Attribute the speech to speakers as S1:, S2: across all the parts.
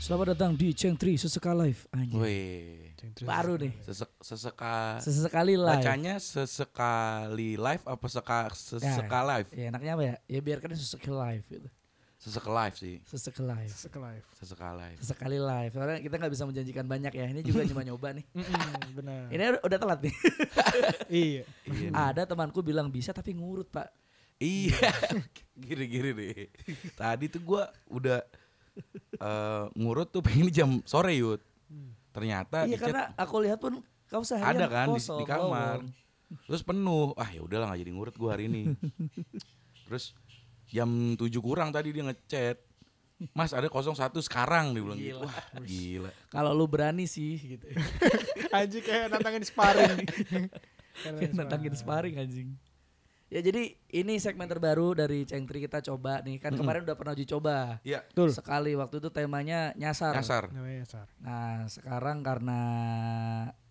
S1: Selamat datang di Ceng Tri Seseka Live Anjir
S2: Wih.
S1: Baru deh
S2: Sesek, seseka
S1: Gitu. Sesekali live
S2: bacanya sesekali live apa seka seseka live?
S1: Ya enaknya apa ya Ya biarkan seseka live gitu
S2: Seseka live sih.
S1: Seseka live
S3: Sesek live.
S2: Seseka live.
S1: Sesekali live Karena kita nggak bisa menjanjikan banyak ya Ini juga cuma nyoba nih
S3: Mm-mm, benar.
S1: Ini udah- udah telat nih
S3: iya.
S2: Iya. nih.
S1: Ada temanku bilang bisa tapi ngurut pak
S2: Iya. Gini-gini nih. Tadi tuh gua udah eh, ngurut tuh pengen jam sore yud. Ternyata
S1: Iya
S2: di chat
S1: karena aku lihat pun Kau seharian
S2: Ah, ada kan di,
S1: kosong,
S2: di kamar.
S1: lowong.
S2: Terus penuh. Ah ya udahlah nggak jadi ngurut gua hari ini. Terus jam 7 kurang tadi dia ngechat. Mas ada 01 sekarang dia bilang gitu.
S1: Gila.
S2: Wah, gila.
S1: Kalau lu berani sih gitu
S3: Anjing kayak nantangin sparring. Kayak
S1: Kayak nantangin sparring anjing. Ya jadi ini segmen terbaru dari Cengtri kita coba nih. Kan kemarin udah pernah uji coba.
S2: Iya,
S3: Betul.
S1: Sekali waktu itu temanya nyasar.
S2: kasar.
S3: Namanya sar.
S1: Nah, sekarang karena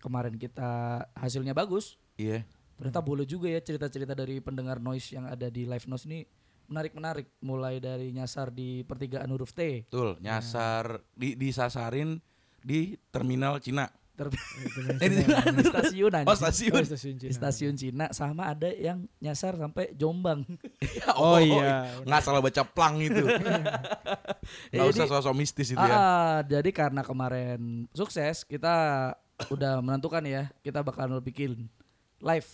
S1: kemarin kita hasilnya bagus,
S2: Iya.
S1: ternyata boleh juga ya cerita-cerita dari pendengar noise yang ada di live noise ini menarik-menarik mulai dari nyasar di pertigaan huruf T.
S2: Betul, nyasar di disasarin di terminal Cina.
S1: Ter-
S3: Itu
S2: Eh, di-
S3: namanya
S1: di stasiun anjing.
S2: Oh,
S3: Cina. Oh,
S2: stasiun.
S3: stasiun Cina.
S1: Di stasiun Cina sama ada yang nyasar sampai Jombang.
S3: Oh,
S2: Ya
S3: iya.
S2: Nggak salah baca plang itu.
S1: Ya,
S2: Nggak
S1: jadi-
S2: usah sosok mistis itu ya.
S1: Ah, jadi karena kemarin sukses, kita udah menentukan ya, kita bakal bikin live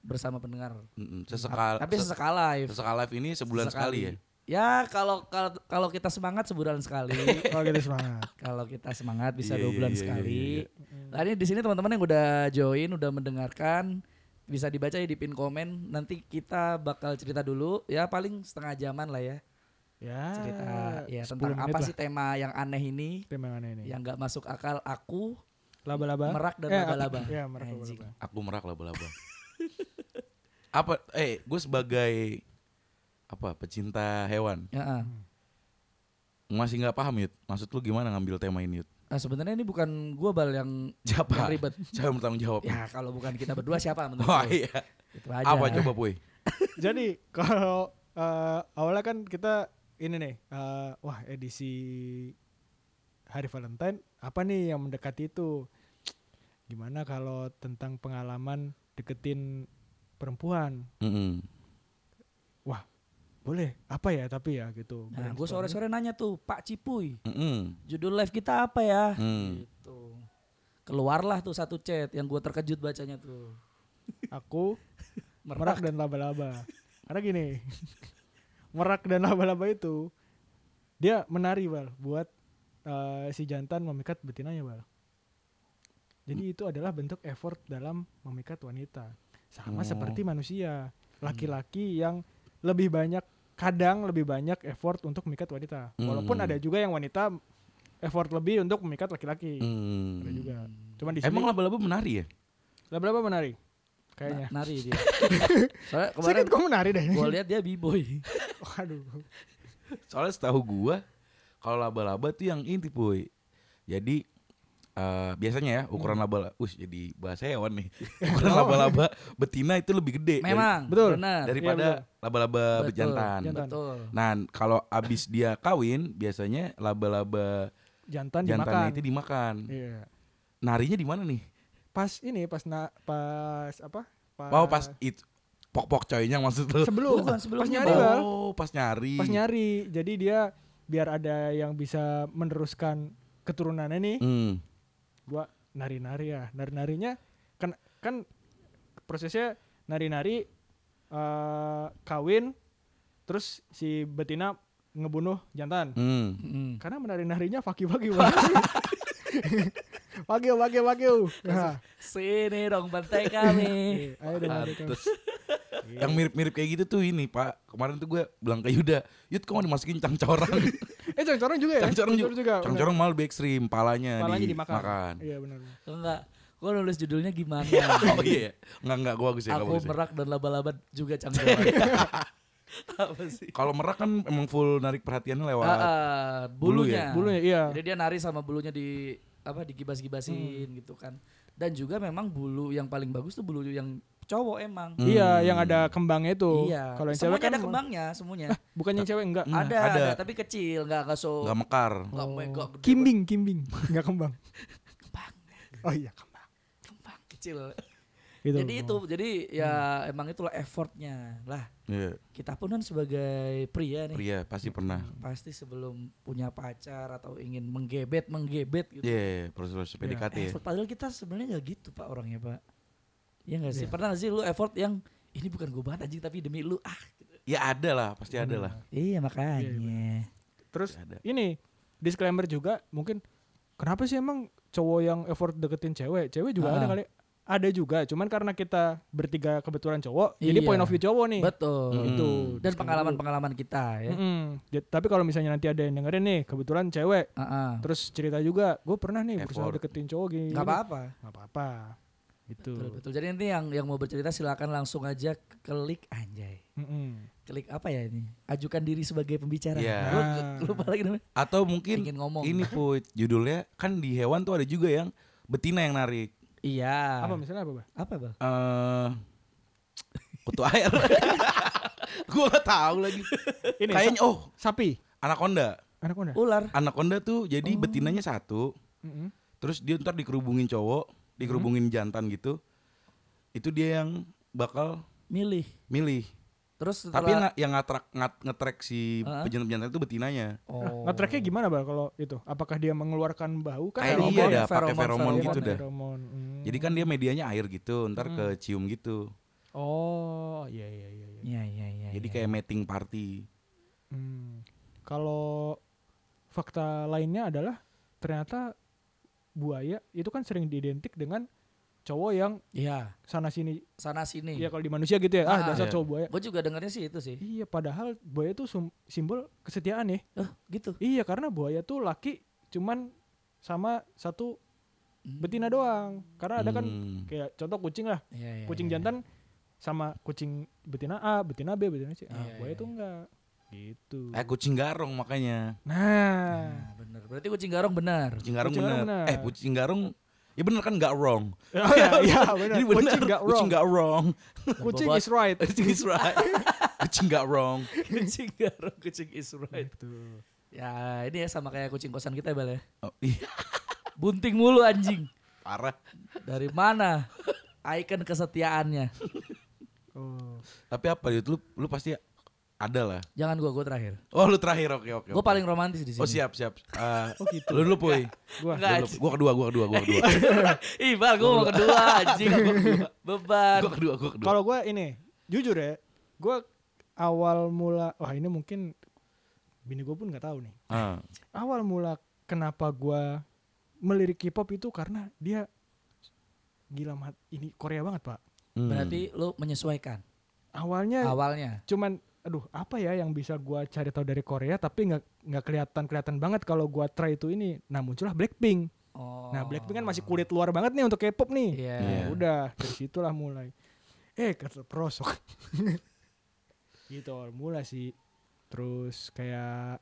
S1: bersama pendengar.
S2: Mm-mm, Sesekal,
S1: Tapi
S2: se-
S1: sesekali live.
S2: sesekal live ini sebulan sekali ya.
S1: Ya, kalau kalau kalau kita semangat sebulan sekali.
S3: Oh, gitu semangat.
S1: kalau kita semangat bisa
S2: Iya,
S1: dua
S2: iya,
S1: bulan
S2: iya,
S1: sekali.
S2: iya,
S1: Nah, ini di sini teman-teman yang udah join, udah mendengarkan bisa dibaca ya di pin komen. Nanti kita bakal cerita dulu ya paling setengah jaman lah ya.
S3: Ya.
S1: Cerita ya
S3: 10
S1: tentang
S3: menit
S1: apa
S3: lah. Iya.
S1: sih tema yang aneh ini
S3: Tema yang aneh ini.
S1: yang nggak masuk akal aku
S3: Laba-laba.
S1: merak dan
S3: Eh,
S1: laba-laba.
S3: Iya, merak
S1: Anjing.
S3: laba-laba.
S2: Aku merak laba-laba. apa eh gue sebagai apa pecinta hewan
S1: Heeh.
S3: Hmm.
S2: masih nggak paham Yud maksud lu gimana ngambil tema ini Yud
S1: Nah, sebenarnya ini bukan gua bal yang yang
S2: siapa
S1: ribet.
S2: siapa yang bertanggung jawab
S1: Ya kalau bukan kita berdua siapa menurut
S2: Wah,
S1: lu?
S2: iya.
S1: Itu aja.
S2: apa coba puy
S3: Jadi, kalau eh, awalnya kan kita ini nih, eh, wah edisi Hari Valentine apa nih yang mendekati itu? Gimana kalau tentang pengalaman deketin perempuan?
S2: Mm-mm.
S3: Boleh, apa ya tapi ya gitu.
S1: Nah, gue
S3: brainstorming.
S1: sore-sore nanya tuh, Pak Cipuy,
S2: Mm-mm.
S1: judul live kita apa ya?
S2: Mm.
S1: Gitu. Keluarlah tuh satu chat yang gue terkejut bacanya tuh.
S3: aku
S1: Merak.
S3: merak dan laba-laba. Karena gini, merak dan laba-laba itu dia menari bal buat eh, si jantan memikat betinanya bal. Jadi itu adalah bentuk effort dalam memikat wanita. Sama
S2: Oh.
S3: seperti manusia, laki-laki yang lebih banyak kadang lebih banyak effort untuk memikat wanita. Walaupun
S2: Hmm.
S3: ada juga yang wanita effort lebih untuk memikat laki-laki.
S2: Mm.
S3: iya, Ada juga. Cuman di sini
S2: emang laba-laba menari ya
S3: laba-laba
S1: Na-
S3: menari
S2: Nah,
S3: kayaknya.
S1: Nari dia. Soalnya
S3: Sedikit
S1: kemarin
S3: kok menari deh.
S1: gue lihat dia b-boy.
S3: Waduh.
S2: Soalnya setahu gua kalau laba-laba tuh yang inti puy. Jadi eh, biasanya ya ukuran
S3: Hmm.
S2: laba-laba, Wih, jadi bahasa hewan nih. Ukuran laba-laba betina itu lebih gede dari- eh,
S1: Memang,
S3: Betul.
S1: benar.
S2: daripada laba-laba
S1: Betul,
S2: bejantan.
S3: Iya, jantan.
S1: Betul.
S2: Nah, kalau abis dia kawin, biasanya laba-laba
S3: jantan, dimakan.
S2: jantan itu dimakan.
S3: Iya.
S2: Narinya di mana nih?
S3: Pas ini pas na, pas apa? Pas,
S2: Wow, pas itu pok-pok coynya maksud lu.
S3: sebelum
S1: Bukan, sebelumnya,
S3: pas nyari
S1: Bang.
S3: Bal.
S2: Oh, pas nyari.
S3: Pas nyari. Jadi dia biar ada yang bisa meneruskan keturunannya nih.
S2: Hmm.
S3: Gua nari-nari ya. Nari-narinya kan kan prosesnya nari-nari eh, kawin terus si betina ngebunuh jantan.
S2: Hmm.
S1: Mm.
S3: Karena menari-narinya faki-faki banget. Wagyu, wagyu, wagyu. Nah,
S1: Sini dong bantai kami.
S3: iya, ayo deh, ayo deh.
S2: Pantes. Yang mirip-mirip kayak gitu tuh ini pak Kemarin tuh gue bilang ke Yuda Yud kok mau dimasukin cangcorang
S3: Eh cangcorang juga ya?
S2: Cangcorang juga
S3: bener.
S2: Cangcorang malah lebih ekstrim Palanya,
S3: Kepalanya dimakan.
S2: dimakan
S3: Iya benar.
S1: Enggak, gue nulis judulnya gimana?
S2: Oh iya Enggak enggak gue bagus ya nggak
S1: Aku
S2: bagus ya.
S1: merak dan laba-laba juga canggung. Apa sih?
S2: Kalau merak kan emang full narik perhatiannya lewat
S1: Ah, ah,
S2: bulu
S1: bulunya.
S3: Bulunya iya. Hmm.
S1: Jadi dia nari sama bulunya di apa digibas-gibasin gitu kan. dan juga memang bulu yang paling bagus tuh bulu yang cowok emang.
S2: Hmm.
S3: Iya, yang ada kembangnya itu.
S1: Iya.
S3: Kalau yang cewek
S1: semuanya
S3: kan Hmm.
S1: ada kembangnya semuanya.
S3: bukan yang cewek enggak.
S2: Nah,
S1: ada,
S2: ada.
S1: ada, tapi kecil, nggak nggak so
S2: Gak mekar.
S1: nggak mega gede.
S3: Kimbing, kimbing, enggak kembang.
S1: Kembang,
S3: Oh iya, kembang.
S1: kembang kecil.
S3: Gitu.
S1: Jadi itu, jadi ya emang itulah effortnya lah.
S2: Iya,
S1: Kita pun kan sebagai pria nih,
S2: pria pasti pernah.
S1: pasti sebelum punya pacar atau ingin menggebet menggebet gitu.
S2: Iya, proses-proses PDKT ya.
S1: effort. Padahal kita sebenarnya nggak gitu pak orangnya pak. Ya nggak sih.
S3: Iya.
S1: Pernah nggak sih lu effort yang ini bukan gue banget anjing tapi demi lu ah.
S2: Ya ada lah, pasti ada lah.
S1: Iya makanya.
S3: Terus
S2: Pasti Ada.
S3: ini disclaimer juga mungkin kenapa sih emang cowok yang effort deketin cewek? Cewek juga ada
S1: Ah.
S3: kali. Ada juga, cuman karena kita bertiga kebetulan cowok, jadi
S1: Iya.
S3: point of view cowok nih.
S1: Betul.
S2: Hmm.
S3: Itu.
S1: Dan pengalaman-pengalaman kita ya.
S3: Mm-mm. Ja- Tapi kalau misalnya nanti ada yang dengerin nih, kebetulan cewek,
S1: Ah, ah.
S3: terus cerita juga, gue pernah nih berusaha
S2: Effort.
S3: deketin cowok gini.
S1: Nggak apa-apa.
S3: Gak apa-apa. Gitu.
S1: Betul, betul. Jadi nanti yang yang mau bercerita silakan langsung aja klik anjay.
S3: Mm-mm.
S1: Klik apa ya ini? Ajukan diri sebagai pembicara.
S2: Iya.
S1: Lu- lu- lupa lagi namanya.
S2: Atau mungkin
S1: Ingin ngomong.
S2: ini Puy, judulnya kan di hewan tuh ada juga yang betina yang narik.
S1: Iya.
S3: Apa misalnya apa, Bah?
S1: Apa, Bang?
S2: eh kutu air. Gua gak tahu lagi.
S3: Ini
S2: Kayaknya oh,
S3: sapi.
S2: anaconda.
S3: Anak mana?
S1: Ular.
S2: Anaconda tuh jadi betinanya satu,
S1: Oh.
S3: Mm-mm.
S2: terus dia ntar dikerubungin cowok, dikerubungin jantan gitu. Itu dia yang bakal
S1: Milih.
S2: milih.
S1: Terus
S2: Tapi yang
S1: setelah
S2: yang ngatrak ngat ngetrek si
S1: Heeh.
S2: pejantan-pejantan itu betinanya.
S1: Oh.
S3: Nge-tracknya gimana, Bah, kalau itu? Apakah dia mengeluarkan bau? Kan
S2: Kayak
S3: ada
S2: iya
S3: hormon.
S2: dah, pakai
S1: feromon,
S2: feromon gitu
S1: feromon.
S2: dah.
S3: Hormon. Mm.
S2: Jadi kan dia medianya air gitu, ntar
S3: Hmm.
S2: kecium gitu.
S3: Oh, iya iya iya iya.
S1: Iya, iya, iya.
S2: Jadi
S1: iya.
S2: kayak mating party.
S3: Hmm. Kalau fakta lainnya adalah ternyata buaya itu kan sering diidentik dengan cowok yang
S1: Iya,
S3: sana sini.
S1: sana sini.
S3: Ya kalau di manusia gitu ya. Ah,
S1: Ah,
S3: dasar
S2: iya.
S3: cowok buaya.
S1: Gue juga dengarnya sih itu sih.
S3: Iya, padahal buaya itu sum- simbol kesetiaan ya.
S1: Eh, gitu.
S3: Iya, karena buaya tuh laki cuman sama satu betina doang. Karena ada kan
S2: Hmm.
S3: kayak contoh kucing lah,
S1: Iya, iya,
S3: kucing
S1: iya.
S3: jantan sama kucing betina A, betina B, betina C. Ah,
S1: Iya,
S3: buaya
S1: iya,
S3: tuh enggak. Gitu.
S2: Eh kucing garong makanya.
S3: Nah,
S1: Nah, bener. Berarti kucing garong benar.
S2: Kucing garong
S3: Kucing
S2: bener.
S3: garong bener.
S2: Eh kucing garong ya bener kan gak wrong.
S3: Oh, iya, iya, benar.
S2: Jadi bener,
S3: Kucing nggak wrong.
S2: Kucing gak wrong.
S3: Kucing
S1: Bobot.
S3: is right.
S2: Kucing is right. kucing gak wrong.
S1: kucing garong, kucing is right.
S3: Gitu.
S1: Ya, ini ya sama kayak kucing kosan kita, Bal ya.
S2: Oh, iya,
S1: Bunting mulu anjing.
S2: parah.
S1: Dari mana? Icon kesetiaannya.
S3: Oh.
S2: Tapi apa itu lu, lu pasti ada lah.
S1: Jangan gua, gua terakhir.
S2: Oh lu terakhir oke oke.
S1: Gua
S2: oke.
S1: paling romantis di sini.
S2: Oh siap siap. Eh,
S3: Oh, gitu.
S2: Lu dulu puy.
S3: Gua.
S2: Lu dulu. Gua kedua gua kedua gua
S1: Iya.
S2: kedua.
S1: Ih, Bal, gua mau kedua anjing. Beban.
S2: gua kedua gua kedua.
S3: Kalau gue ini, jujur ya, gue awal mula, wah ini mungkin bini gue pun nggak tahu nih.
S2: Ah,
S3: Awal mula kenapa gue melirik K-pop itu karena dia gila mat ini Korea banget pak.
S2: hmm.
S1: Berarti lu menyesuaikan
S3: Awalnya
S1: awalnya.
S3: cuman aduh apa ya yang bisa gue cari tahu dari Korea tapi nggak nggak kelihatan kelihatan banget kalau gue try itu ini. Nah muncullah Blackpink.
S1: Oh.
S3: Nah, Blackpink kan masih kulit luar banget nih untuk K-pop nih.
S1: Iya.
S2: Iya.
S3: Ya udah, dari situlah mulai. Eh, kata prosok. gitu awal mula sih. Terus kayak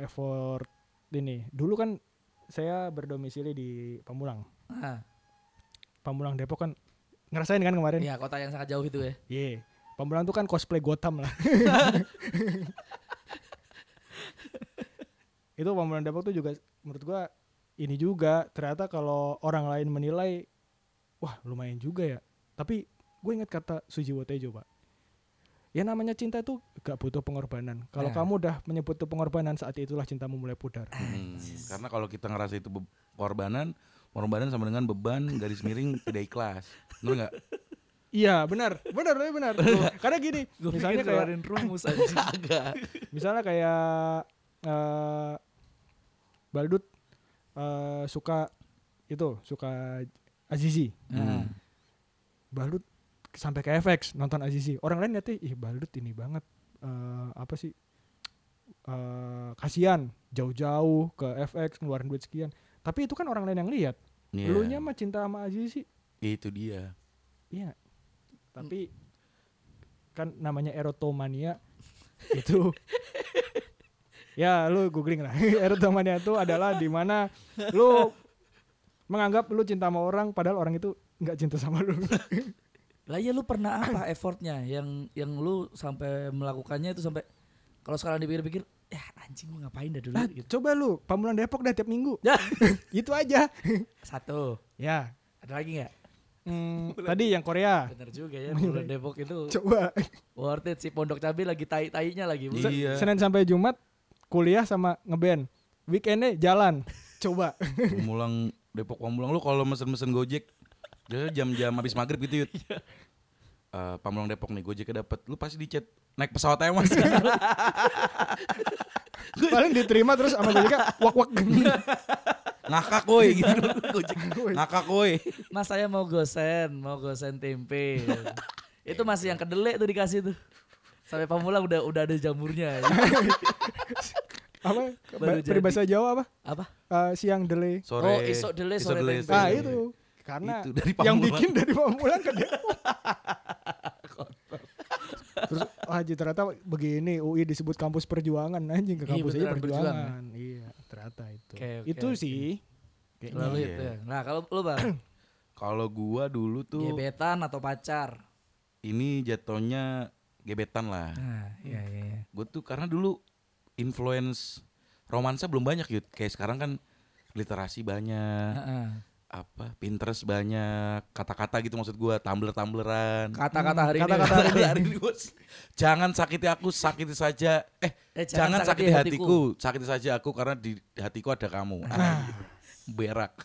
S3: effort ini. Dulu kan saya berdomisili di Pamulang.
S1: Ah,
S3: Pamulang Depok kan ngerasain kan kemarin?
S1: Iya,
S3: Iya.
S1: kota yang sangat jauh itu ya.
S3: Pamulang tuh kan cosplay Gotham lah. itu Pamulang Depok tuh juga menurut gua ini juga ternyata kalau orang lain menilai wah lumayan juga ya tapi gue ingat kata Sujiwo Tejo pak ya namanya cinta itu gak butuh pengorbanan kalau
S1: Nah.
S3: kamu udah menyebut itu pengorbanan saat itulah cintamu mulai pudar
S2: Hmm, Karena kalau kita ngerasa itu be- korbanan, korbanan sama dengan beban garis miring tidak ikhlas. Bener enggak?
S3: iya benar benar benar, benar karena gini
S1: Gua
S3: misalnya
S1: pikir
S3: kayak
S1: keluarin rumus anjing.
S2: Agak.
S3: misalnya kayak eh Baldut eh, suka itu suka Azizi
S2: Hmm,
S1: Nah,
S3: Balut sampai ke FX nonton Azizi. Orang lain lihatnya ih Balut ini banget eh, apa sih? eh kasihan jauh-jauh ke FX ngeluarin duit sekian. Tapi itu kan orang lain yang lihat.
S2: Iya.
S3: Lu Lunya mah cinta sama Azizi.
S2: Itu dia.
S3: Iya. Tapi kan namanya erotomania itu ya lu googling lah erotomania itu adalah dimana lu menganggap lu cinta sama orang padahal orang itu nggak cinta sama lu
S1: Lah ya lu pernah apa effortnya yang yang lu sampai melakukannya itu sampai kalau sekarang dipikir-pikir ya anjing gua ngapain dah dulu
S3: Nah,
S1: gitu.
S3: coba lu pamulang Depok dah tiap minggu
S1: Ya.
S3: itu aja
S1: Satu.
S3: ya
S1: Ada lagi nggak?
S3: mm, tadi yang
S2: Ah.
S3: Korea
S1: Bener juga ya Pulau Depok itu
S3: coba
S1: worth it si Pondok Cabe lagi tai-tainya lagi.
S2: Iya.
S3: Senin sampai Jumat kuliah sama ngeband weekendnya jalan coba
S2: Pamulang Depok Pamulang lu kalau mesen-mesen Gojek biasanya jam-jam habis maghrib gitu yut.
S1: Iya.
S2: Eh, Pamulang Depok nih Gojeknya dapat lu pasti di chat naik pesawat aja mas
S3: paling diterima terus sama Gojeka wak wak
S2: ngakak woi
S1: Iya,
S2: gitu Gojek ngakak woi
S1: Mas saya mau gosen, mau gosen tempe. itu masih yang kedele tuh dikasih tuh. Sampai pamulang udah udah ada jamurnya.
S3: apa
S1: Baru
S3: Ba- peribahasa Jawa apa
S1: apa?
S3: Eh, siang delay
S2: sore
S1: Oh, esok delay,
S2: esok
S1: sore tempe.
S3: ah
S2: sore.
S3: itu karena
S2: Itu, dari
S3: yang
S2: Pamulang.
S3: bikin dari Pamulang ke Depok terus oh, Haji ternyata begini UI disebut kampus perjuangan anjing ke
S1: Iya,
S3: kampus aja
S1: beneran
S3: perjuangan
S1: perjuangan,
S3: iya ternyata itu
S1: Oke, oke,
S3: itu
S1: oke.
S3: sih
S1: Lalu
S2: Iya.
S1: itu. ya. Nah, kalau lu Bang,
S2: kalau gua dulu tuh
S1: gebetan atau pacar?
S2: ini jatuhnya gebetan lah
S1: Nah, iya iya iya.
S2: gue tuh karena dulu influence romansa belum banyak yut kayak sekarang kan literasi banyak
S1: Heeh.
S2: apa Pinterest banyak kata-kata gitu maksud gua tumbler tumbleran
S1: Kata-kata hari ini.
S3: Hmm, Kata-kata hari ini.
S2: Hari ini gua s- jangan sakiti aku sakiti saja eh
S1: Eh,
S2: jangan, sakiti hatiku. sakiti saja aku karena di di hatiku ada kamu Ah, berak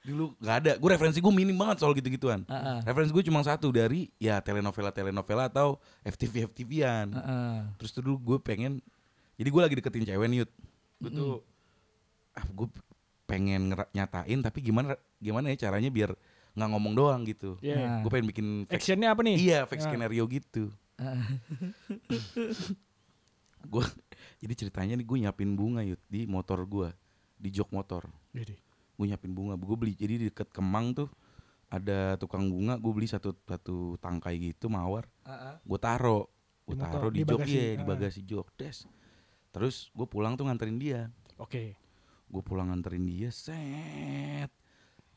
S2: dulu nggak ada gue referensi gue minim banget soal gitu-gituan
S1: Heeh.
S2: referensi gue cuma satu dari ya telenovela telenovela atau FTV FTVan
S1: Heeh.
S2: Terus tuh dulu gue pengen Jadi gue lagi deketin cewek nih Yud Gue tuh ah, Gue pengen ngera- nyatain Tapi gimana gimana ya caranya biar nggak ngomong doang gitu
S3: Iya.
S1: Nah.
S2: Gue pengen bikin fake,
S3: actionnya apa nih
S2: Iya fake
S3: Nah.
S2: skenario gitu
S1: Heeh.
S2: Gue Jadi ceritanya nih gue nyiapin bunga Yud Di motor gue Di jok motor
S3: Jadi.
S2: Gue nyiapin bunga Gue beli Jadi di deket Kemang tuh Ada tukang bunga Gue beli satu, satu tangkai gitu mawar
S1: Heeh.
S2: gue taro gue
S3: Di motor,
S2: taro
S3: di
S2: di, jok
S3: bagasi,
S2: iya, di
S3: ah.
S2: bagasi jok des terus gue pulang tuh nganterin dia
S3: Oke.
S2: gue pulang nganterin dia set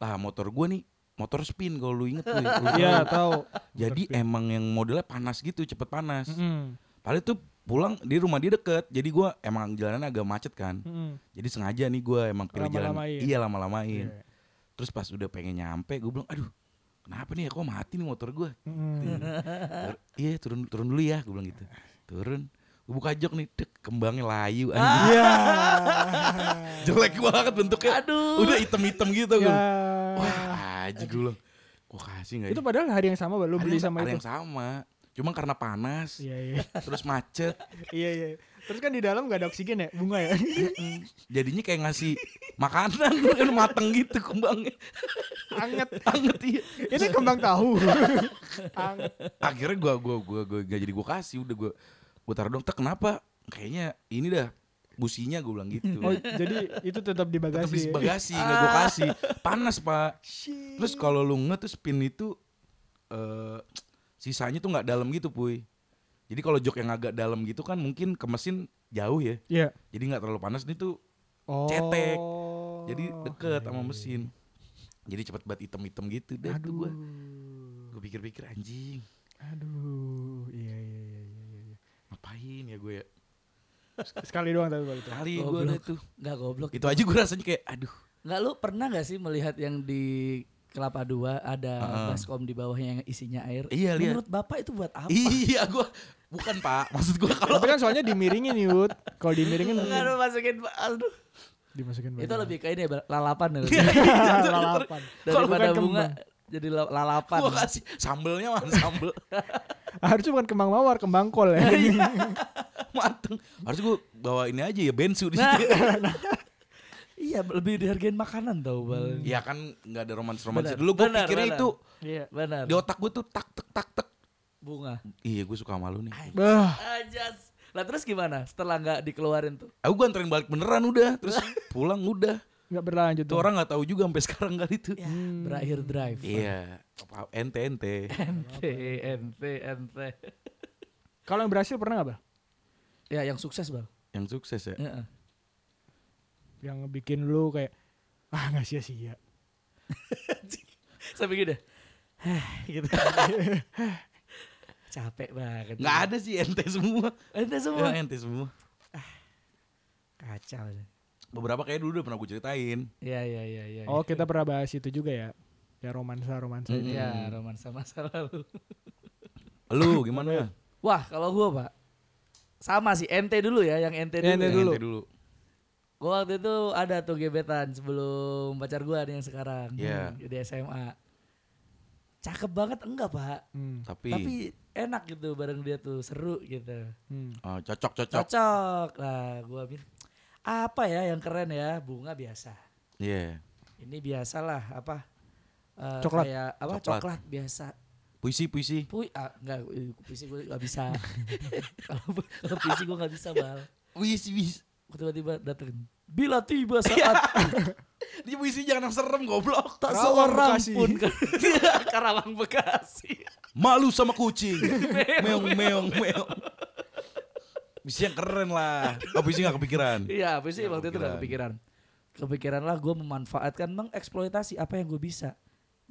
S2: lah motor gue nih motor spin kalau lu inget tuh ya, lu
S3: Iya
S2: tahu.
S3: tahu.
S2: jadi
S3: Motor speed.
S2: emang yang modelnya panas gitu cepet panas
S3: Mm-mm.
S2: padahal tuh pulang di rumah dia deket jadi gue emang jalanannya agak macet kan
S3: Mm-mm.
S2: jadi sengaja nih gue emang pilih jalan
S3: Lama-lamain.
S2: iya lama-lamain
S3: Iya.
S2: terus pas udah pengen nyampe gue bilang aduh kenapa nih ya kok mati nih motor gue
S3: Mm-mm.
S2: Tur- iya turun turun dulu ya gue bilang gitu turun gue buka jok nih dek kembangnya layu anjing
S3: Iya.
S2: jelek banget bentuknya
S1: Aduh.
S2: udah hitam hitam gitu gue
S3: Ya.
S2: wah aja gue bilang gue kasih nggak ya?"
S3: Itu padahal hari yang sama lu
S2: Ada
S3: beli
S2: yang-
S3: sama
S2: ada
S3: itu.
S2: yang sama cuma karena panas
S3: Iya iya.
S2: terus macet
S3: Iya iya. Terus kan di dalam gak ada oksigen ya, bunga ya.
S2: jadinya kayak ngasih makanan kan mateng gitu kembangnya
S3: Anget.
S2: anget iya
S3: Ini kembang tahu. Anget.
S2: akhirnya gue gua gua gua gak jadi gue kasih udah gue gue taruh dong "Tek, kenapa kayaknya ini dah businya gue bilang gitu
S3: Oh, jadi itu tetap di
S2: Tetep
S3: bagasi.
S2: di
S3: ya?
S2: bagasi nggak gue kasih panas pak
S3: Shit.
S2: terus kalau lu nge tuh spin itu eh sisanya tuh nggak dalam gitu puy jadi kalau jok yang agak dalam gitu kan mungkin ke mesin jauh ya
S3: Iya.
S2: jadi nggak terlalu panas nih tuh
S3: Oh.
S2: Cetek. jadi deket sama mesin jadi cepet banget item-item gitu deh
S3: Aduh.
S2: tuh gue gue pikir-pikir anjing
S3: Aduh. Iya iya iya iya, iya.
S2: ngapain ya gue ya
S3: Sekali doang tapi waktu itu.
S2: kali gue
S1: Goblok.
S2: deh tuh
S1: Enggak goblok.
S2: itu aja gue rasanya kayak aduh
S1: Enggak lu pernah nggak sih melihat yang di Kelapa Dua ada
S2: Heeh.
S1: baskom di bawahnya yang isinya air?
S2: Iya, lihat.
S1: Menurut Bapak itu buat apa?
S2: iya gue bukan pak maksud gue kalau
S3: Tapi kan soalnya dimiringin Yud. Kalau dimiringin
S1: Aduh masukin aduh.
S3: dimasukin
S1: Itu
S3: bagasi.
S1: lebih ke ini ya, Bal- lalapan ya. Bal.
S3: lalapan.
S1: Daripada
S3: bukan
S1: bunga
S3: kembang.
S1: jadi la- lalapan.
S2: gue kasih sambelnya mana sambel
S3: Harusnya bukan kembang mawar, kembang kol ya.
S2: mateng harus gue bawa ini aja ya bensu di
S1: Nah.
S2: situ
S1: Iya, lebih dihargain makanan tau, Bal.
S3: Hmm.
S2: ya kan nggak ada romans romans
S1: Benar,
S2: dulu gue
S1: benar,
S2: pikirnya
S1: benar. Ya,
S2: itu
S3: Iya.
S1: Benar.
S2: di otak gue tuh tak tek tak tek
S1: Bunga.
S2: iya gue suka malu nih
S3: Bah,
S1: Ajas. Lah terus gimana setelah nggak dikeluarin tuh?
S2: aku gue anterin balik beneran udah terus pulang udah
S3: nggak berlanjut.
S2: itu orang nggak tahu juga sampai sekarang kali itu
S1: Ya,
S3: Hmm.
S1: berakhir drive.
S2: iya apa- ente ente
S1: NT, NT, NT.
S3: Kalau yang berhasil pernah nggak, Bal?
S1: Ya
S2: ya.
S1: yang sukses bang.
S2: yang sukses ya
S1: Heeh.
S3: Yang bikin lu kayak ah nggak sia-sia
S1: Sampai gitu. gitu. Capek banget.
S2: Nggak ada sih ente semua.
S1: Ada semua.
S2: Ya, ente semua.
S1: Kacau.
S2: Beberapa kayak dulu udah pernah gue ceritain.
S1: Iya iya iya iya.
S3: oh kita pernah bahas itu juga ya ya romansa romansa
S2: Mm.
S3: itu.
S1: Ya romansa masa lalu. Ah,
S2: Lu gimana?
S1: Wah kalau gua pak sama sih ente dulu ya yang ente dulu.
S3: Yang ente
S1: ya.
S3: dulu.
S2: Ente dulu.
S1: Gua waktu itu ada tuh gebetan sebelum pacar gua nih yang sekarang.
S2: Iya.
S1: Hmm, Di SMA. Cakep banget enggak pak?
S3: Hmm,
S2: Tapi,
S1: Tapi enak gitu bareng dia tuh seru gitu.
S3: hmm.
S2: oh, cocok cocok.
S1: Cocok. Nah gua bilang apa ya yang keren ya bunga biasa.
S2: Iya.
S1: Ini biasalah apa? eh,
S3: Coklat.
S1: kayak apa
S2: Coklat.
S1: coklat, biasa
S2: Puisi puisi.
S1: Pui, ah, enggak, eh, puisi gue gak bisa. Kalau kalau puisi gue gak bisa, Bal.
S2: Puisi puisi.
S1: Gue tiba-tiba dateng. Bila tiba saat
S2: Di puisi jangan yang serem goblok.
S1: tak
S3: Karawang,
S1: seorang
S3: Bekasi.
S1: pun kan- ke Karawang Bekasi.
S2: Malu sama kucing. meong meong meong. Puisi yang keren lah. Oh puisi gak kepikiran.
S1: Iya, puisi
S2: Ya,
S1: waktu itu gak kepikiran. Kepikiran lah gue memanfaatkan mengeksploitasi apa yang gue bisa.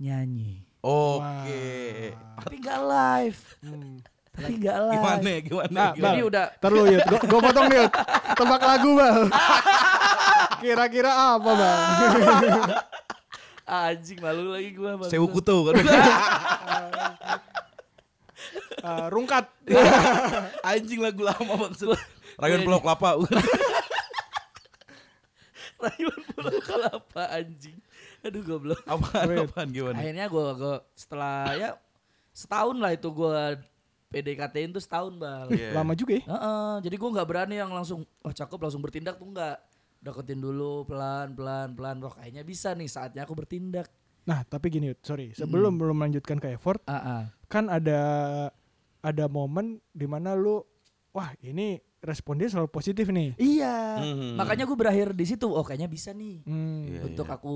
S1: Nyanyi.
S2: Oke.
S1: Tapi gak live.
S3: Hmm.
S1: Tapi gak live.
S2: Gimana gimana?
S3: Nah,
S2: gimana?
S1: Jadi
S3: Bal.
S1: udah
S3: Ntar lu Yud, gue potong nih Yud. Tebak lagu bang Kira-kira apa bang?
S1: ah, anjing malu lagi gue.
S2: Sewu kutu kan.
S3: Iya, Eh, rungkat
S2: Anjing lagu lama maksud. Rayon
S3: iya.
S2: Pulau Kelapa.
S1: Rayuan pulau kelapa anjing. Aduh goblok.
S2: apaan
S3: Wait.
S2: apaan gimana?
S1: Akhirnya gue gua setelah ya setahun lah itu gue PDKT-in tuh setahun bal. Heeh,
S2: Iya.
S3: Lama juga ya
S1: jadi gue nggak berani yang langsung wah cakep langsung bertindak tuh nggak. Deketin dulu pelan pelan pelan. Wah kayaknya bisa nih saatnya aku bertindak.
S3: Nah tapi gini Yud, sorry Sebelum belum melanjutkan ke effort
S1: Ah, ah.
S3: Kan ada Ada momen dimana lu Wah ini respon dia selalu positif nih
S1: Iya.
S2: Mhm.
S1: Makanya gue berakhir di situ. Oh kayaknya bisa nih
S3: Hmm.
S2: Iya,
S1: untuk
S2: iya.
S1: aku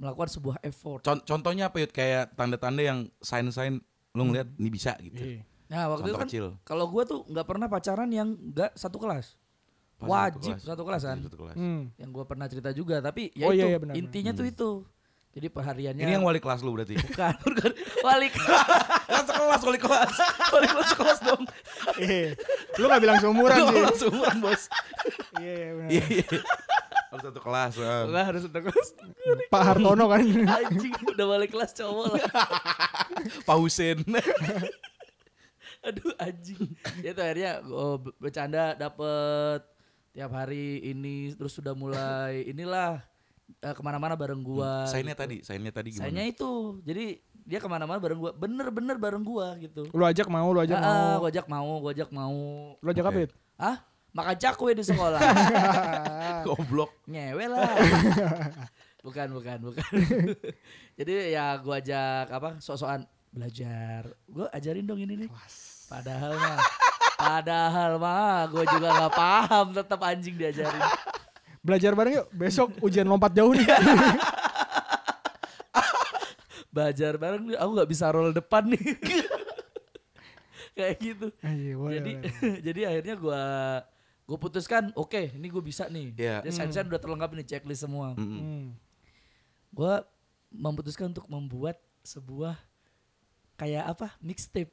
S1: melakukan sebuah effort.
S2: Con- contohnya apa Yud? Kayak tanda-tanda yang sign-sign lu ngeliat ini bisa gitu.
S3: Iya.
S1: Nah waktu itu
S2: Contoh
S1: kan
S2: kecil.
S1: kalau gue tuh nggak pernah pacaran yang nggak satu kelas.
S2: Pas
S1: Wajib satu kelas kan.
S2: Wajib satu kelas.
S3: Hmm.
S1: Yang gue pernah cerita juga. Tapi ya
S3: Oh,
S1: itu
S3: iya, iya, benar, benar.
S1: intinya tuh itu. Jadi perhariannya.
S2: Ini yang wali kelas lu berarti.
S1: Bukan, bukan. Wali kelas,
S2: kelas kelas wali kelas.
S1: wali kelas kelas dong.
S3: Eh, Lu gak bilang seumuran
S2: Lu
S3: sih
S2: langsung umuran, Bos.
S3: Iya iya, benar.
S2: Iya, iya. Harus satu kelas. ah.
S1: Enggak harus untuk kelas.
S3: Pak Hartono kan
S1: Anjing udah wali kelas cowok lah.
S2: Pausen.
S1: Aduh anjing. Ya tuh akhirnya oh, be- bercanda dapet tiap hari ini terus sudah mulai inilah eh, kemana-mana bareng gua.
S2: Hmm, Sainnya tadi, Eh, gitu. sainnya tadi gimana?
S1: Sayangnya itu. Jadi dia kemana-mana bareng gua. Bener-bener bareng gua gitu.
S3: Lu ajak mau Lu ajak
S1: Ah, ah,
S3: mau
S1: gua ajak mau, gua ajak mau.
S3: Lu ajak apa
S2: Oke.
S3: Yud?
S1: Hah? Makan cakwe di sekolah.
S2: Goblok.
S1: nyewe lah bukan bukan bukan jadi ya gua ajak apa sok-sokan belajar gua ajarin dong ini nih padahal mah padahal mah gua juga nggak paham tetap anjing diajarin
S3: Belajar bareng yuk Besok ujian lompat jauh nih
S1: belajar bareng nih, aku nggak bisa roll depan nih kayak gitu
S3: Ah, Iya boleh,
S1: jadi
S3: boleh.
S1: jadi akhirnya gua gue putuskan oke ini gue bisa nih
S2: Iya.
S1: jadi sign-sign udah terlengkap nih checklist semua
S2: Mm-mm.
S3: Hmm.
S1: gue memutuskan untuk membuat sebuah kayak apa mixtape.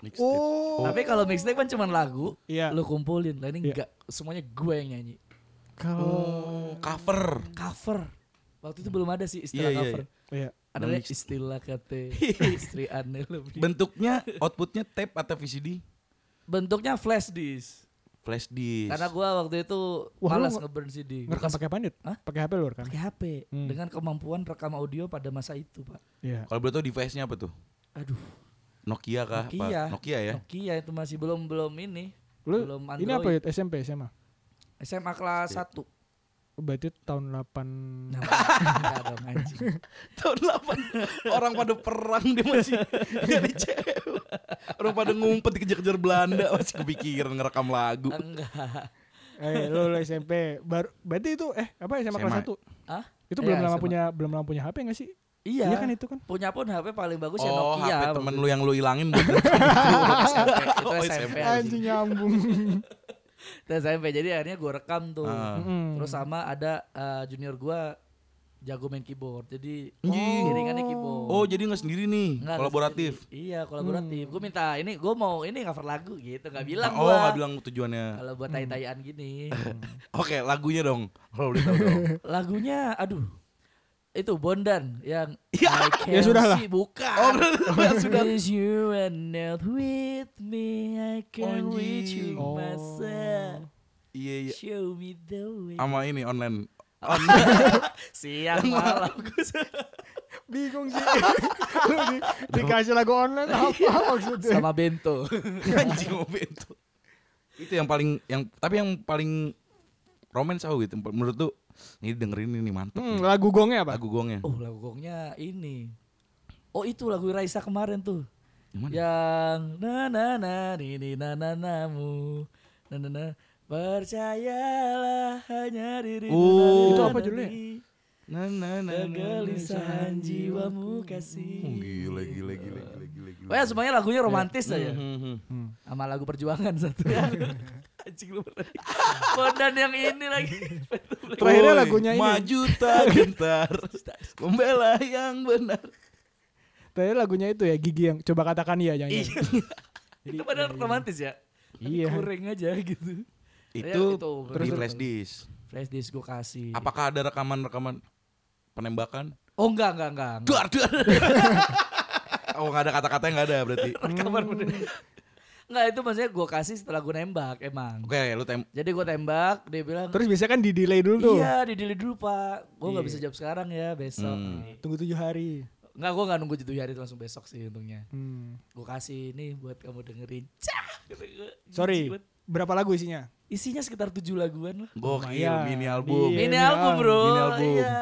S2: Mixtape.
S3: Oh.
S1: Tapi kalau mixtape kan cuman lagu,
S3: Iya.
S1: lu kumpulin. Lah ini
S3: Iya.
S1: enggak, semuanya gue yang nyanyi.
S3: Kalau
S2: Oh, cover.
S1: Cover. Waktu itu belum ada sih istilah
S2: Iya, iya,
S1: cover.
S2: iya.
S3: iya.
S1: Ada
S2: Nah,
S1: lah
S2: mix-
S1: istilah kata istri aneh lebih.
S2: Bentuknya outputnya tape atau VCD?
S1: Bentuknya flash disk.
S2: Flash disk.
S1: Karena gue waktu itu
S3: Wah, lu
S1: malas
S3: nge-
S1: ngeburn CD.
S3: ngerekam
S1: Bekas
S3: pakai panit?
S1: Hah?
S3: Pakai HP lu rekam?
S1: pakai HP
S3: Hmm.
S1: dengan kemampuan rekam audio pada masa itu, Pak.
S3: Iya.
S2: Kalau boleh tahu device-nya apa tuh?
S1: Aduh,
S2: Nokia kah? Apa?
S1: Nokia.
S2: Nokia ya.
S1: Nokia itu masih belum belum ini.
S3: Lu
S1: belum
S3: ini apa
S1: Android.
S3: ya SMP SMA?
S1: SMA kelas
S3: Iya.
S1: 1.
S3: Oh, Berarti tahun 8
S1: Nah, enggak dong anjing.
S2: tahun 8 orang pada perang dia masih jadi cewek orang pada ngumpet dikejar-kejar Belanda masih kepikiran ngerekam lagu
S1: Enggak.
S3: eh lu, lu SMP baru berarti itu eh apa SMA, kelas
S2: SMA.
S3: 1?
S1: Hah?
S3: Itu
S1: Iya,
S3: belum lama
S1: SMA.
S3: punya belum lama punya HP enggak sih?
S1: Iya.
S3: Iya kan itu kan?
S1: Punya pun HP paling bagus ya
S2: oh
S1: Nokia.
S2: HP
S1: waktu
S2: temen
S1: itu.
S2: lu yang lu ilangin bukan?
S1: SMP, itu
S2: Oh,
S1: SMP
S2: SMP.
S1: anjing.
S3: Anjing nyambung.
S1: Itu SMP. Jadi akhirnya gue rekam tuh.
S2: Ah.
S3: Mm.
S1: Terus sama ada eh, junior gua jago main keyboard. Jadi
S2: Anjing.
S1: iringannya keyboard.
S2: Hmm. Oh jadi nggak sendiri nih,
S1: Nggak,
S2: kolaboratif. Hmm.
S1: nggak sendiri. Iya, kolaboratif. Gue minta ini gue mau ini cover lagu gitu, nggak bilang
S2: oh
S1: gua.
S2: nggak bilang tujuannya.
S1: Kalau buat tai-taian gini.
S2: Oke lagunya dong. Kalau boleh tahu dong.
S1: Lagunya aduh. Itu Bondan yang
S2: Ya,
S1: I Can
S3: ya sudah lah.
S1: See, bukan.
S2: Oh, ya sudah.
S1: Is you and not with me I can reach you
S2: Oh, Anjing.
S1: myself.
S2: Iya iya.
S1: Show me the way. Oh,
S2: Sama ini online.
S1: Siang malam. Gus.
S3: Bingung sih. Lu di- dikasih lagu online apa maksudnya?
S1: Iya, Sama Bento.
S2: Anjing mobil itu. Itu yang paling yang tapi yang paling romance aku gitu. Menurut tuh ini dengerin ini mantep.
S3: Hmm,
S2: nih.
S3: lagu gongnya apa?
S2: Lagu gongnya.
S1: Oh lagu gongnya ini. Oh itu lagu Raisa kemarin tuh.
S2: Yang
S1: ya. Yang
S2: mana?
S1: na na na ni ni na na namu. Na na na percayalah hanya dirimu.
S2: Oh.
S3: Itu apa judulnya?
S2: Na na na na, na,
S1: Kegelisahan
S2: na, na.
S1: jiwamu
S2: Oh,
S1: kasih.
S2: Gila gila gila gila gila. gila.
S1: Oh ya semuanya lagunya romantis aja.
S2: Hmm, hmm, hmm.
S3: Hmm.
S1: Sama lagu perjuangan satu. Anjing lu bener. Bondan yang ini lagi.
S3: Terakhirnya
S2: Woi,
S3: lagunya ini.
S2: Maju tak gentar Membela yang benar
S3: Tadi lagunya itu ya gigi yang coba katakan iya yang
S1: Iya. itu padahal romantis ya.
S3: Iya.
S1: Kuring aja gitu.
S2: Itu,
S1: itu,
S2: di
S1: terus- Iya.
S2: flash disk
S1: Flash disk gue kasih.
S2: Apakah ada rekaman-rekaman penembakan?
S1: Oh enggak enggak enggak. enggak.
S2: Duar duar Oh gak ada kata-kata yang gak ada berarti
S1: Rekaman bener. Enggak Hmm. itu maksudnya gue kasih setelah gue nembak emang.
S2: Oke lu tem
S1: Jadi gue tembak dia bilang
S3: Terus biasanya kan di delay dulu tuh.
S1: iya di delay dulu pak. Gue nggak bisa jawab sekarang ya besok.
S2: Hmm.
S3: Tunggu tujuh hari.
S1: Enggak gue nggak nunggu jatuh hari itu langsung besok sih untungnya.
S3: Hmm.
S1: Gue kasih ini buat kamu dengerin. Cah. Gitu, gua
S3: Sorry.
S1: jijik banget.
S3: Berapa lagu isinya?
S1: Isinya sekitar tujuh laguan lah.
S2: Gokil
S3: Lumayan.
S2: mini album
S3: Iya,
S1: Ini
S3: mini
S1: album
S3: album,
S1: bro.
S2: mini album.
S1: Iya.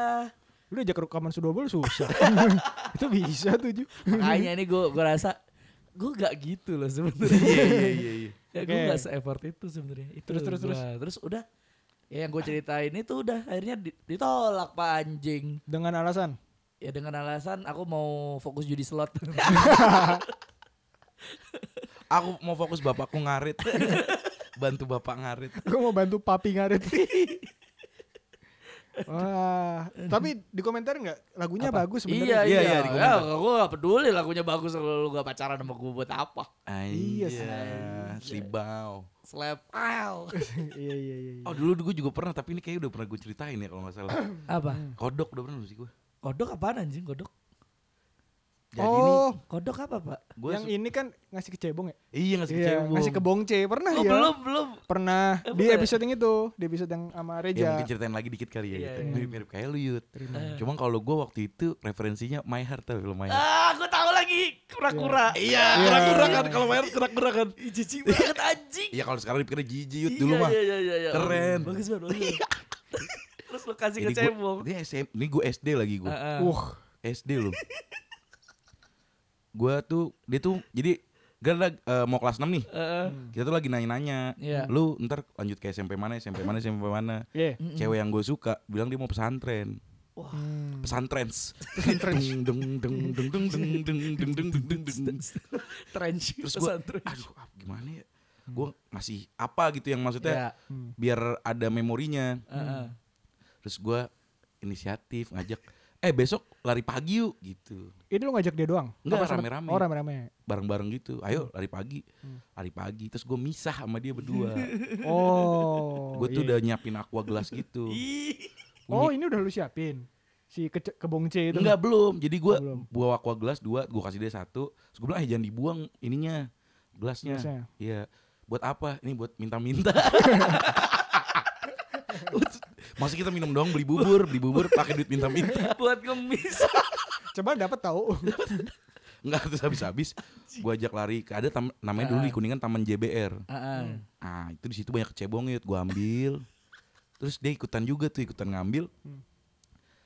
S3: Lu ajak rekaman Sudobel susah. itu bisa tujuh.
S1: Makanya ini gue gue rasa gue gak gitu loh sebenarnya.
S2: Iya iya iya iya.
S1: Ya
S3: Oke.
S1: gue gak se-effort itu sebenarnya. Itu
S3: Terus, terus,
S1: gua. Terus udah ya yang gue ceritain itu udah akhirnya di- ditolak pak anjing.
S3: Dengan alasan
S1: Ya dengan alasan aku mau fokus judi slot.
S2: Aku mau fokus bapakku ngarit Bantu bapak ngarit
S3: Gue mau bantu papi ngarit. Wah, tapi di komentar nggak lagunya bagus
S1: iya,
S3: sebenarnya.
S2: Iya,
S1: iya,
S2: iya,
S1: iya.
S2: di
S1: Ya, gue gak peduli lagunya bagus kalau lu gak pacaran sama gue buat apa.
S3: Iya sih.
S2: Anjay, Slibau
S1: Slap out.
S3: iya, iya, iya. iya.
S2: Oh dulu gue juga pernah tapi ini kayaknya udah pernah gue ceritain ya kalau gak salah
S1: apa?
S2: Kodok udah pernah belum sih gue
S1: Kodok apaan anjing kodok?
S2: Jadi
S3: oh,
S1: Kodok apa pak?
S2: gue
S3: yang ini kan ngasih ke cebong ya?
S2: Iya ngasih
S3: Iya,
S2: kecebong.
S3: ngasih ke bongce pernah
S1: Oh,
S3: ya?
S1: belum, belum.
S3: Pernah
S1: Eh,
S3: di
S1: pernah ya?
S3: episode yang itu, di episode yang sama
S2: Ya
S3: Reja.
S2: mungkin ceritain lagi dikit kali ya.
S1: Iya,
S2: gitu.
S1: iya.
S2: Mirip-mirip kayak lu Yud. Cuma kalau gue waktu itu referensinya My Heart tau kalau My Heart.
S1: Ah, gue tahu lagi kura-kura.
S2: Iya, gerak-gerak kan kalau My Heart gerak-gerak kan.
S1: Ih, Jijik banget anjing.
S2: Iya kalau sekarang dipikirnya jijik Yud dulu
S1: Iya,
S2: mah.
S1: Iya, iya, iya, iya.
S2: Keren.
S1: Bagus banget. bagus banget. Terus lu kasih ke
S2: Jadi gua,
S1: cebong.
S2: ini SM, ini gue SD lagi gue.
S1: Heeh.
S3: Wah,
S2: SD lu. gue tuh dia tuh jadi gara mau kelas 6 nih.
S1: Heeh.
S2: Kita tuh lagi nanya-nanya.
S1: Iya.
S2: Lu ntar lanjut ke SMP mana, SMP mana, SMP mana.
S3: iya.
S2: Cewek yang gue suka bilang dia mau pesantren.
S3: Hmm.
S2: pesantren pesantren dung dung dung dung dung dung dung dung dung dung dung dung.
S1: Trench.
S2: terus gue
S1: Pesan trench.
S2: aduh ah, gimana ya gue ngasih apa gitu yang maksudnya
S1: Iya.
S3: Hmm.
S2: biar ada memorinya
S1: Heeh.
S2: terus gue inisiatif ngajak eh besok lari pagi yuk gitu
S3: Ini lu ngajak dia doang?
S2: Enggak,
S3: Apa sama-
S2: rame-rame.
S3: Oh, rame-rame.
S2: bareng-bareng gitu
S3: Hmm.
S2: ayo lari pagi lari pagi terus gue misah sama dia berdua
S3: Oh.
S2: gue tuh udah
S3: iya.
S2: nyiapin aqua gelas gitu
S1: Ih.
S3: Oh, ini udah lu siapin. Si ke, ke bongce itu.
S2: Enggak belum. Jadi gue
S3: Oh, belum.
S2: bawa aqua gelas dua, gue kasih dia satu. Terus gue bilang eh jangan dibuang ininya gelasnya.
S3: Gelasnya.
S2: Iya. Buat apa? Ini buat minta-minta. Masih kita minum doang beli bubur, beli bubur pakai duit minta-minta.
S1: Buat ngemis.
S3: Coba dapat tahu.
S2: Enggak terus habis-habis gue ajak lari ke ada tam- namanya
S3: Ah.
S2: dulu di Kuningan Taman JBR.
S1: Heeh.
S2: Ah, itu di situ banyak cebong yut, gue ambil. Terus dia ikutan juga tuh ikutan ngambil.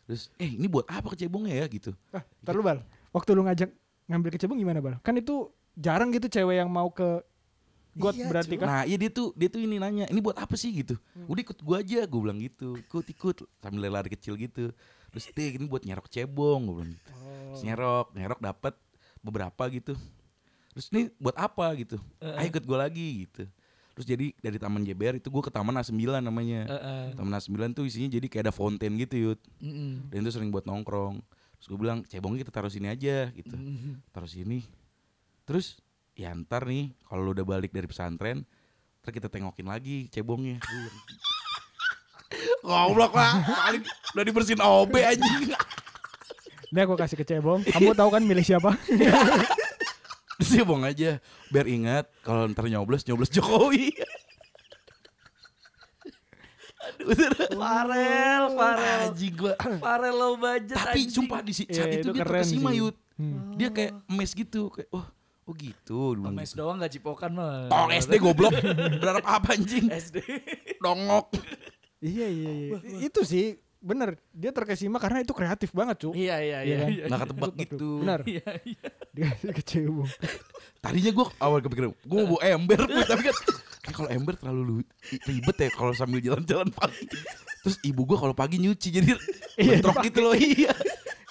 S2: Terus eh ini buat apa kecebongnya ya gitu.
S3: Ah, ntar lu, Bal. Waktu lu ngajak ngambil ke Cebong gimana, Bal? Kan itu jarang gitu cewek yang mau ke got
S1: Iya,
S3: berarti kan.
S2: Nah iya dia tuh dia tuh ini nanya ini buat apa sih gitu. Udah ikut gua aja gue bilang gitu. Ikut ikut sambil lari kecil gitu. Terus teh ini buat nyerok cebong gue bilang gitu. Terus nyerok nyerok dapat beberapa gitu. Terus ini buat apa gitu. Ayo ikut gue "Ah, lagi gitu. terus jadi dari taman JBR itu gue ke taman A9 namanya
S1: Heeh.
S2: taman A9 tuh isinya jadi kayak ada fountain gitu yud
S1: Mm-mm.
S2: dan itu sering buat nongkrong terus gue bilang cebongnya kita taruh sini aja gitu
S1: Mm-mm.
S2: taruh sini terus ya ntar nih kalau lu udah balik dari pesantren ntar kita tengokin lagi cebongnya Gua bilang, goblok lah paling udah dibersihin OB anjing
S3: Ini aku kasih ke Cebong. Kamu tahu kan milik siapa?
S2: Iya. cebong aja biar ingat kalau ntar nyoblos nyoblos Jokowi Aduh, bener.
S1: Farel, Farel.
S2: Anjing gua.
S1: Farel low budget
S2: Tapi
S1: anjing.
S2: sumpah di si- saat
S3: Iya,
S2: itu,
S3: itu
S2: dia
S3: keren
S2: terkesima
S3: sih.
S2: Yud.
S3: Hmm.
S2: Dia kayak mes gitu, kayak wah, oh gitu. dia bilang
S1: Mes
S2: gitu.
S1: doang gak cipokan mah.
S2: Tong SD goblok. Berharap apa anjing?
S1: SD.
S2: Dongok.
S3: Iya iya iya. Itu sih bener. Dia terkesima karena itu kreatif banget cu.
S1: Iya iya
S3: Iya
S1: iya.
S3: kan?
S1: iya.
S2: Nggak ketebak gitu.
S3: Benar.
S1: Iya iya.
S3: Dikasih ke Cebong.
S2: Tadinya gue awal kepikiran, gue mau bawa ember, Puy, tapi kan kayak kalau ember terlalu lu- ribet ya kalau sambil jalan-jalan pagi. Terus ibu gue kalau pagi nyuci jadi
S3: Iya,
S2: bentrok gitu loh iya.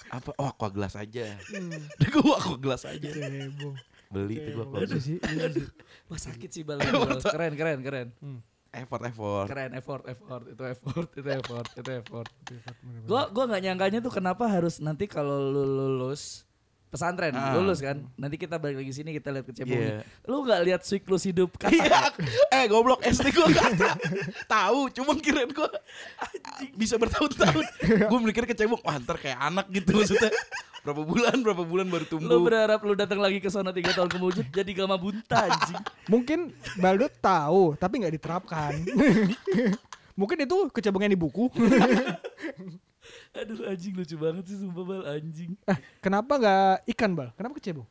S2: Apa? Oh aqua gelas aja. gue aqua gelas aja.
S3: Cebong.
S2: Beli itu gue aqua
S3: Itu
S2: gelas.
S3: sih. Itu sih.
S1: Wah sakit sih balik. Keren keren keren.
S2: Effort effort.
S1: Keren effort effort itu effort itu effort itu effort.
S3: Bener-bener.
S1: Gua gua nggak nyangkanya tuh kenapa harus nanti kalau lu lulus pesantren
S2: Ah.
S1: lulus kan nanti kita balik lagi sini kita lihat kecebongnya
S2: Iya.
S1: lu nggak lihat siklus hidup kata
S2: Iya, eh goblok SD gue gak tahu, cuma kirain gue bisa bertahun-tahun. Gue mikir kecebong, wah ntar kayak anak gitu maksudnya. Berapa bulan, berapa bulan baru tumbuh.
S1: lu berharap lu datang lagi ke sana tiga tahun kemudian jadi gama bunta anjing
S3: Mungkin Baldut tahu tapi nggak diterapkan. Mungkin itu kecebongnya di buku.
S1: aduh anjing lucu banget sih sumpah bal anjing
S3: Ah, Kenapa nggak ikan bal? Kenapa kecebong?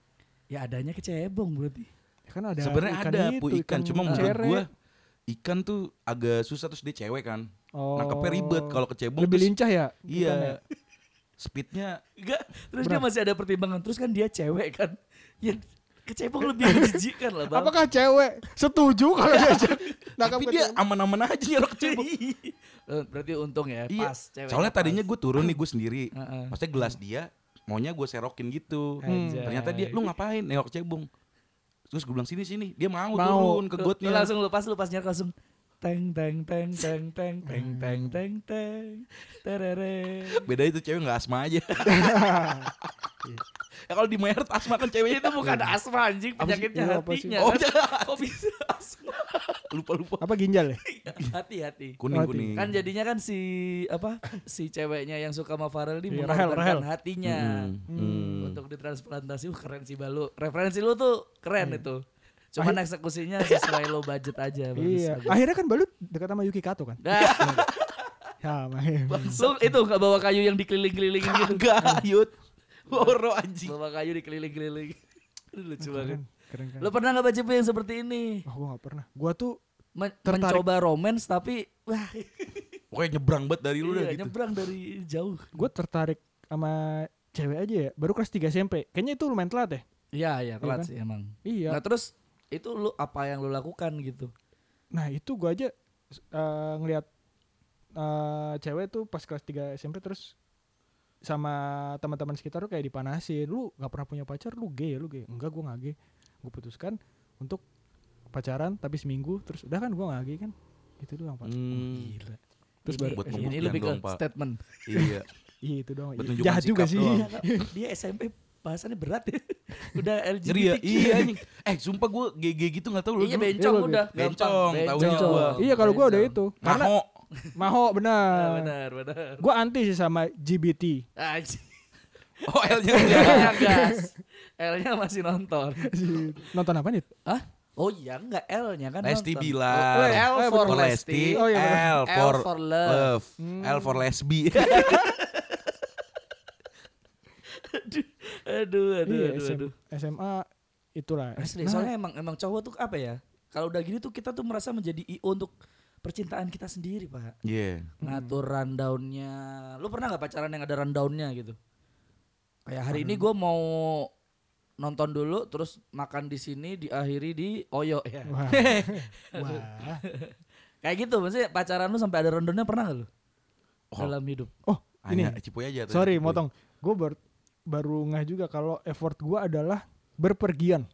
S1: ya adanya kecebong berarti
S3: Ya kan ada
S2: Sebenarnya
S3: ikan
S2: ada
S3: itu,
S2: pu ikan, cuma menurut
S3: cere.
S2: gue ikan tuh agak susah terus dia cewek kan. Nangkepnya ribet kalau kecebong
S3: Oh, Lebih
S2: terus-
S3: lincah ya? ikannya?
S2: Iya. Speednya
S1: Enggak, terus dia
S3: Berapa?
S1: masih ada pertimbangan. Terus kan dia cewek kan. Ya kecebong lebih menjijikan lah, Bang.
S3: Apakah cewek setuju kalau diajak nangkap
S2: tapi dia
S3: kecebong?
S2: aman-aman aja nyerok kecebong.
S1: Eh, Berarti untung ya,
S2: Iya.
S1: pas cewek.
S2: Soalnya tadinya gue turun nih gue sendiri.
S1: Heeh.
S2: Maksudnya gelas dia, maunya gue serokin gitu.
S1: Anjay.
S2: Ternyata dia, lu ngapain nengok cebong? Terus gue bilang sini sini, dia mau,
S3: Mau.
S2: turun ke
S1: Lu- lu
S2: gotnya.
S1: langsung lepas lu pas nyerok langsung teng teng teng teng teng teng
S2: Hmm.
S1: teng teng teng terere.
S2: Beda itu cewek nggak asma aja. ya kalau di Mayat asma kan ceweknya
S1: Itu
S2: itu
S1: bukan asma anjing,
S3: Apa sih?
S1: penyakitnya
S3: Iya, apa sih?
S1: hatinya.
S2: Oh,
S1: kan.
S2: iya.
S1: Kok bisa asma?
S2: lupa lupa
S3: Apa ginjal ya?
S1: Hati-hati.
S2: kuning kuning.
S3: Iya.
S1: Kan jadinya kan si apa si ceweknya yang suka sama Farel ini
S3: Iya, Rahel,
S1: mengorbankan
S3: Rahel. Hmm,
S1: hatinya. Hmm. untuk ditransplantasi wah keren sih balu referensi lu tuh keren
S3: Iya.
S1: itu cuman eksekusinya sesuai lo budget aja bagus,
S3: Iya.
S1: bagus.
S3: Akhirnya kan balut dekat sama Yuki Kato kan?
S1: Nah,
S3: Ya, makanya.
S1: lu itu nggak bawa kayu yang dikeliling-kelilingin gitu
S2: Kagak, Yud. Loro anjing.
S1: bawa kayu dikeliling-keliling Aduh, lucu banget
S3: Keren, keren kan?
S1: lo pernah nggak baca yang seperti ini
S3: Wah, gua gak pernah. Gua tuh
S1: Men-
S3: Tertarik. Iya,
S1: mencoba romance tapi wah
S2: Pokoknya nyebrang banget dari lu dah
S1: iya,
S2: gitu.
S1: nyebrang dari jauh
S3: gua tertarik sama cewek aja ya. Baru kelas 3 SMP. Kayaknya itu lumayan telat ya?
S1: iya iya telat
S3: kan?
S1: sih emang
S3: Iya.
S1: nah terus itu lu apa yang lu lakukan gitu
S3: Nah, itu gua aja eh, ngelihat eh, cewek tuh pas kelas 3 SMP terus sama teman-teman sekitar tuh kayak dipanasin. Lu gak pernah punya pacar, lu gay ya, lu gay. Enggak, gua gak gay. Gua putuskan untuk pacaran tapi seminggu terus udah kan gua gak gay kan. Gitu doang, Pak.
S2: Hmm,
S1: gila
S3: Terus
S1: ini,
S3: baru-
S2: Buat
S1: ini
S2: pembuktian
S1: lebih ke
S2: dong, Pak.
S1: statement
S2: iya.
S3: Iya, itu doang.
S2: Buat
S3: Iya,
S2: nunjukin
S3: Jahat juga
S2: sikap
S3: sih.
S2: doang.
S1: dia SMP bahasannya berat ya udah LGBT
S2: Ngeri ya? Iya anjing. Eh, sumpah gue GG gitu gak tau lu.
S1: Iya
S2: dulu.
S1: bencong
S3: Iya,
S1: udah
S2: bencong,
S1: gampang.
S2: taunya
S1: Bencong.
S2: gua.
S3: Iya, kalau gua udah
S1: Bencong.
S3: itu. Karena
S2: Maho.
S3: Maho
S1: Nah,
S3: benar.
S1: benar benar.
S3: Gue anti sih sama GBT.
S1: Anjing.
S2: Oh, L-nya
S3: Iya,
S1: L-nya gas. L-nya masih nonton.
S3: Nonton apa nih?
S1: Hah? Oh iya enggak L-nya kan nonton.
S2: Lesti bilang.
S1: L
S3: Eh,
S1: for
S2: for
S1: Lesti.
S2: Lesti,
S3: Oh, iya, bener.
S2: L for,
S1: L for love. Hmm.
S2: love, L for lesbi.
S1: Aduh, aduh, aduh,
S3: Iya,
S1: aduh,
S3: SM
S1: aduh.
S3: SMA itulah.
S1: Asli,
S3: Nah,
S1: soalnya emang emang cowok tuh apa ya? Kalau udah gini tuh kita tuh merasa menjadi IO untuk percintaan kita sendiri, Pak.
S2: Iya.
S3: Hmm.
S1: Ngatur rundownnya. Lu pernah nggak pacaran yang ada rundownnya gitu? Kayak hari ini gue mau nonton dulu, terus makan di sini, diakhiri di Oyo ya.
S3: Wah. Wah.
S1: Kayak gitu, maksudnya pacaran lu sampai ada rundownnya pernah gak lu?
S2: Oh.
S1: Dalam hidup.
S3: Oh, ini.
S2: Hanya cipuy aja. tuh,
S3: Sorry,
S1: gitu.
S2: Cipuy.
S3: motong. Gue baru baru ngeh juga kalau effort gue adalah berpergian.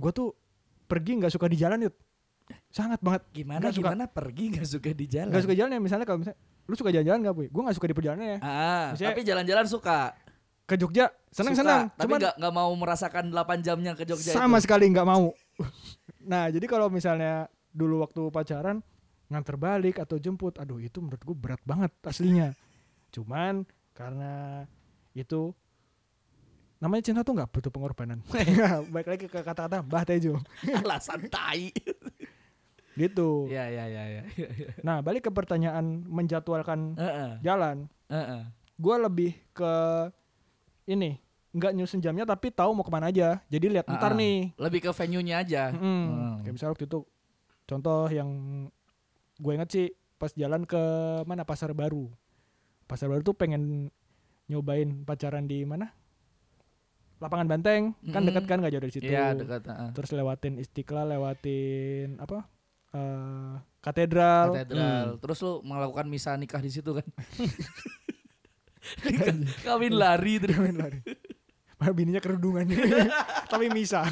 S3: Gue tuh pergi nggak suka di jalan yuk. sangat banget
S1: Gimana
S3: Nggak suka.
S1: gimana pergi nggak suka di jalan.
S3: nggak suka jalan ya misalnya kalau misalnya lu suka jalan-jalan gak puy gue nggak suka di perjalanan ya
S1: Ah,
S3: Maksudnya-
S1: tapi jalan-jalan suka.
S3: ke Jogja seneng
S1: Suka,
S3: seneng
S1: Tapi
S3: cuman
S1: nggak nggak mau merasakan 8 jamnya ke Jogja
S3: sama
S1: itu.
S3: sekali nggak mau nah jadi kalau misalnya dulu waktu pacaran nganter balik atau jemput aduh itu menurut gue berat banget aslinya cuman karena itu namanya cinta tuh nggak butuh pengorbanan baik lagi ke kata-kata Mbah Tejo
S1: alasan tai.
S3: gitu
S1: Iya iya iya iya. Heeh.
S3: nah balik ke pertanyaan menjadwalkan jalan
S1: heeh.
S3: gue lebih ke ini nggak nyusun jamnya tapi tahu mau kemana aja jadi lihat ntar
S1: Ah-ah.
S3: nih
S1: Lebih ke venue-nya aja.
S3: Mm-mm.
S1: Hmm.
S3: kayak misalnya waktu itu contoh yang gue inget sih pas jalan ke mana pasar baru pasar baru tuh pengen nyobain pacaran di mana lapangan banteng kan
S1: Mm-mm.
S3: dekat kan nggak jauh dari situ
S1: Iya, dekat heeh.
S3: terus lewatin istiqlal lewatin apa eh, katedral Mm.
S1: Katedral. Terus lu melakukan misa nikah di situ kan? Nikah- Kawin lari terus.
S3: Kawin lari. Malah bininya kerudungan Tapi misa.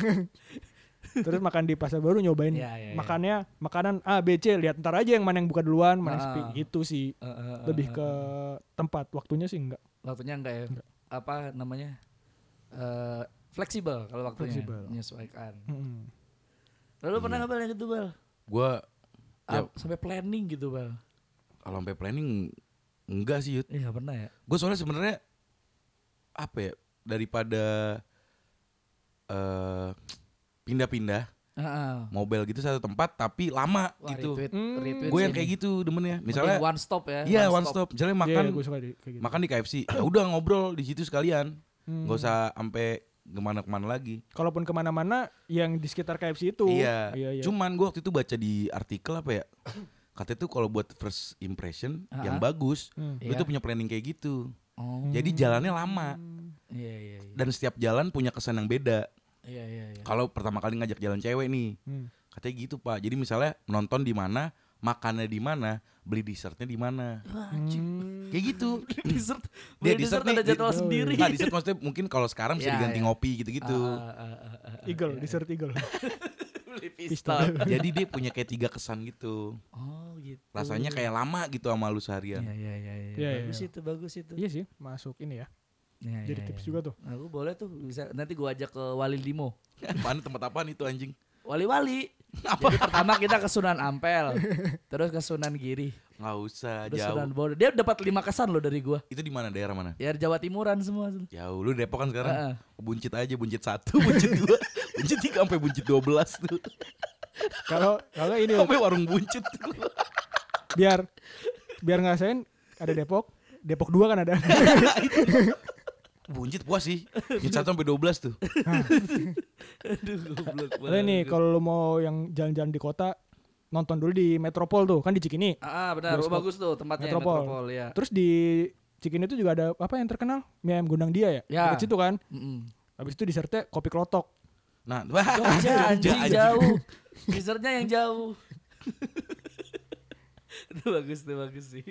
S3: Terus makan di pasar baru nyobain
S1: Iya, iya, iya.
S3: makannya makanan A B C lihat ntar aja yang mana yang buka duluan, mana yang sepi
S1: Ah.
S3: gitu sih.
S1: Eh, eh, eh,
S3: Lebih
S1: eh.
S3: ke tempat, waktunya sih enggak
S1: waktunya enggak ya apa namanya Eh fleksibel kalau waktunya
S3: Fleksibel. Iya.
S1: menyesuaikan
S3: Mm-mm.
S1: lalu pernah nggak bal yang itu bal
S2: Gue
S1: Ah,
S3: Iya.
S2: Ya.
S1: sampai planning gitu bal
S2: kalau sampai planning enggak sih Yud.
S1: iya nggak pernah ya
S2: Gue soalnya sebenarnya apa ya daripada eh pindah-pindah
S1: Heeh.
S2: mobile gitu satu tempat tapi lama
S1: Wah,
S2: gitu.
S1: retweet,
S3: Hmm.
S1: retweet
S2: Gue yang
S1: sini.
S2: kayak gitu demennya.
S1: Mending
S2: Misalnya
S1: one stop ya
S2: iya one stop. Misalnya
S3: Iya,
S2: makan
S3: gue suka di- kayak gitu.
S2: makan di KFC. Ya udah ngobrol di situ sekalian.
S3: Hmm.
S2: Nggak usah sampai kemana-kemana lagi.
S3: Kalaupun kemana-mana yang di sekitar KFC itu.
S2: Iya.
S3: iya, iya.
S2: Cuman gue waktu itu baca di artikel apa ya? Katanya tuh kalau buat first impression yang bagus,
S3: Hmm.
S2: lu
S1: Iya.
S2: tuh punya planning kayak gitu.
S1: oh
S2: Jadi jalannya lama
S1: iya iya iya.
S2: dan setiap jalan punya kesan yang beda.
S1: iya iya iya
S2: Nah, Kalau pertama kali ngajak jalan cewek nih,
S3: Hmm.
S2: katanya gitu pak. Jadi misalnya nonton di mana, makannya di mana, beli dessertnya di mana,
S1: Wah,
S3: Hmm.
S2: kayak gitu.
S1: dessert
S2: Dia
S1: Beli dessert
S2: dessert nih,
S1: ada
S2: di-
S1: jadwal
S3: di-
S1: sendiri
S2: Nah dessert maksudnya mungkin kalau sekarang bisa
S1: Iya,
S2: diganti
S1: iya.
S2: ngopi gitu-gitu.
S1: Ah, ah, ah, ah, ah,
S3: Eagle,
S1: iya.
S3: dessert Eagle.
S1: beli pistol
S2: Jadi dia punya kayak tiga kesan gitu.
S1: oh gitu
S2: Rasanya kayak lama gitu sama lu
S1: iya
S2: seharian.
S1: iya iya
S3: Iya,
S1: iya
S3: iya,
S1: bagus
S3: iya.
S1: itu bagus itu
S3: iya sih, masuk ini ya.
S1: Iya,
S3: Jadi
S1: iya,
S3: tips
S1: iya.
S3: juga tuh.
S1: Aku boleh tuh bisa nanti gua ajak ke Wali Limo.
S2: Apaan tempat apaan itu anjing?
S1: Wali-wali. Jadi pertama kita ke Sunan Ampel, terus ke Sunan Giri,
S2: Nggak usah
S1: terus
S2: jauh.
S1: Sunan Bonang. Dia dapat lima kesan loh dari gua.
S2: Itu di mana daerah mana?
S1: Ya Jawa Timuran semua.
S2: Jauh. Lu Depok kan sekarang.
S1: Heeh.
S2: Buncit aja, buncit satu, buncit dua, buncit tiga sampai buncit dua belas tuh.
S3: Kalau kalau ini
S2: Sampai warung buncit.
S3: biar biar ngasain ada Depok, Depok 2 kan ada.
S2: buncit puas sih. Buncit satu sampai dua belas tuh.
S1: Aduh, goblok
S3: Boleh nih kalau lu mau yang jalan-jalan di kota nonton dulu di Metropol tuh kan di Cikini.
S1: Ah, ah, benar. Oh,
S3: Bioskop.
S1: bagus tuh tempatnya
S3: Metropol.
S1: Metropol, ya.
S3: Terus di Cikini tuh juga ada apa yang terkenal? Mie ayam gondang dia ya.
S1: Ya.
S3: Dekat situ kan.
S1: Mm-mm.
S3: Habis itu disertnya kopi klotok.
S2: Nah, wah,
S1: Jogja
S2: Jogja,
S1: anjing
S2: anjing.
S1: jauh. Teasernya yang jauh. itu bagus tuh bagus sih.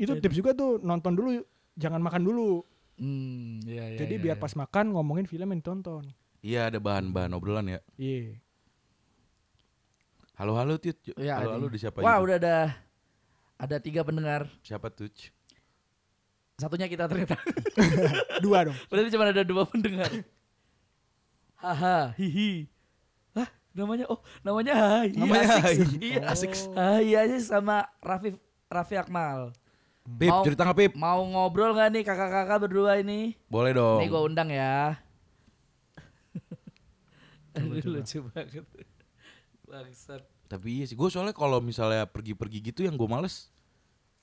S3: Itu tips juga tuh nonton dulu jangan makan dulu.
S1: Hmm, iya, iya,
S3: Jadi
S1: iya,
S3: biar
S1: iya.
S3: pas makan ngomongin film yang ditonton.
S2: Iya ada bahan-bahan obrolan ya.
S3: Iya.
S2: Halo-halo Tit.
S1: Iya,
S2: Halo-halo
S1: ada.
S2: di siapa
S1: Wah,
S2: aja?
S1: udah ada ada tiga pendengar.
S2: Siapa tuh?
S1: Satunya kita ternyata.
S3: Dua dong.
S1: Berarti cuma ada dua pendengar. Haha, hihi. Hah, namanya oh, namanya Hai.
S2: Namanya Hai.
S1: Iya, Asik. Hai aja sama Rafif Raffi Akmal.
S2: Pip,
S1: Mau-
S2: cerita nggak Pip?
S1: Mau ngobrol gak nih kakak-kakak berdua ini?
S2: Boleh
S1: Nih gue
S2: dong.
S1: undang ya.
S3: Coba,
S1: Aduh,
S3: coba.
S1: lucu banget. Bangsat.
S2: Tapi iya sih, gue soalnya kalau misalnya pergi-pergi gitu yang gue males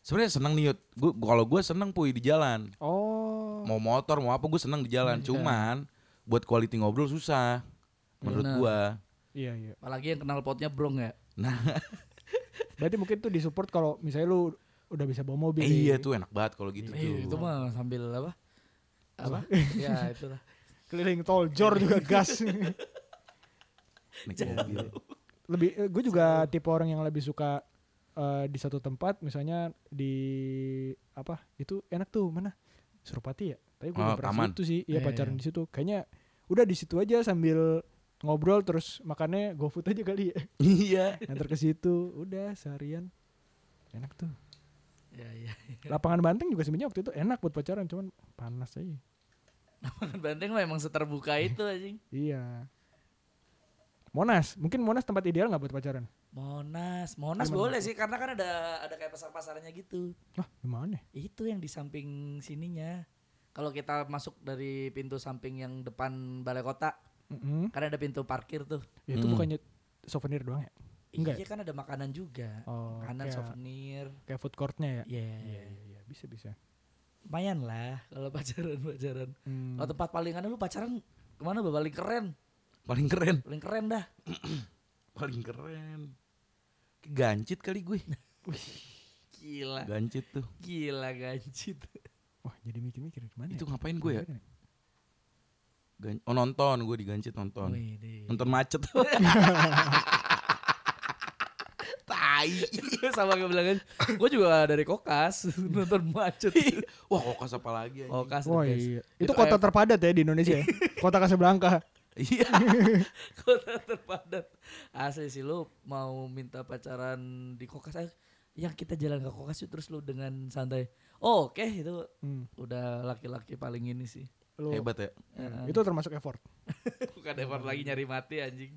S2: sebenarnya seneng nih Yud. Gue kalau gue seneng puy di jalan.
S3: Oh.
S2: mau motor mau apa gue seneng di
S3: Iya.
S2: jalan cuman buat quality ngobrol susah menurut
S1: Benar.
S2: gua
S3: Iya iya.
S1: Apalagi yang kenal potnya brong ya.
S2: nah
S3: Berarti mungkin tuh disupport kalau misalnya lu udah bisa bawa mobil.
S2: iya tuh enak banget kalau gitu
S3: Iya,
S1: Eh, itu
S2: tuh
S1: mah sambil apa? Apa? ya itulah.
S3: Keliling tol jor juga gas.
S2: naik mobil
S3: lebih gue juga tipe orang yang lebih suka eh, di satu tempat misalnya di apa itu enak tuh mana Surpati ya tapi gue
S2: Oh,
S3: nggak pernah
S2: taman.
S3: situ sih
S1: Iya,
S3: ya pacaran
S1: iya.
S3: di situ kayaknya udah di situ aja sambil ngobrol terus makannya GoFood aja kali ya.
S2: Iya.
S3: Nganter ke situ, udah seharian. Enak tuh.
S1: Ya, ya.
S3: Lapangan Banteng juga sebenarnya waktu itu enak buat pacaran, cuman panas aja.
S1: Lapangan banteng mah emang seterbuka itu anjing.
S3: Iya. Monas, mungkin Monas tempat ideal nggak buat pacaran?
S1: Monas, Monas
S3: Gimana?
S1: boleh sih karena kan ada ada kayak pasar-pasarnya gitu.
S3: Wah, gimana?
S1: Itu yang di samping sininya. Kalau kita masuk dari pintu samping yang depan balai kota,
S3: Mm-mm.
S1: kan ada pintu parkir tuh.
S3: Ya, Itu
S2: Mm.
S3: bukannya souvenir doang ya? Enggak
S1: Iya kan ada makanan juga.
S3: Oh,
S1: makanan
S3: kayak,
S1: souvenir.
S3: kayak food courtnya ya?
S1: Iya.
S3: Iya, iya, iya, bisa bisa.
S1: Lumayan lah kalau pacaran-pacaran.
S3: Hmm.
S1: Kalau tempat paling aneh lu pacaran kemana Bah? paling keren?
S2: Paling keren.
S1: Paling keren dah.
S2: Paling keren. Gancit kali gue.
S1: Gila.
S2: Gancit tuh.
S1: Gila gancit.
S3: Wah, jadi mikir-mikir gimana?
S2: Itu
S3: ya?
S2: ngapain gue ya?
S3: Gimana
S2: Gan- Oh nonton, gue digancit nonton.
S1: Wih, deh.
S2: Nonton macet. Tai.
S1: sama gue bilang gue juga dari kokas nonton macet
S2: Wah kokas apa lagi anjing.
S1: kokas the
S3: Wah,
S1: best.
S3: iya. Itu
S1: Itu
S3: kota
S1: ayam-
S3: terpadat ya di Indonesia ya? Kota Casablanca.
S2: Iya.
S1: kota terpadat asli sih lu mau minta pacaran di kokas ayo. yang kita jalan ke kokas yuk, terus lu dengan santai oh, oke itu
S3: Hmm.
S1: udah laki-laki paling ini sih
S3: Lu,
S2: Hebat ya.
S1: Heeh.
S3: Itu termasuk effort.
S1: bukan effort lagi nyari mati anjing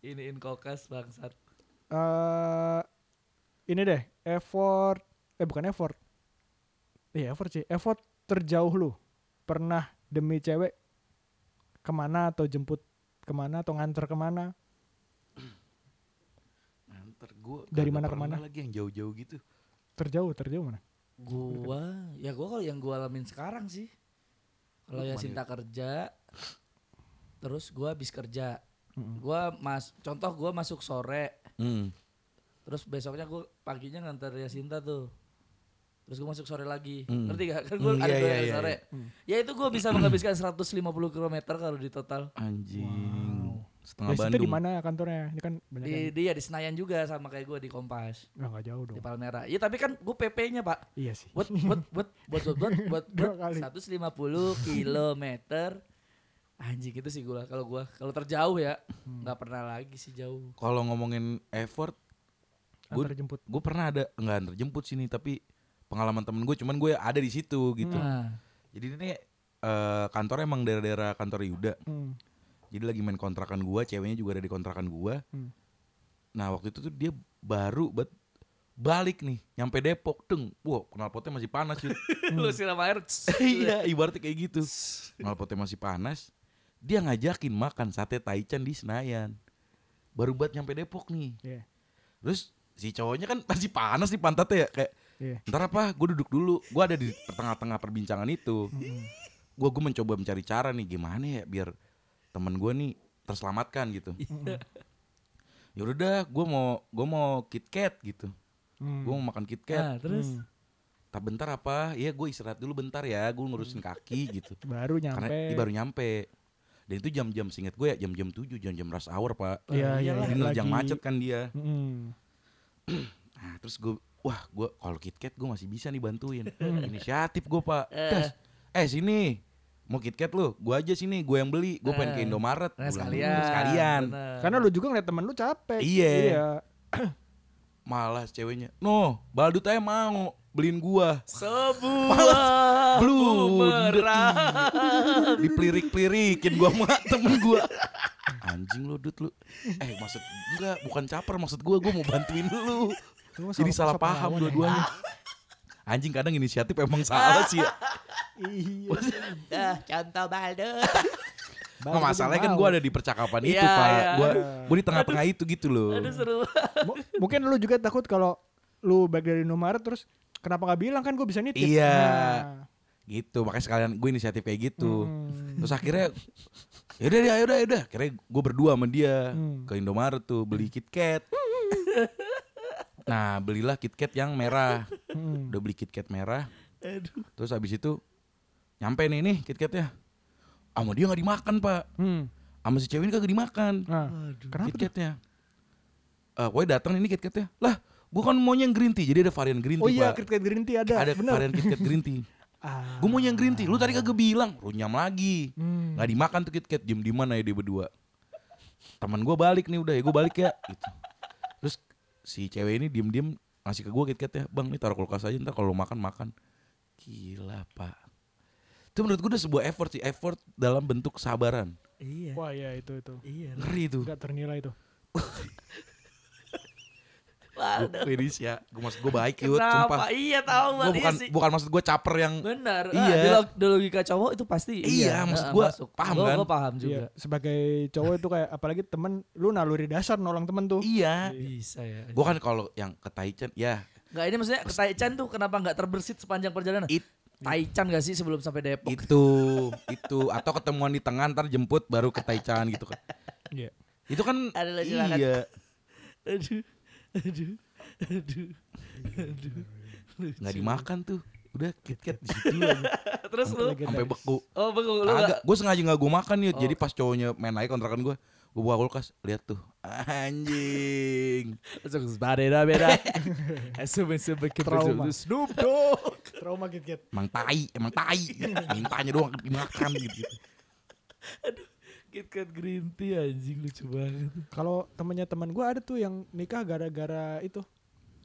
S1: iniin kokas bangsat
S3: eh ini deh, effort eh bukan effort. Iya, effort sih. Effort terjauh lu pernah demi cewek kemana atau jemput kemana atau nganter kemana
S2: Ntar gue
S3: Dari
S2: kagak
S3: mana ke
S2: pernah
S3: mana?
S2: lagi yang jauh-jauh gitu.
S3: terjauh terjauh mana
S1: gua ya gua kalau yang gua alamin sekarang sih kalau
S2: Lu
S1: ya
S2: kemana,
S1: cinta kerja terus gua habis kerja
S3: Mm-mm.
S1: gua mas contoh gua masuk sore
S2: Hmm.
S1: Terus besoknya gue paginya nganter Yasinta tuh. Terus gue masuk sore lagi.
S2: Hmm.
S1: Ngerti gak? Kan gue
S2: Hmm,
S1: ada
S2: iya,
S1: dua
S2: iya,
S1: kali
S2: iya,
S1: sore.
S3: Hmm.
S1: Ya itu gue bisa menghabiskan 150 km kalau di total.
S2: Anjing.
S3: Wow.
S2: Setengah
S3: Dari situ
S2: Bandung.
S3: di mana kantornya ini kan banyak
S1: Di
S3: yang
S1: dia di Senayan juga sama kayak gue di Kompas,
S3: nggak nggak jauh
S1: di
S3: dong
S1: Palmera. Iya tapi kan gue PP-nya, Pak.
S3: iya sih
S1: Buat buat buat buat buat buat buat,
S3: Dua
S1: buat 150
S3: kali.
S1: km. Anjing itu sih gue kalau gue kalau terjauh ya nggak pernah lagi sih jauh.
S2: Kalau ngomongin effort, Gua-
S3: antar jemput
S2: gue pernah ada nggak antar jemput sini tapi pengalaman temen gue cuman gue ada di situ gitu
S1: Nah,
S2: jadi ini eh kantor emang daerah-daerah kantor Yuda
S3: Hmm.
S2: jadi lagi main kontrakan gua ceweknya juga ada di kontrakan gua
S3: Hmm.
S2: nah waktu itu tuh dia baru bet balik nih nyampe Depok deng wow knalpotnya masih panas Yud.
S1: lu siram air.
S2: iya ibaratnya kayak gitu knalpotnya masih panas dia ngajakin makan sate taichan di Senayan baru buat nyampe Depok nih
S3: Iya.
S2: terus si cowoknya kan masih panas di pantatnya ya kayak
S3: Iya.
S2: Ntar apa? Gue duduk dulu. Gue ada di tengah-tengah perbincangan
S3: Hmm,
S2: itu. Gue gue mencoba mencari cara nih gimana ya biar temen gue nih terselamatkan gitu.
S3: hmm,
S2: Ya udah dah, gue mau gue mau KitKat gitu.
S3: Hmm.
S2: Gue mau makan KitKat.
S1: Nah, terus
S3: Hmm.
S2: Tak bentar apa? Iya gue istirahat dulu bentar ya. Gue ngurusin kaki gitu.
S3: baru Hmm. nyampe
S2: Karena dia baru nyampe. Dan itu jam-jam singkat gue ya jam-jam 7, jam-jam rush hour pak.
S3: iya
S1: Iya
S3: iya
S1: lah,
S2: Jadi nerjang macet kan dia.
S3: Mm-mm.
S2: Nah, terus gue wah gue kalau KitKat gue masih bisa nih bantuin
S1: Hmm.
S2: inisiatif gue pak Das, eh sini mau KitKat lu gue aja sini gue yang beli gue pengen ke
S1: Eh,
S2: Indomaret
S1: nah,
S2: Gua bilang,
S1: sekalian.
S2: sekalian
S1: Bener.
S3: karena lu juga ngeliat temen lu capek
S2: Iya.
S3: iya
S2: malas ceweknya no baldut aja mau beliin gua
S1: Sebuah bumerang.
S2: dipelirik-pelirikin gue sama temen gue anjing lu dut lu eh maksud enggak bukan caper maksud gue gue mau bantuin lu
S3: Itu mah
S2: jadi salah
S3: sama- sama
S2: paham
S3: lawan ya.
S2: dua-duanya anjing kadang inisiatif emang salah sih ya.
S3: iya
S1: Ah, contoh baldo.
S2: Nggak masalahnya kan gue ada di percakapan itu
S1: Iya,
S2: pak
S1: iya.
S2: Gue gue di tengah-tengah itu gitu loh
S1: Aduh seru.
S3: Mu- mungkin lu juga takut kalau lu balik dari Indomaret terus kenapa nggak bilang kan gue bisa nitip
S2: Iya.
S3: Nah.
S2: Gitu makanya sekalian gue inisiatif kayak gitu
S3: Hmm.
S2: Terus akhirnya Yaudah deh yaudah yaudah Akhirnya gue berdua sama dia
S3: Hmm.
S2: Ke Indomaret tuh beli KitKat Nah belilah KitKat yang merah
S3: Hmm.
S2: Udah beli KitKat merah
S1: Aduh.
S2: Terus abis itu Nyampe nih nih KitKatnya Sama dia gak dimakan pak
S3: Hmm.
S2: Sama si cewek ini kagak dimakan
S3: Nah.
S1: Aduh.
S3: Kenapa tuh?
S2: KitKatnya Eh, Woy datang ini KitKatnya Lah gue kan maunya yang green tea Jadi ada varian green tea
S3: Oh iya,
S2: pak
S3: KitKat Green Tea ada.
S2: Ada
S3: bener.
S2: varian KitKat green tea
S3: Ah.
S2: Gue mau yang green tea. Lu tadi kagak bilang, runyam lagi.
S3: Hmm.
S2: Nggak dimakan tuh KitKat, diem di mana ya dia berdua. teman gue balik nih udah ya gue balik ya gitu terus si cewek ini diem diem ngasih ke gue kit ya bang ini taruh kulkas aja ntar kalau lu makan makan gila pak itu menurut gue udah sebuah effort sih effort dalam bentuk kesabaran
S1: Iya.
S3: Wah iya itu itu.
S1: Iya.
S2: ngeri tuh
S3: Enggak ternilai tuh.
S1: Waduh.
S2: Finish ya gue maksud gue baik yuk
S1: Kenapa?
S2: sumpah
S1: Iya tahu
S2: gue
S1: banget. Iya
S2: bukan
S1: sih.
S2: bukan maksud gue caper yang
S1: Benar.
S2: Iya.
S1: Ah, di log- di logika cowok itu pasti.
S2: Iya, maksud
S1: ah,
S2: gua
S1: masuk.
S2: paham
S1: Gua-
S2: kan?
S1: Gua paham juga.
S3: Iya, sebagai cowok itu kayak apalagi temen lu naluri dasar nolong temen
S1: Nah,
S3: tuh.
S2: iya
S1: Bisa ya.
S2: gue kan kalau yang ke Taichan ya
S1: Enggak ini maksudnya ke Taichan tuh kenapa enggak terbersit sepanjang perjalanan?
S2: It-
S1: Taichan gak sih sebelum sampai Depok?
S2: itu itu atau ketemuan di tengah ntar jemput baru ke Taichan gitu kan
S3: Iya.
S2: itu kan
S1: Adalah silakan.
S2: iya
S1: Aduh. Aduh. Aduh. Aduh. Lucu.
S2: nggak dimakan tuh udah kit kit di situ lagi
S1: Terus lu
S2: sampai beku
S1: Oh, beku lu
S2: agak
S1: enggak
S2: gue sengaja nggak gue makan ya
S1: Oh.
S2: jadi pas cowoknya main naik kontrakan gue gue buka kulkas lihat tuh anjing
S1: langsung beda beda. Eh, Asumsi sebagai
S3: Trauma.
S1: Snoop Dogg.
S3: Trauma gigit.
S2: emang tai emang tai mintanya doang dimakan gitu
S1: KitKat Green Tea anjing lucu banget.
S3: Kalau temennya teman gua ada tuh yang nikah gara-gara itu.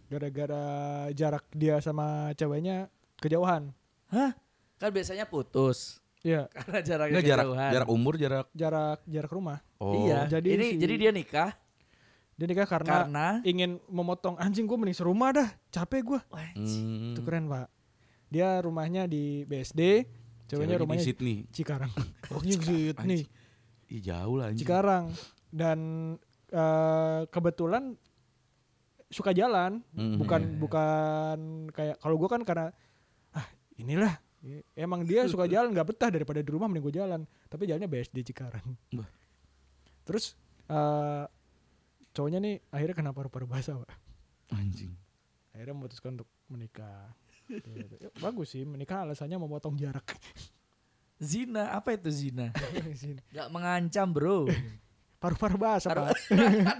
S3: Gara-gara jarak dia sama ceweknya kejauhan.
S1: Hah? Kan biasanya putus
S3: Iya,
S1: karena jaraknya
S2: nggak jarak
S1: kejauhan.
S2: jarak umur jarak
S3: jarak jarak rumah.
S2: oh
S1: Iya.
S3: jadi
S1: ini
S3: si-
S1: jadi dia nikah
S3: Dia nikah karena,
S1: karena
S3: ingin memotong anjing gua mending serumah dah. Capek gua.
S1: Wah, anjing.
S2: Hmm,
S3: Itu keren, Pak. Dia rumahnya di BSD,
S2: ceweknya
S3: ceweknya rumahnya
S2: di Sydney
S3: Cikarang. Anjing, Sydney.
S2: anjing. Ih, jauh lah anjing
S3: Cikarang dan eh, kebetulan suka jalan
S2: Mm-mm.
S3: bukan bukan kayak kalau gue kan karena ah inilah emang dia suka jalan nggak betah daripada di rumah mending gue jalan tapi jalannya BSD Cikarang
S2: Bah.
S3: terus eh, cowoknya nih akhirnya kenapa paru-paru basah Pak?
S2: anjing
S3: akhirnya memutuskan untuk menikah Gitu. Ya, bagus sih menikah alasannya memotong jarak
S1: zina apa itu zina? Gak mengancam bro.
S3: paru-paru basah Pak.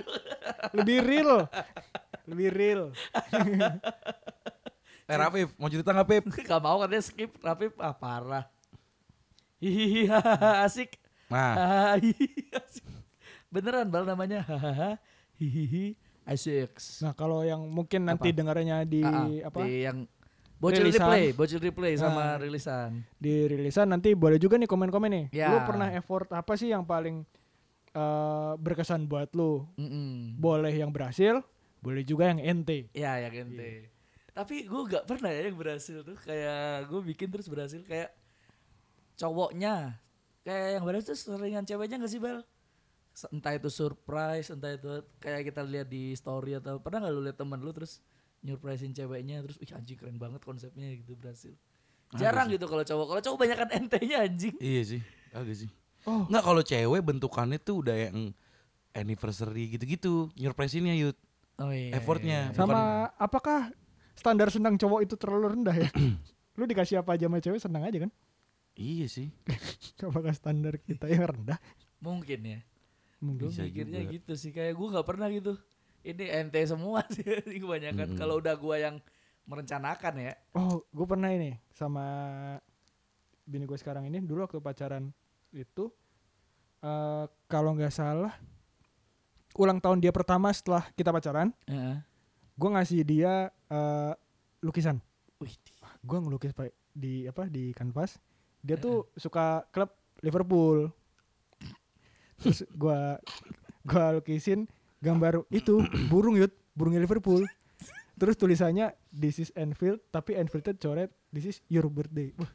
S3: lebih real lebih real
S2: eh Rafif mau cerita nggak Pip
S1: Gak mau kan dia skip tapi ah, parah. Hihihi hahaha, asik.
S2: nah
S1: Hahaha, hihihi, asik. Beneran bal namanya hahaha hihihi asik.
S3: Nah kalau yang mungkin nanti
S1: Apa?
S3: dengarnya Nah, di
S1: Ah, ah,
S3: apa
S1: di yang bocil
S3: Rilisan.
S1: replay, bocil replay sama
S3: Ah.
S1: rilisan.
S3: di rilisan nanti boleh juga nih komen-komen nih.
S1: Ya.
S3: Lu pernah effort apa sih yang paling eh, berkesan buat lu?
S1: Mm-mm.
S3: Boleh yang berhasil, boleh juga yang ente.
S1: Ya ya gente. Tapi gue gak pernah ya yang berhasil tuh kayak gue bikin terus berhasil kayak cowoknya kayak yang berhasil tuh seringan ceweknya gak sih bal? Se- Entah itu surprise, entah itu kayak kita lihat di story atau pernah gak lu lihat temen lu terus nyurprisein ceweknya terus ih anjing keren banget konsepnya gitu berhasil. Jarang gitu kalau cowok. Kalau cowok banyak kan ente-nya anjing.
S2: iya sih agak sih
S3: Oh,
S2: nggak kalau cewek bentukannya tuh udah yang anniversary gitu-gitu nyurpresinnya yut
S1: Oh iya.
S2: effortnya
S3: sama apakah standar senang cowok itu terlalu rendah ya? lu dikasih apa aja sama cewek senang aja kan?
S2: Bukan- iya sih
S3: Apakah standar kita yang rendah?
S1: Mungkin ya. Gue
S3: Mungkin.
S2: Bisa
S1: mikirnya
S2: juga.
S1: gitu sih kayak gue nggak pernah gitu. Ini ente semua sih kebanyakan.
S2: Mm-mm.
S1: Kalau udah gue yang merencanakan ya.
S3: Oh, gue pernah ini sama bini gue sekarang ini dulu waktu pacaran itu eh kalau nggak salah ulang tahun dia pertama setelah kita pacaran, gue ngasih dia eh, lukisan.
S1: Wih, di-
S3: Gue ngelukis Pak, di apa di kanvas. Dia tuh suka klub Liverpool. Terus gue gua lukisin gambar itu burung yut burungnya Liverpool. Terus tulisannya This is Anfield tapi Anfieldnya coret This is your birthday. Wah.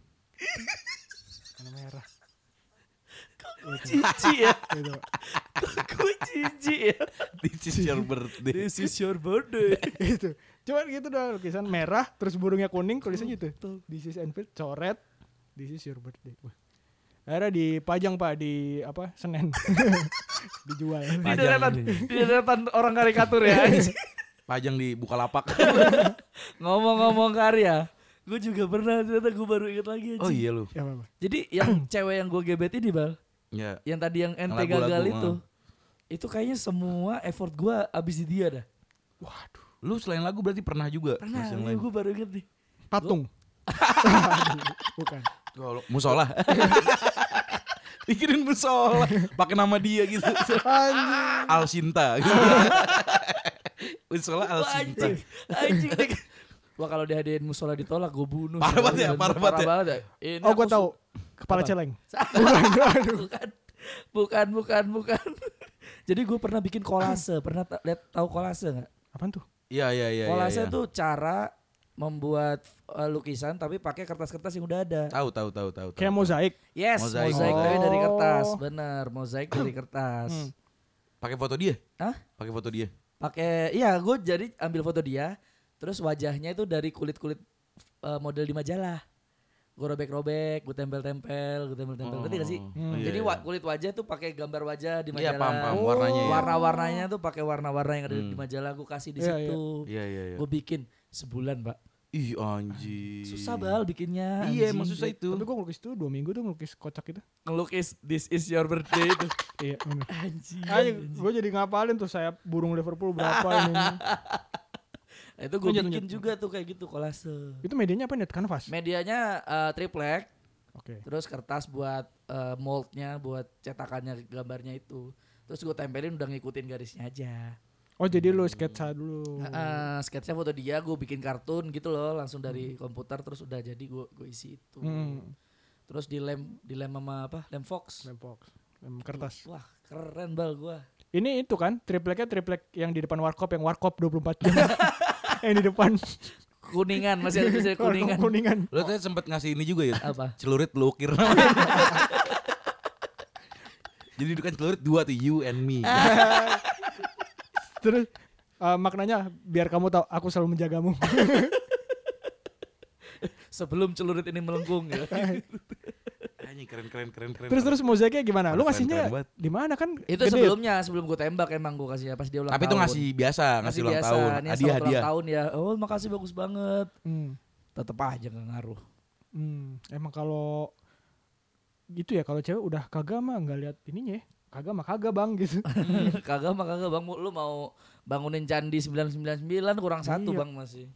S3: Warna merah.
S1: jijik ya.
S3: Gitu, Pak.
S1: Gue jijik ya.
S2: this is your birthday
S1: This is your birthday.
S3: gitu. Cuman gitu doang lukisan merah terus burungnya kuning tulisannya gitu. This is Anfield coret This is your birthday. Wah. Akhirnya dipajang Pak di apa? Senen. Dijual.
S1: Di
S2: Pajang
S1: deretan,
S2: ini. Iya.
S1: di deretan orang karikatur ya. anjing.
S2: pajang di Bukalapak
S1: Ngomong-ngomong karya, gue juga pernah ternyata gue baru ingat lagi
S2: oh
S1: anjing.
S2: iya lu
S3: Ya, apa, Pak?
S1: Jadi yang cewek yang gue gebet ini bal,
S2: ya
S1: yang tadi yang ente
S2: Yang lagu-lagu,
S1: gagal itu, itu kayaknya semua effort gue abis di dia dah.
S2: lu selain lagu berarti pernah juga
S1: Pernah, iya,
S2: ngasih yang
S1: ini
S2: lain
S1: gue baru inget nih.
S3: Patung. Bukan.
S2: Kalau- musola Pikirin musola pakai nama dia gitu.
S3: Anjing.
S2: Alsinta. Gitu. musola
S1: Wah,
S2: Alsinta.
S1: anjing, anjing. Dik. Wah kalau dihadirin musola ditolak gue bunuh.
S2: Parah banget ya, parah banget ya.
S1: Eh, Ini
S3: Oh
S1: aku
S3: gue
S1: su-
S3: tahu. Kepala
S1: Apa?
S3: celeng.
S1: bukan, bukan, bukan, bukan. Jadi gue pernah bikin kolase, pernah ta- lihat tahu kolase nggak?
S3: Apaan tuh?
S2: Iya iya iya.
S1: kolase
S2: iya, iya.
S1: tuh cara membuat eh, lukisan tapi pakai kertas-kertas yang udah ada.
S2: Tahu tahu tahu tahu. tahu.
S3: Kayak mozaik.
S1: Yes,
S2: Mozaik.
S1: mozaik, tapi dari
S3: Oh.
S1: kertas, benar, mozaik dari kertas.
S3: Hmm.
S2: Pakai foto dia?
S1: Hah?
S2: Pakai foto dia.
S1: Pakai, iya, gue jadi ambil foto dia, terus wajahnya itu dari kulit-kulit eh, model di majalah. Gue robek-robek, gue tempel-tempel, gue tempel-tempel. Ngerti gak sih?
S2: Oh, iya,
S1: Jadi
S2: iya.
S1: wa- kulit wajah tuh pakai gambar wajah di
S2: Iya
S1: majalah.
S2: paham paham warnanya ya.
S1: Warna-warnanya tuh pakai warna-warna yang ada di
S2: Hmm.
S1: majalah. Gue kasih di
S3: Iya, iya.
S1: situ.
S2: Iya iya iya.
S1: Gue bikin sebulan, Pak.
S2: Ih anjing.
S1: Susah bal bikinnya. anjing.
S2: Iya, emang susah itu.
S3: Tapi gue ngelukis tuh dua minggu tuh ngelukis kocak gitu.
S1: Ngelukis This is your birthday itu.
S3: Iya. bener.
S1: Anjing.
S3: Anjing, gue jadi ngapalin tuh sayap burung Liverpool berapa ini.
S1: Nah, Itu gue
S3: Lanjut,
S1: bikin
S3: lanjut.
S1: juga tuh kayak gitu kolase.
S3: Itu medianya apa net kanvas?
S1: Medianya eh, triplek,
S3: Oke.
S1: terus kertas buat eh, moldnya, buat cetakannya gambarnya itu. Terus gue tempelin udah ngikutin garisnya aja.
S3: Oh jadi lu sketsa dulu.
S1: Heeh, sketsa foto dia, gue bikin kartun gitu loh, langsung dari komputer terus udah jadi gue gue isi itu.
S3: Hmm.
S1: Terus dilem dilem sama apa? Lem Fox.
S3: Lem box, lem kertas.
S1: Wah, keren bal gua.
S3: Ini itu kan tripleknya triplek yang di depan warkop yang warkop 24 jam. yang di depan
S1: Kuningan masih ada tulisannya
S3: warkop
S1: kuningan.
S3: kuningan.
S2: Lo tadi sempet ngasih ini juga ya?
S1: Apa?
S2: Celurit lo ukir. Jadi itu kan celurit dua tuh you and me.
S1: Ah.
S3: Terus eh, maknanya biar kamu tahu aku selalu menjagamu.
S1: Sebelum celurit ini melengkung ya.
S2: Anjing keren keren keren keren.
S3: terus terus mozaiknya gimana?
S2: Keren, keren
S3: Lu ngasihnya
S2: banget.
S3: di mana kan?
S1: itu
S3: gede.
S1: sebelumnya sebelum gue tembak emang gue kasih pas dia ulang
S2: Tapi itu
S1: tahun.
S2: ngasih biasa, ngasih ulang
S1: biasa,
S2: tahun,
S1: nih
S2: hadiah
S1: selamat ulang
S2: hadiah.
S1: tahun ya. Oh, makasih bagus banget.
S3: Hmm.
S1: Tetep aja gak ngaruh.
S3: Hmm, emang kalau gitu ya kalau cewek udah kagak mah nggak lihat ininya ya. Kagak mah kagak bang gitu.
S1: kagak mah kagak Bang, lu mau bangunin candi 999 kurang satu
S3: Iya.
S1: Bang masih.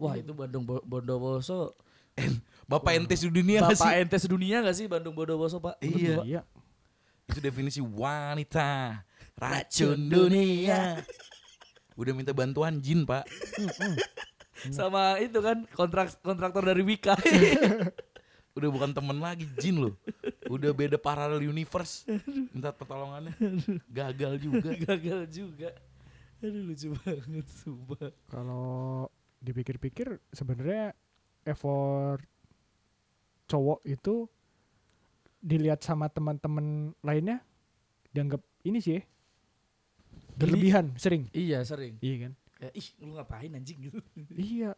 S1: Wah, itu Bandung Bo- Bondowoso.
S2: Bapak ente sedunia Iya nggak sih?
S1: Bapak ente sedunia gak sih Bandung Bondowoso, Pak? Menurut
S2: Iya.
S1: gua.
S3: iya.
S2: Itu definisi wanita racun dunia. Udah minta bantuan jin pak.
S1: Sama itu kan kontrak kontraktor dari Wika.
S2: Udah bukan temen lagi jin loh. Udah beda paralel universe. Minta pertolongannya. Gagal juga.
S1: Gagal juga. Aduh lucu banget sumpah.
S3: Kalau dipikir-pikir sebenarnya effort cowok itu dilihat sama teman-teman lainnya dianggap ini sih ya, berlebihan sering.
S1: Iya sering.
S3: Iya kan?
S1: Kayak, ih lu ngapain anjing gitu.
S3: Iya.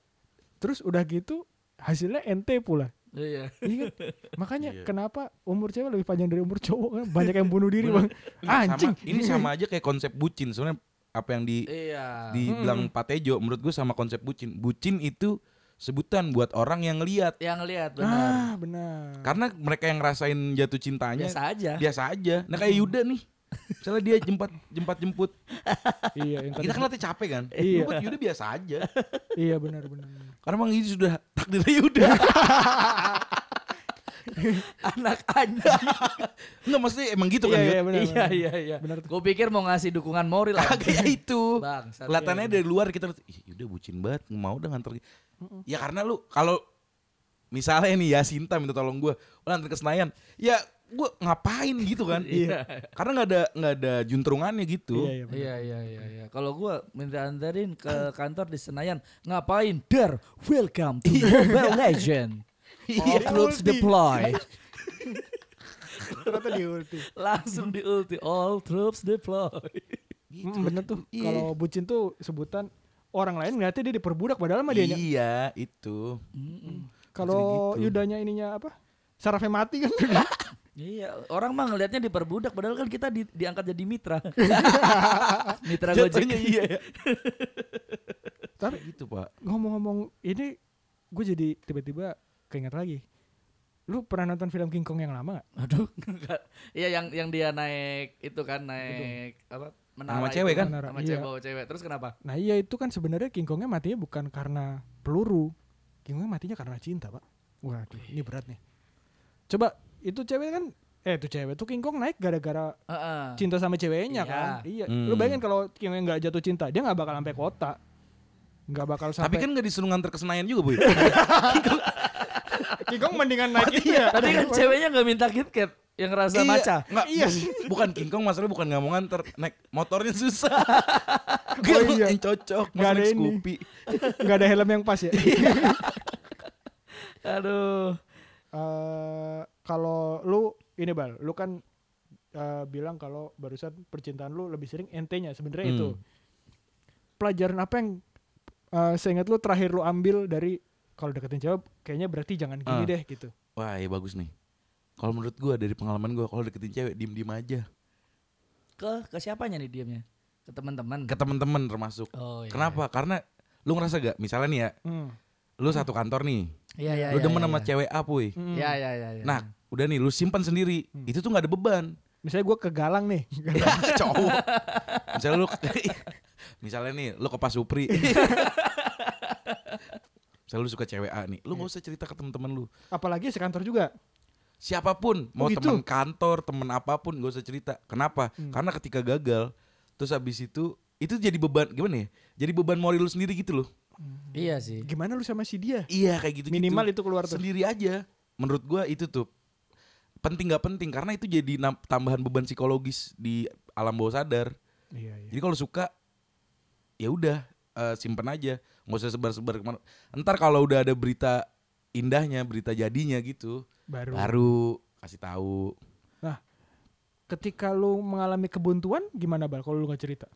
S3: Terus udah gitu hasilnya ente pula.
S1: Iya.
S3: Iya kan? Makanya
S2: Iya.
S3: kenapa umur cewek lebih panjang dari umur cowok kan? Banyak yang bunuh diri, Bang. Anjing. Iya.
S2: Sama, ini sama aja kayak konsep bucin. Sebenarnya apa yang di
S1: Iya.
S2: dibilang Pak Tejo menurut gue sama konsep bucin. Bucin itu sebutan buat orang yang lihat
S1: Yang ngelihat benar.
S3: Ah, benar.
S2: karena mereka yang ngerasain jatuh cintanya
S1: Biasa aja.
S2: biasa aja. Nah kayak Yuda nih. Misalnya dia jempat jempat jemput.
S3: iya, yang tadi.
S2: Kita kan latih capek kan.
S3: Iya.
S2: Lu buat Yuda biasa aja.
S3: Iya, benar, benar. benar.
S2: Karena emang ini sudah takdirnya Yuda.
S1: Anak anjing.
S2: Enggak maksudnya emang gitu
S3: Iya,
S2: kan
S3: iya,
S2: Yud.
S3: benar.
S1: iya
S3: benar.
S1: iya iya.
S3: Benar tuh.
S1: Gue pikir mau ngasih dukungan moral lah.
S2: Kagak itu.
S1: Bang, sat-
S2: Kelihatannya dari luar kita lihat, ih Yuda bucin banget, nggak mau udah nganter. Ya karena lu kalau misalnya nih Yasinta minta tolong gue, lu nganter ke Senayan. Ya gue ngapain gitu kan?
S1: Iya.
S2: Karena nggak ada nggak ada juntrungannya gitu.
S3: Iya, iya, benar.
S1: Iya iya iya iya. Kalau gua minta anterin ke kantor di Senayan, ngapain? Der, welcome to
S2: Iya.
S1: Mobile Legend. All troops
S3: Ulti.
S1: deploy.
S3: Ternyata di ulti.
S1: Langsung di ulti. All troops deploy.
S2: Gitu.
S3: Mm, benar tuh.
S2: Iya.
S3: Kalau bucin tuh sebutan orang lain ngeliatnya dia diperbudak padahal mah dia
S2: Iya itu.
S1: Mm-mm.
S3: Kalau
S2: gitu.
S3: yudanya ininya apa? Sarafnya mati kan.
S1: Iya, orang mah ngelihatnya diperbudak padahal kan kita di- diangkat jadi mitra. mitra Gojek.
S2: Jatuhnya iya. ya.
S3: Tapi
S2: gitu pak.
S3: ngomong-ngomong ini gue jadi tiba-tiba keinget lagi. Lu pernah nonton film King Kong yang lama gak?
S1: Aduh, enggak. Iya yang yang dia naik itu kan naik apa? Menara
S2: Sama
S1: itu
S2: cewek kan?
S1: Sama
S3: Menara,
S1: cewek
S3: iya.
S1: bawa cewek. Terus kenapa?
S3: Nah iya itu kan sebenarnya King Kongnya matinya bukan karena peluru. King Kongnya matinya karena cinta pak. Waduh ini berat nih. Coba itu cewek kan eh tuh cewek tuh King Kong naik gara-gara
S1: Heeh.
S3: cinta sama ceweknya
S1: Iya.
S3: kan. Iya.
S2: Hmm.
S3: Lu bayangin kalau King Kong nggak jatuh cinta, dia nggak bakal sampai kota. Nggak bakal sampai.
S2: Tapi kan gak disuruh nganter ke Senayan juga, ya? Boy.
S3: King Kong mendingan naik iya.
S1: Tapi kan ceweknya nggak minta KitKat yang rasa
S2: Iya,
S1: maca.
S2: nggak,
S3: Iya.
S2: bu- bukan King Kong masalah bukan nggak mau nganter naik motornya susah.
S3: Oh
S2: Gak
S3: iya.
S2: yang cocok
S3: Nggak
S2: masa
S3: ada
S2: naik
S3: ini.
S2: Scoopy.
S3: nggak ada helm yang pas ya.
S2: Iya.
S1: Aduh.
S3: Eh, kalau lu ini bal, lu kan eh, bilang kalau barusan percintaan lu lebih sering ente-nya sebenarnya
S2: Hmm.
S3: itu. Pelajaran apa yang eh, seingat lu terakhir lu ambil dari kalau deketin cewek kayaknya berarti jangan gini
S2: Ah.
S3: deh gitu.
S2: Wah, ya bagus nih. Kalau menurut gua dari pengalaman gua kalau deketin cewek diem-diem aja
S1: Ke ke siapanya nih diemnya? Ke teman-teman.
S2: ke temen-temen termasuk.
S1: Oh iya.
S2: Kenapa? Karena lu ngerasa gak misalnya nih ya,
S3: Hmm.
S2: lu satu kantor nih,
S1: Iya iya.
S2: lu
S1: iya,
S2: demen
S1: iya,
S2: sama
S1: iya.
S2: cewek A, Puy.
S3: Hmm.
S1: Iya iya iya. iya.
S2: Nah, udah nih lu simpan sendiri.
S3: Hmm.
S2: Itu tuh nggak ada beban.
S3: Misalnya gua ke Galang nih.
S1: Iya.
S2: Ya, cowok. Misalnya lu Misalnya nih, lu ke Pak Supri. Misalnya lu suka cewek A nih, lu
S1: Iya.
S2: nggak usah cerita ke teman-teman lu.
S3: Apalagi sekantor juga.
S2: Siapapun,
S3: Oh,
S2: mau
S3: gitu?
S2: teman kantor, teman apapun, gak usah cerita. Kenapa?
S3: Hmm.
S2: Karena ketika gagal, terus habis itu itu jadi beban gimana ya? Jadi beban moral lu sendiri gitu loh.
S1: iya sih.
S3: Gimana lu sama si dia?
S2: Iya kayak gitu.
S3: Minimal itu keluar tuh.
S2: sendiri aja. Menurut gua itu tuh penting nggak penting karena itu jadi nam- tambahan beban psikologis di alam bawah sadar.
S3: Iya, iya.
S2: Jadi kalau suka ya udah eh, simpen aja, nggak usah sebar-sebar kemana. Ntar kalau udah ada berita indahnya, berita jadinya gitu,
S3: Baru.
S2: baru kasih tahu.
S3: Ketika lu mengalami kebuntuan gimana Bal kalau lu nggak cerita?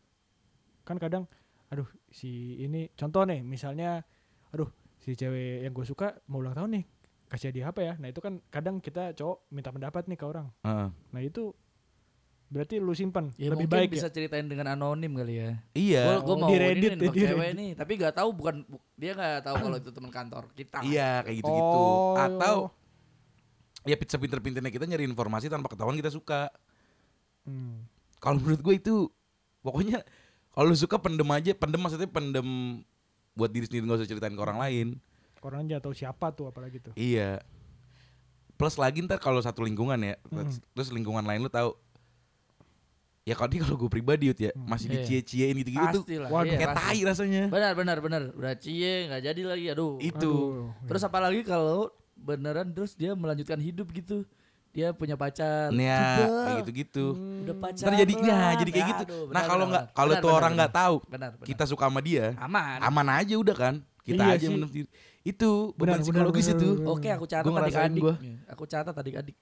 S3: Kan kadang aduh si ini contoh nih misalnya aduh si cewek yang gue suka mau ulang tahun nih kasih hadiah apa ya nah itu kan kadang kita cowok minta pendapat nih ke orang
S2: Heeh.
S3: nah itu berarti lu simpan
S1: Ya
S3: lebih
S1: mungkin
S3: baik
S1: bisa
S3: ya
S1: ceritain dengan anonim kali ya.
S2: iya,
S1: Gue
S3: Oh,
S1: mau
S3: di
S1: ini nih,
S3: Reddit ya,
S1: nembak
S3: di
S1: cewek
S3: Reddit.
S1: nih, tapi nggak tahu bukan bu- dia nggak tahu kalau itu teman kantor kita.
S2: iya kayak gitu-gitu.
S3: Oh.
S2: Atau ya pizza pinter-pinternya kita nyari informasi tanpa ketahuan kita suka.
S3: Hmm.
S2: Kalau menurut gue itu pokoknya kalau lu suka pendem aja, pendem maksudnya pendem buat diri sendiri nggak usah ceritain ke orang lain.
S3: orang aja tahu siapa tuh apalagi tuh
S2: Iya. Plus lagi ntar kalau satu lingkungan ya,
S1: Hmm.
S2: terus- terus lingkungan lain lu tahu. Ya kalau ini kalau gue pribadi Yud, ya masih
S1: Iya.
S2: dicie-ciein gitu-gitu gitu tuh
S1: Pasti lah.
S3: Waduh.
S1: iya,
S2: kayak
S1: pasti.
S2: tai rasanya.
S1: Benar benar benar. Udah cie nggak jadi lagi. Aduh.
S2: Itu.
S3: Aduh, iya.
S1: Terus apalagi kalau beneran terus dia melanjutkan hidup gitu. Dia punya pacar.
S2: Nah,
S1: Jebel.
S2: kayak gitu-gitu.
S3: Hmm.
S1: Udah pacar.
S2: Ntar jadi nah, jadi kayak gitu. nah, kalau nggak kalau tuh orang nggak tahu
S1: Benar, benar.
S2: kita suka sama dia,
S1: aman.
S2: aman aja udah kan. Kita
S3: Iya
S2: aja
S3: sih.
S2: menurut diri. Itu
S3: Benar,
S2: beban
S3: benar,
S2: psikologis
S3: benar,
S2: itu.
S3: benar.
S1: Oke, aku catat
S2: Gua ngerasain
S1: adik-adik.
S2: gua.
S1: Aku catat adik-adik.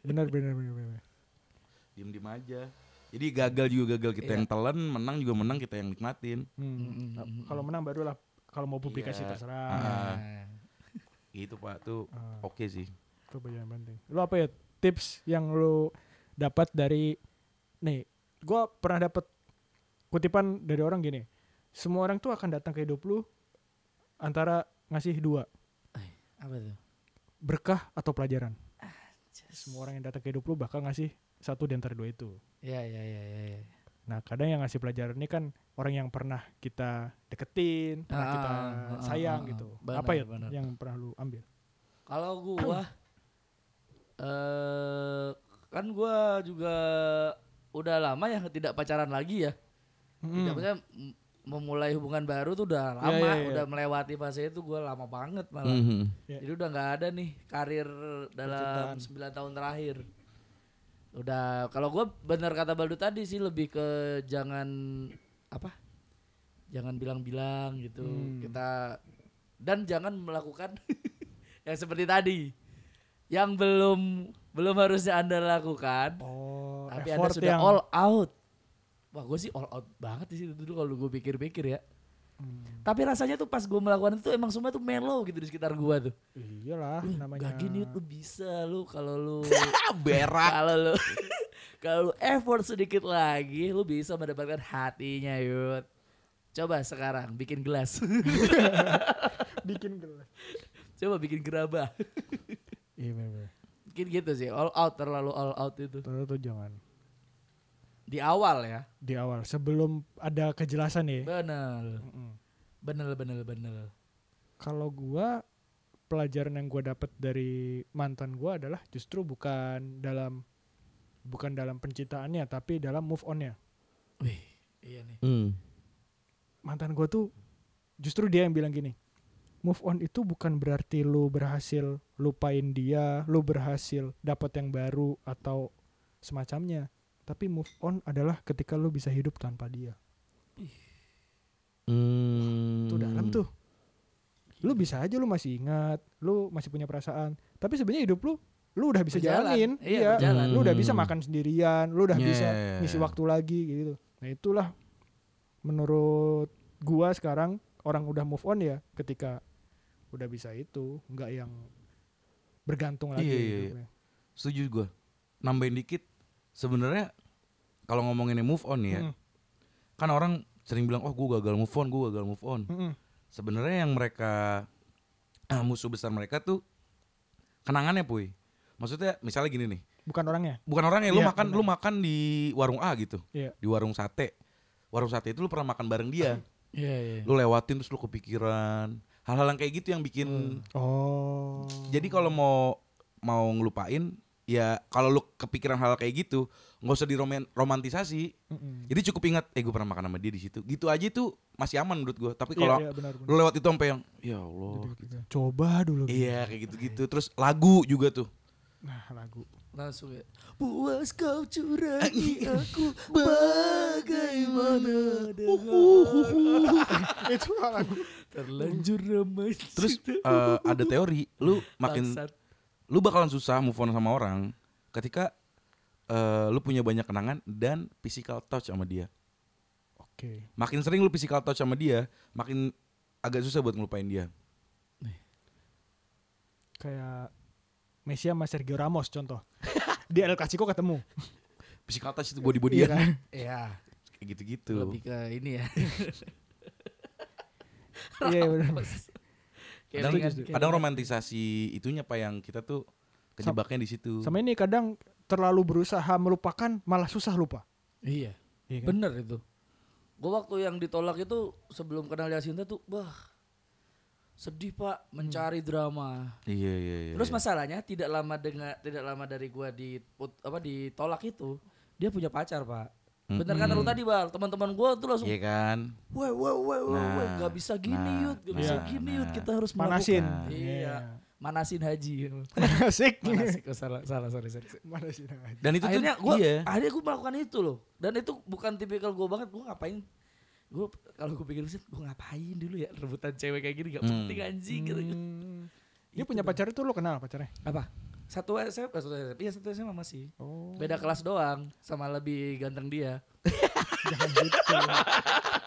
S3: benar benar benar benar
S2: Diem-diem aja. Jadi gagal juga gagal kita
S1: Iya.
S2: yang telan, menang juga menang kita yang nikmatin.
S3: Hmm.
S1: Mm, mm,
S3: Nah,
S1: mm,
S3: kalau menang barulah kalau mau publikasi
S2: Iya.
S3: terserah
S2: Ah.
S1: Nah.
S2: Itu gitu, Pak tuh
S3: Ah.
S2: oke sih.
S3: itu bagian yang penting lu apa ya tips yang lu dapat dari nih gua pernah dapat kutipan dari orang gini semua orang tuh akan datang ke hidup lu antara ngasih dua
S1: Apa tuh?
S3: berkah atau pelajaran semua orang yang datang ke hidup lu bakal ngasih satu di antara dua itu
S1: Ya, ya, ya, ya. ya.
S3: nah kadang yang ngasih pelajaran ini kan orang yang pernah kita deketin pernah
S1: Ah,
S3: kita
S1: ah, ah, ah,
S3: sayang
S1: ah.
S3: gitu
S1: Benar,
S3: apa ya
S1: benar.
S3: yang pernah lu ambil
S1: Kalau gua eh kan gua juga udah lama ya tidak pacaran lagi ya.
S2: Hmm.
S1: Tidak
S3: Mm.
S1: maksudnya m- memulai hubungan baru tuh
S2: Iya,
S1: udah lama,
S3: ya, ya.
S1: udah melewati fase itu gua lama banget malah.
S2: Mhm.
S3: Ya.
S1: Jadi udah nggak ada nih karir dalam 9 tahun terakhir. Udah kalau gua bener kata Baldu tadi sih lebih ke jangan apa? Jangan bilang-bilang gitu.
S3: Hmm.
S1: Kita dan jangan melakukan yang seperti tadi. Yang belum belum harusnya Anda lakukan,
S3: oh
S1: tapi Anda
S3: effort
S1: sudah
S3: yang
S1: all out. Wah, gue sih all out banget di situ dulu kalau gue pikir-pikir ya.
S3: Hmm,
S1: Tapi rasanya tuh pas gue melakukan itu emang semua tuh mellow gitu di sekitar gua tuh.
S3: iyalah
S1: Lu
S3: namanya
S1: Gak gini lu bisa lu kalau lu
S2: Ah, berak.
S1: kalau lu kalau lu effort sedikit lagi lu bisa mendapatkan hatinya yud. Coba sekarang bikin gelas.
S3: bikin gelas.
S1: Coba bikin gerabah.
S3: Iya benar.
S1: Mungkin gitu sih all out terlalu all out itu
S3: Terus tuh jangan
S1: di awal ya.
S3: di awal sebelum ada kejelasan ya.
S1: Bener
S3: Mm-mm.
S1: bener bener bener.
S3: Kalau gua pelajaran yang gue dapat dari mantan gue adalah justru bukan dalam bukan dalam penciptaannya tapi dalam move onnya
S1: Wih, iya nih.
S4: Hmm.
S3: mantan gue tuh justru dia yang bilang gini move on itu bukan berarti lu berhasil lupain dia lu berhasil dapat yang baru atau semacamnya tapi move on adalah ketika lu bisa hidup tanpa dia
S4: Hmm.
S3: tuh dalam tuh lu bisa aja lu masih ingat lu masih punya perasaan tapi sebenarnya hidup lu lu udah bisa
S1: Berjalan.
S3: jalanin
S1: Iya,
S3: iya
S1: berjalan.
S3: lu udah bisa
S4: Hmm.
S3: makan sendirian lu udah bisa
S2: Yeah.
S3: ngisi waktu lagi gitu nah itulah menurut gua sekarang orang udah move on ya ketika udah bisa itu nggak yang bergantung lagi ya.
S2: Iya, iya,
S3: hidupnya.
S2: Setuju gue. Nambahin dikit. Sebenarnya kalau ngomongin yang move on ya,
S3: Mm-mm.
S2: kan orang sering bilang, oh gue gagal move on, gue gagal move on.
S3: Mm-mm.
S2: Sebenarnya yang mereka eh, musuh besar mereka tuh kenangannya puy. Maksudnya misalnya gini nih,
S3: bukan orangnya
S2: bukan orang yang lu
S3: Iya,
S2: makan lu makan di warung A gitu,
S3: Iya.
S2: di warung sate. Warung sate itu lu pernah makan bareng dia.
S1: Iya, iya.
S2: lu lewatin terus lu kepikiran hal-hal yang kayak gitu yang bikin
S3: Hmm. oh
S2: jadi kalau mau mau ngelupain ya kalau lu kepikiran hal kayak gitu nggak usah diromantisasi
S3: Mm-mm.
S2: jadi cukup ingat eh gue pernah makan sama dia di situ gitu aja itu masih aman menurut gue tapi
S3: Iya,
S2: kalau
S3: iya, benar, benar.
S2: lu lewat itu sampai yang ya Allah gitu.
S3: coba dulu
S2: iya kayak gitu-gitu terus lagu juga tuh
S3: nah lagu
S1: Langsung ya. Puas kau curangi aku bagaimana dengan
S3: itu lagu
S1: terlanjur remaja.
S2: terus eh, ada teori lu makin
S1: Bangsat.
S2: lu bakalan susah move on sama orang ketika eh, lu punya banyak kenangan dan physical touch sama dia
S3: oke
S2: makin sering lu physical touch sama dia, makin agak susah buat ngelupain dia.
S3: kayak Messi sama Sergio Ramos contoh di El Clasico ketemu
S2: Physical touch itu body body
S3: Iya kan?
S1: ya
S2: kayak gitu-gitu.
S1: lebih ke ini ya.
S3: iya benar
S2: Kadang,
S1: Kelingan,
S2: kadang
S1: kelingan.
S2: romantisasi itunya pak yang kita tuh kejebaknya di situ.
S3: sama ini kadang terlalu berusaha melupakan malah susah lupa
S1: Iya.
S2: kan?
S3: iya
S1: Bener itu. Gue waktu yang ditolak itu sebelum kenal Yasinta tuh, bah sedih
S3: Hmm.
S1: pak mencari drama.
S2: Iya iya iya.
S1: Terus
S2: iya.
S1: masalahnya tidak lama dengan tidak lama dari gua di apa ditolak itu dia punya pacar pak.
S2: Mm-mm.
S1: Bener kan lu
S3: Hmm.
S1: tadi bal teman-teman gua tuh langsung,
S2: Hmm. Iya kan.
S1: wah wah wah wah wah
S2: Nah,
S1: nggak bisa gini
S2: nah,
S1: yud, nggak bisa
S2: nah,
S1: gini yud
S2: nah.
S1: kita harus
S3: Manasin.
S1: melakukan." Iya, manasin haji.
S3: asik
S1: Manasin, oh, salah salah sorry sorry.
S3: mana sih namanya?
S2: Dan itu
S1: akhirnya
S2: tuh
S1: gua
S2: iya.
S1: akhirnya gua melakukan itu loh dan itu bukan tipikal gua banget gua ngapain gua kalau gua pikir sih gua ngapain dulu ya rebutan cewek kayak gini gak
S2: Hmm.
S1: penting anjing gitu
S3: Hmm. dia
S1: Itu
S3: punya
S1: dah.
S3: pacar itu lo kenal pacarnya
S1: apa satu SMA eh, satu SMA iya satu SMA masih
S3: oh
S1: beda kelas doang sama lebih ganteng dia
S3: jangan gitu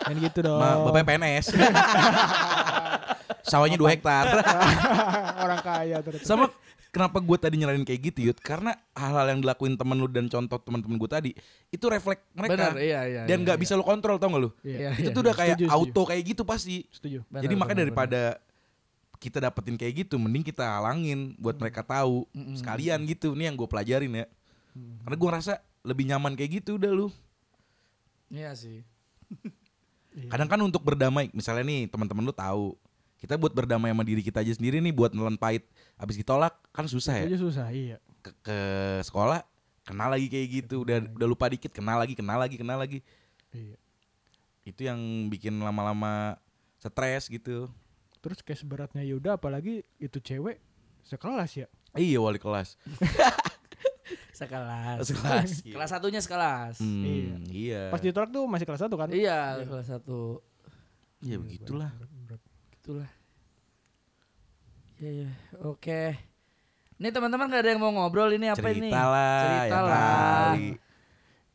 S3: jangan gitu dong
S2: Ma, bapaknya PNS. Sawahnya 2 hektar.
S3: orang kaya terus
S2: Sama kenapa gue tadi nyaranin kayak gitu Yud Karena hal-hal yang dilakuin temen lu dan contoh teman-teman gue tadi Itu refleks
S1: benar
S2: mereka
S1: iya iya iya,
S2: Dan nggak bisa lu kontrol tau gak lu
S1: iya,
S2: itu
S1: iya.
S2: tuh udah kayak
S3: Setuju, setuju.
S2: auto kayak gitu pasti.
S3: setuju
S1: Benar,
S2: Jadi makanya
S1: benar,
S2: daripada kita dapetin kayak gitu, mending kita halangin buat mereka tahu
S1: Mm-mm.
S2: sekalian gitu. Ini yang gue pelajarin ya.
S3: Hmm.
S2: Karena gue ngerasa lebih nyaman kayak gitu udah lu.
S1: benar. iya sih
S3: Iya.
S2: Kadang kan untuk berdamai, misalnya nih teman-teman lu tahu, kita buat berdamai sama diri kita aja sendiri nih buat nelen pahit. Abis ditolak kan susah ya.
S3: setuju susah iya
S2: Ke, ke sekolah kenal lagi kayak gitu, udah udah lupa dikit kenal lagi, kenal lagi, kenal lagi.
S3: iya
S2: Itu yang bikin lama-lama stres gitu.
S3: terus kayak seberatnya Yuda apalagi itu cewek sekelas ya
S2: Iya wali kelas.
S1: sekelas
S2: Sekelas. iya.
S1: kelas satunya sekelas
S2: Hmm,
S3: Iya.
S2: iya.
S3: pas ditolak tuh masih kelas satu kan
S1: iya kelas satu
S3: Iya,
S2: Ya begitulah.
S1: Itulah. Ya ya, oke. Ini teman-teman gak ada yang mau ngobrol ini apa ini?
S2: Cerita lah.
S1: Cerita
S2: yang
S1: lah.
S2: ya
S3: Oh, iya.
S2: kali.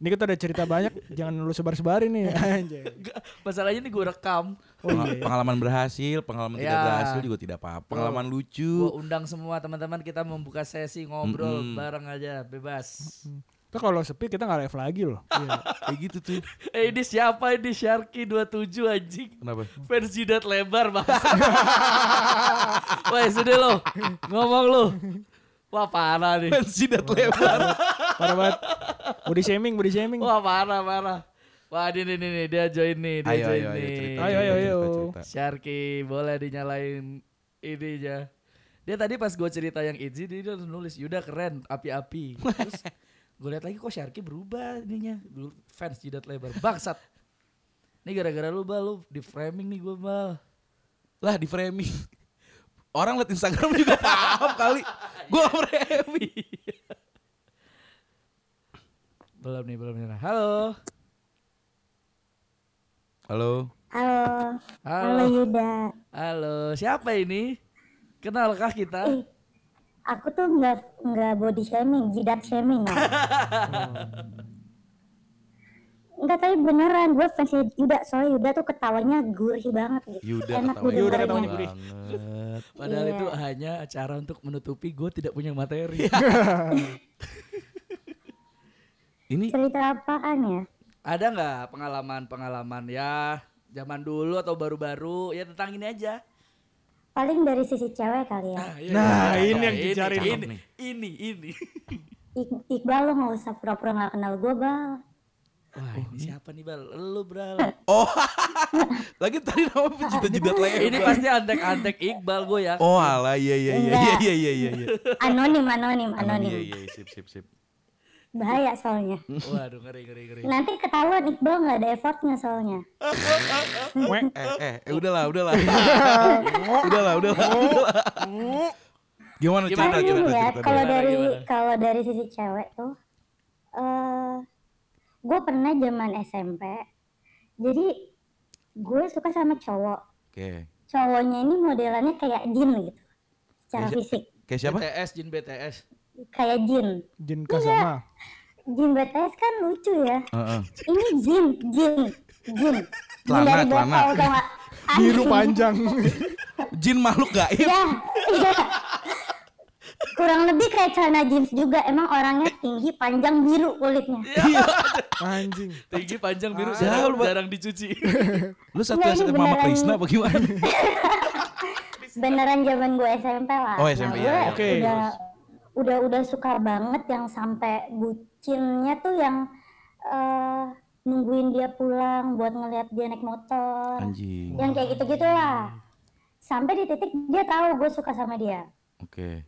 S3: ini kita ada cerita banyak jangan lu sebar-sebarin nih ya. anjay
S1: Nggak, Masalahnya ini gue rekam,
S3: oh
S2: Pengala-
S3: iya, iya.
S2: Pengalaman berhasil, pengalaman tidak
S1: Ya.
S2: berhasil juga tidak apa-apa. Pengalaman lucu.
S1: gue undang semua teman-teman kita membuka sesi ngobrol
S2: Mm-mm.
S1: bareng aja, bebas.
S3: Tuh Kan kalau sepi kita nggak live lagi loh. Iya.
S2: Kayak gitu tuh.
S1: eh ini siapa ini Sharky 27 anjing?
S2: Kenapa?
S1: Fans jidat lebar bahasa. Woi sudah lo, ngomong lo. Wah parah nih.
S2: Pensidat lebar.
S3: Parah banget. Body shaming, body shaming.
S1: Wah parah parah. Wah ini nih nih nih, dia join nih, dia
S2: Ayo
S1: join
S2: ayo ayo
S1: nih.
S2: cerita.
S3: Ayo, ayo,
S2: cerita,
S3: ayo.
S2: cerita, cerita.
S1: Sharky boleh dinyalain ini aja. Dia tadi pas gue cerita yang Itzy dia udah nulis Yuda keren, api-api. Terus gue lihat lagi kok Sharky berubah ininya. Dulu fans jidat lebar. Bangsat. Nih gara-gara lu bal, lu di framing nih gue bal.
S2: Lah di framing. Orang liat Instagram juga paham kali. Gua framing.
S1: Belum nih, belum nih. Halo.
S2: Halo.
S4: Halo, halo
S1: Halo.
S4: Yuda.
S1: Halo. Siapa ini? Kenalkah kita?
S4: Eh, Aku tuh nggak nggak body shaming, jidat shaming ya. Enggak tapi beneran gue fans Yuda soalnya Yuda tuh ketawanya gurih banget gitu.
S2: Yuda
S4: Enak
S2: ketawanya
S3: Yuda
S4: didengarnya.
S3: ketawanya gurih.
S2: banget.
S1: Padahal
S4: Iya.
S1: itu hanya cara untuk menutupi gue tidak punya materi.
S2: Ini
S4: Cerita apaan ya?
S1: Ada nggak pengalaman-pengalaman ya zaman dulu atau baru-baru ya tentang ini aja.
S4: Paling dari sisi cewek kali ya.
S1: iya,
S3: Nah,
S1: iya,
S3: ini
S1: cocok.
S3: yang dicari
S1: ini,
S2: nih.
S1: ini, ini, ini.
S4: Ik- Iqbal lo nggak usah pura-pura nggak kenal gue bal.
S1: Wah, ini Oh, siapa nih Bal? Lu Bral.
S2: Oh, lagi tadi nama pecinta jidat lebar.
S1: ini pasti antek-antek Iqbal gue ya.
S2: Oh ala iya iya iya iya iya iya iya iya.
S4: Anonim, anonim,
S2: Anon, Iya
S4: anonim.
S2: iya sip sip sip.
S4: Bahaya soalnya.
S1: Waduh, ngeri ngeri ngeri.
S4: Nanti ketahuan Iqbal nggak ada effortnya soalnya.
S3: Wek.
S2: Eh eh, eh udahlah udahlah. udahlah udahlah. udahlah. Gimana cerita
S4: Karena
S2: cerita
S4: gini ya,
S2: cerita.
S4: kalau
S2: dulu.
S4: dari
S1: gimana?
S4: kalau dari sisi cewek tuh, eh gue pernah zaman SMP, jadi gue suka sama cowok.
S2: Oke.
S4: Cowoknya ini modelannya kayak Jin gitu, secara
S2: Kayak si-
S4: fisik,
S2: Kayak siapa?
S1: BTS, Jin BTS.
S4: kayak Jin.
S3: Jin Kasama.
S4: Jin BTS kan lucu ya.
S2: Heeh.
S4: Ini Jin, Jin, Jin. Jin
S2: Celana,
S4: dari
S2: celana.
S4: Bethel, tau nggak?
S3: Biru
S4: Anjing.
S3: panjang.
S2: Jin makhluk gaib.
S4: Ya, iya. Kurang lebih kayak celana jeans juga. Emang orangnya tinggi, panjang, biru kulitnya.
S3: Anjing.
S1: Tinggi panjang biru
S3: Ah.
S1: jarang, jarang dicuci.
S2: Lu satu
S4: Enggak, ini
S2: SMA sama
S4: Iya, beneran.
S2: Krisna apa gimana?
S4: beneran zaman gue SMP lah.
S2: Oh, SMP, iya,
S4: Nah, gue
S2: iya.
S3: Oke.
S4: Udah udah udah suka banget yang sampai bucinnya tuh yang eh, nungguin dia pulang buat ngeliat dia naik motor.
S2: Anjing.
S4: Yang kayak gitu-gitu lah. Sampai di titik dia tahu gue suka sama dia.
S2: Oke.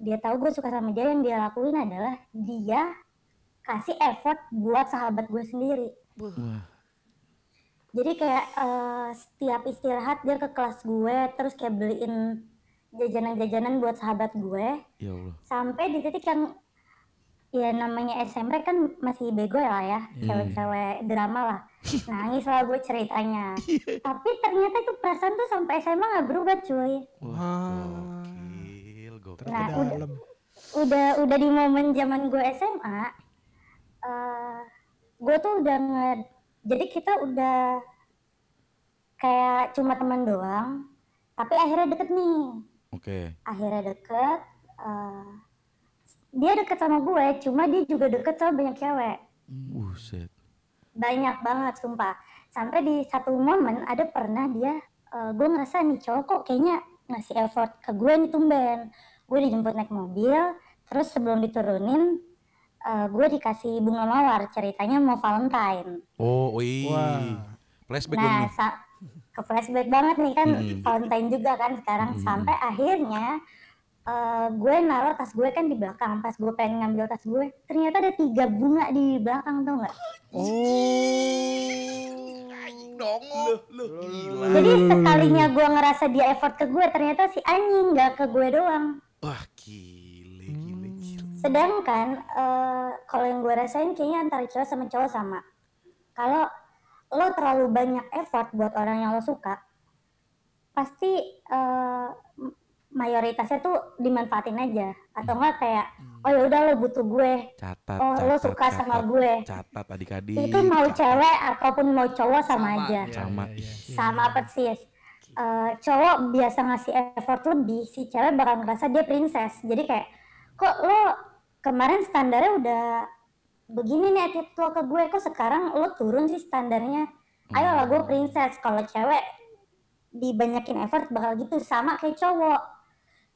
S4: Dia tahu gue suka sama dia yang dia lakuin adalah dia kasih effort buat sahabat gue sendiri.
S2: Wah.
S4: Jadi kayak eh, setiap istirahat dia ke kelas gue terus kayak beliin jajanan-jajanan buat sahabat gue.
S2: Ya Allah.
S4: sampai di titik yang ya namanya SMP kan masih bego lah ya cewek-cewek drama lah nangis lah gue ceritanya tapi ternyata itu perasaan tuh sampai SMA nggak berubah cuy
S3: Wah.
S2: Gokil, gokil.
S4: nah udah
S3: Dalam.
S4: udah udah di momen zaman gue SMA eh gue tuh udah nge- jadi kita udah kayak cuma teman doang tapi akhirnya deket nih
S2: Oke.
S4: akhirnya deket eh, dia deket sama gue cuma dia juga deket sama banyak cewek
S2: Buset.
S4: banyak banget sumpah sampai di satu momen ada pernah dia eh, gue ngerasa nih cowok kok kayaknya ngasih effort ke gue nih tumben gue dijemput naik mobil terus sebelum diturunin eh, gue dikasih bunga mawar ceritanya mau Valentine
S2: Oh, oi.
S3: Wah.
S2: Flashback dong
S4: nah
S2: nih.
S4: sa- ke flashback banget nih kan
S2: Mm-mm.
S4: Valentine juga kan sekarang sampai akhirnya eh, gue naruh tas gue kan di belakang pas gue pengen ngambil tas gue ternyata ada tiga bunga di belakang tuh nggak jadi sekalinya gue ngerasa dia effort ke gue ternyata si anjing nggak ke gue doang
S2: Wah, gile, gile,
S4: Hmm.
S2: gile.
S4: sedangkan eh, kalau yang gue rasain kayaknya antara cowok sama cowok sama kalau lo terlalu banyak effort buat orang yang lo suka pasti eh, m- mayoritasnya tuh dimanfaatin aja atau enggak kayak oh ya udah lo butuh gue
S2: Catat,
S4: Oh,
S2: catat.
S4: lo suka sama
S2: catat.
S4: gue.
S2: Catat adik-adik.
S4: itu mau
S2: Catat.
S4: cewek ataupun mau cowok sama,
S1: Sama,
S4: aja
S1: iya.
S2: Sama.
S1: Ya, ya,
S4: sama persis Eh, cowok biasa ngasih effort lebih si cewek bakal ngerasa dia princess jadi kayak kok lo kemarin standarnya udah begini nih attitude lo ke gue kok sekarang lo turun sih standarnya ayo lah
S2: Hmm.
S4: gue princess kalau cewek dibanyakin effort bakal gitu sama kayak cowok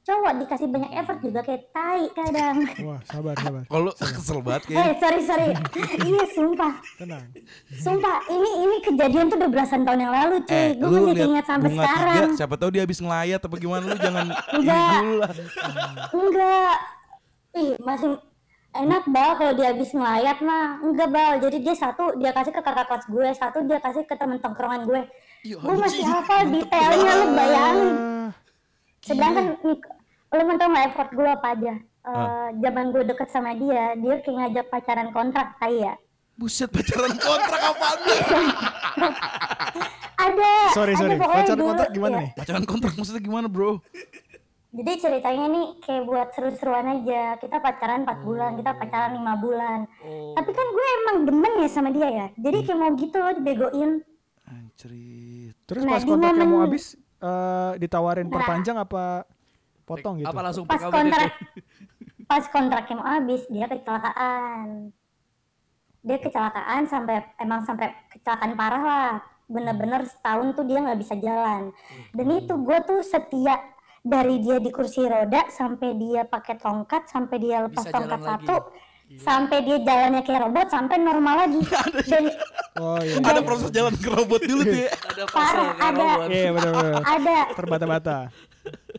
S4: cowok dikasih banyak effort juga kayak tai kadang
S3: Wah, sabar, sabar.
S2: Kalau kesel banget
S4: eh
S2: kayaknya.
S4: sorry sorry ini sumpah
S3: Tenang.
S4: sumpah ini ini kejadian tuh udah belasan tahun yang lalu cuy gue masih
S2: liat
S4: ingat sampai
S2: Eh, bunga tiga,
S4: sekarang
S2: siapa tahu dia habis ngelayat apa gimana lu jangan ini
S4: Enggak.
S2: dulu lah.
S4: enggak ih masih enak bal kalau dia habis ngelayat mah enggak bal jadi dia satu dia kasih ke kakak kelas gue satu dia kasih ke temen tongkrongan gue gue masih hafal detailnya lu bayangin
S3: Ah,
S4: sedangkan nih, lu mau tau nggak effort gue apa aja Eh, zaman gue deket sama dia dia kayak ngajak pacaran kontrak tai ya
S2: Buset pacaran kontrak apaan lu?
S4: ada
S3: sorry,
S4: ada
S3: sorry.
S4: pokoknya
S3: Pacar
S4: dulu,
S3: kontak gimana
S4: ya.
S3: nih?
S2: Pacaran kontrak maksudnya gimana bro?
S4: jadi ceritanya nih kayak buat seru-seruan aja kita pacaran 4 bulan kita pacaran lima bulan
S1: Oh.
S4: tapi kan gue emang demen ya sama dia ya jadi kayak mau gitu loh dibegoin
S2: Anjrit.
S3: Terus
S4: Nah,
S3: pas
S4: di
S3: kontraknya mau
S4: momen-
S3: habis eh, ditawarin perpanjang apa potong gitu?
S1: Apa langsung
S4: pas
S1: PKBTT?
S4: kontrak pas kontraknya mau habis dia kecelakaan dia kecelakaan sampai emang sampai kecelakaan parah lah bener-bener setahun tuh dia nggak bisa jalan dan
S1: Hmm.
S4: itu gue tuh setia dari dia di kursi roda sampai dia pakai tongkat sampai dia lepas
S1: Bisa jalan
S4: tongkat
S1: lagi. Iya.
S4: satu sampai dia jalannya kayak robot sampai normal lagi dan
S3: Oh iya.
S2: Ada proses jalan ke robot dulu tuh ya.
S1: Ada
S4: Parah,
S1: pasal
S4: ada.
S1: robot.
S3: Iya, benar
S1: ya?
S3: benar.
S4: ada
S3: Terbata-bata.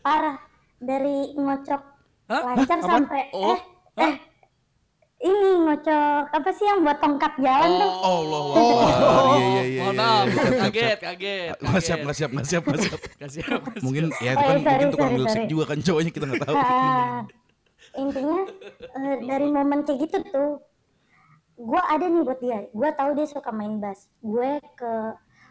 S4: parah dari ngocok
S1: Hah?
S4: lancar
S3: Apaan?
S4: sampai
S1: Oh.
S4: eh eh ini ngocok apa sih yang buat tongkat jalan tuh
S2: Oh Allah. Allah. Iya iya iya.
S1: Oh, Mohon
S2: iya,
S1: maaf,
S2: iya. Siap, siap,
S1: kaget,
S2: siap.
S1: kaget.
S2: Nggak siap, nggak siap, nggak siap, nggak siap.
S1: Nggak siap, nggak siap.
S2: Mungkin ya
S4: Oh,
S2: itu kan
S4: sorry,
S2: mungkin tukang
S4: sorry,
S2: milsek
S4: sorry.
S2: juga kan cowoknya kita nggak tahu.
S4: Ah, intinya eh, dari momen kayak gitu tuh gue ada nih buat dia gue tahu dia suka main bass gue ke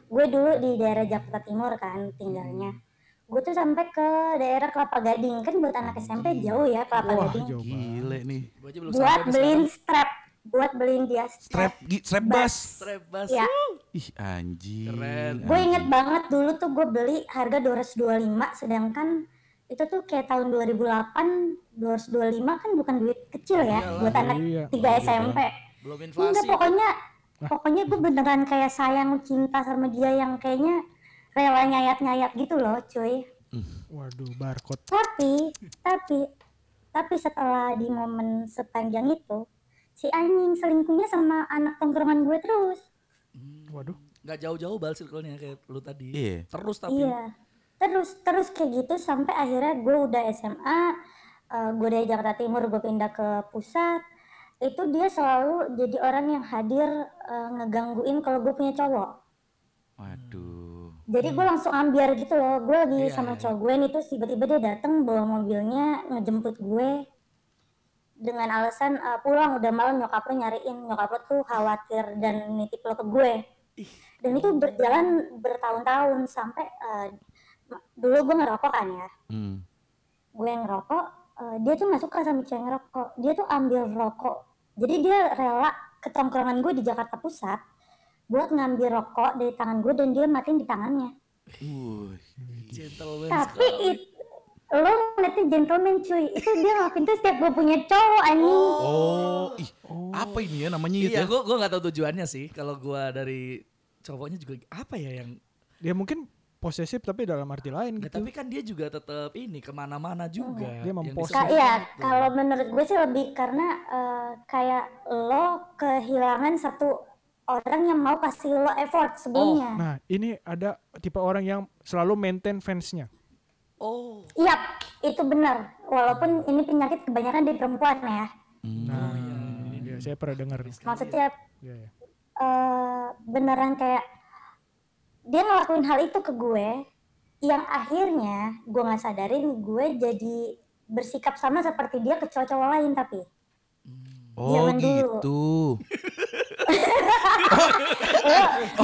S4: gue dulu di daerah Jakarta Timur kan tinggalnya gue tuh sampai ke daerah Kelapa Gading kan buat anak SMP jauh ya Kelapa
S3: Wah,
S4: Gading
S3: jauh banget.
S2: Gile nih.
S1: Gua aja belum
S4: buat
S1: sampai
S4: beliin
S1: sekarang.
S4: strap buat beliin dia
S2: Strap,
S4: strap
S2: gi- strap bass.
S1: strap bass.
S4: ya
S2: Ih anjing. Ah,
S1: Keren.
S4: gue inget banget dulu tuh gue beli harga 225 sedangkan itu tuh kayak tahun 2008 225 kan bukan duit kecil ya
S1: Iyalah.
S4: buat anak
S3: Iya.
S4: 3 SMP
S1: Belum
S4: enggak
S1: inflasi.
S4: pokoknya pokoknya gue beneran kayak sayang cinta sama dia yang kayaknya rela nyayat-nyayat gitu loh cuy
S3: Waduh, barcode.
S4: tapi tapi tapi setelah di momen sepanjang itu si anjing selingkuhnya sama anak tongkrongan gue terus
S3: Waduh.
S1: Nggak jauh-jauh bal circle-nya kayak lu tadi.
S2: Iya.
S1: Terus tapi.
S4: Iya. Terus terus kayak gitu sampai akhirnya gue udah SMA, eh, gue dari Jakarta Timur gue pindah ke pusat. Itu dia selalu jadi orang yang hadir eh, ngegangguin kalau gue punya cowok.
S2: Waduh.
S4: Jadi gue langsung ambiar gitu loh. Gue lagi
S1: Hmm. Iya,
S4: sama
S1: iya.
S4: cowok gue nih terus tiba-tiba dia datang bawa mobilnya ngejemput gue dengan alasan eh, pulang udah malam nyokap lo nyariin nyokap lo tuh khawatir dan nitip lo ke gue dan itu berjalan bertahun-tahun sampai eh, ma- dulu gue ngerokok kan ya
S2: Hmm.
S4: gue ngerokok eh, dia tuh nggak suka sama cewek ngerokok dia tuh ambil rokok jadi dia rela ke tongkrongan gue di Jakarta Pusat buat ngambil rokok dari tangan gue dan dia matiin di tangannya
S2: Wuih.
S1: Gentleman
S4: tapi
S1: sekali.
S4: itu lo ngeliatnya gentleman cuy itu dia ngelakuin tuh setiap gue punya cowok anjing
S2: Oh, ih, apa ini ya namanya itu?
S1: Iya,
S2: ya?
S1: gue gue nggak tahu tujuannya sih. Kalau gua dari cowoknya juga apa ya yang
S3: Dia mungkin posesif tapi dalam arti lain
S1: Nggak,
S3: gitu.
S1: tapi kan dia juga tetap ini kemana-mana juga.
S3: Dia
S1: Yang gitu.
S3: mempost.
S1: disorot
S4: Kak, iya,
S1: itu.
S4: kalau menurut gue sih lebih karena eh, kayak lo kehilangan satu orang yang mau kasih lo effort sebelumnya.
S3: Nah, ini ada tipe orang yang selalu maintain fansnya.
S1: Oh,
S4: Yap, Iya, itu benar. Walaupun ini penyakit kebanyakan di perempuan ya.
S3: Nah, iya, saya pernah dengar. nih.
S4: Maksudnya
S3: Iya, iya.
S4: eh, beneran kayak dia ngelakuin hal itu ke gue yang akhirnya gue nggak sadarin gue jadi bersikap sama seperti dia ke cowok-cowok lain tapi
S2: Oh
S4: Zaman dulu.
S2: gitu.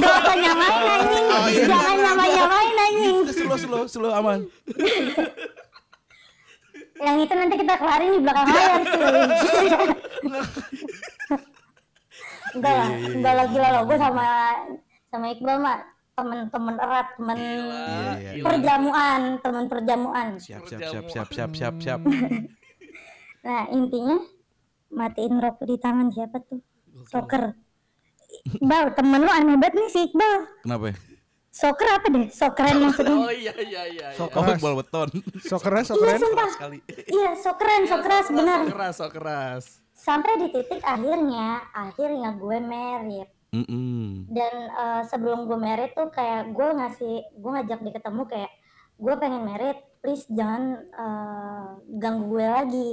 S4: Gak usah nyamain anjing Jangan nyamain-nyamain anjing
S2: Slow, slow, slow, aman.
S4: Yang itu nanti kita kelarin di belakang layar cuy Enggak lah, enggak lah gila loh Gue sama, sama Iqbal mah temen-temen erat Temen
S1: Gila,
S2: iya.
S1: gila.
S4: perjamuan Temen perjamuan
S2: Siap, siap, siap, siap, siap, siap, siap.
S4: Hmm. Nah intinya Matiin rokok di tangan siapa tuh Soccer Iqbal temen lu aneh banget nih si Iqbal
S2: Kenapa ya?
S4: Soccer apa deh? So keren maksudnya.
S1: Oh iya iya iya. iya.
S2: So kamu bal beton.
S3: so keras so
S4: Iya
S3: keren
S4: sumpah.
S2: Sekali.
S4: Iya so keren, so keras
S1: Sok
S4: benar.
S1: Keras, sok keras.
S4: Sampai di titik akhirnya, akhirnya gue married.
S2: Mm-mm.
S4: Dan eh, sebelum gue married tuh kayak gue ngasih, gue ngajak dia ketemu kayak gue pengen married, please jangan eh, ganggu gue lagi.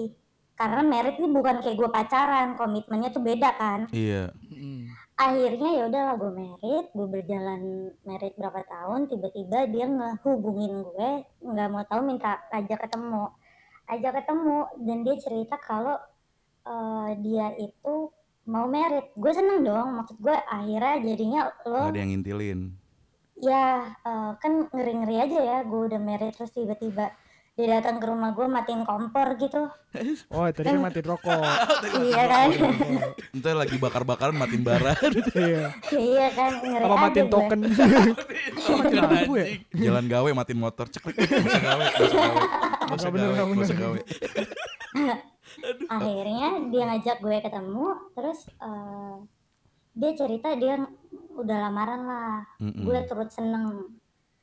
S4: Karena married ini bukan kayak gue pacaran, komitmennya tuh beda kan.
S2: Iya.
S1: Mm.
S4: akhirnya ya udahlah gue married gue berjalan married berapa tahun tiba-tiba dia ngehubungin gue nggak mau tahu minta ajak ketemu ajak ketemu dan dia cerita kalau eh, dia itu mau married gue seneng dong maksud gue akhirnya jadinya lo
S2: Gak ada yang ngintilin.
S4: ya eh, kan ngeri-ngeri aja ya gue udah married terus tiba-tiba dia datang ke rumah gue matiin kompor gitu
S3: oh tadi kan matiin rokok
S4: iya kan
S2: Entar lagi bakar-bakaran matiin bara.
S3: iya
S4: iya kan ngeri
S3: apa
S4: aja
S3: matiin
S4: gue.
S3: token
S1: Matiin
S3: token gue.
S1: anjing.
S2: Jalan gawe matiin motor. Cekrek. Gak usah gawe. Gak usah gawe. Gak usah
S3: Gak bener,
S2: gawe,
S3: gak
S2: gak usah
S3: bener.
S2: gawe.
S4: akhirnya dia ngajak gue ketemu terus eh, dia cerita dia udah lamaran lah
S2: Mm-mm.
S4: gue turut seneng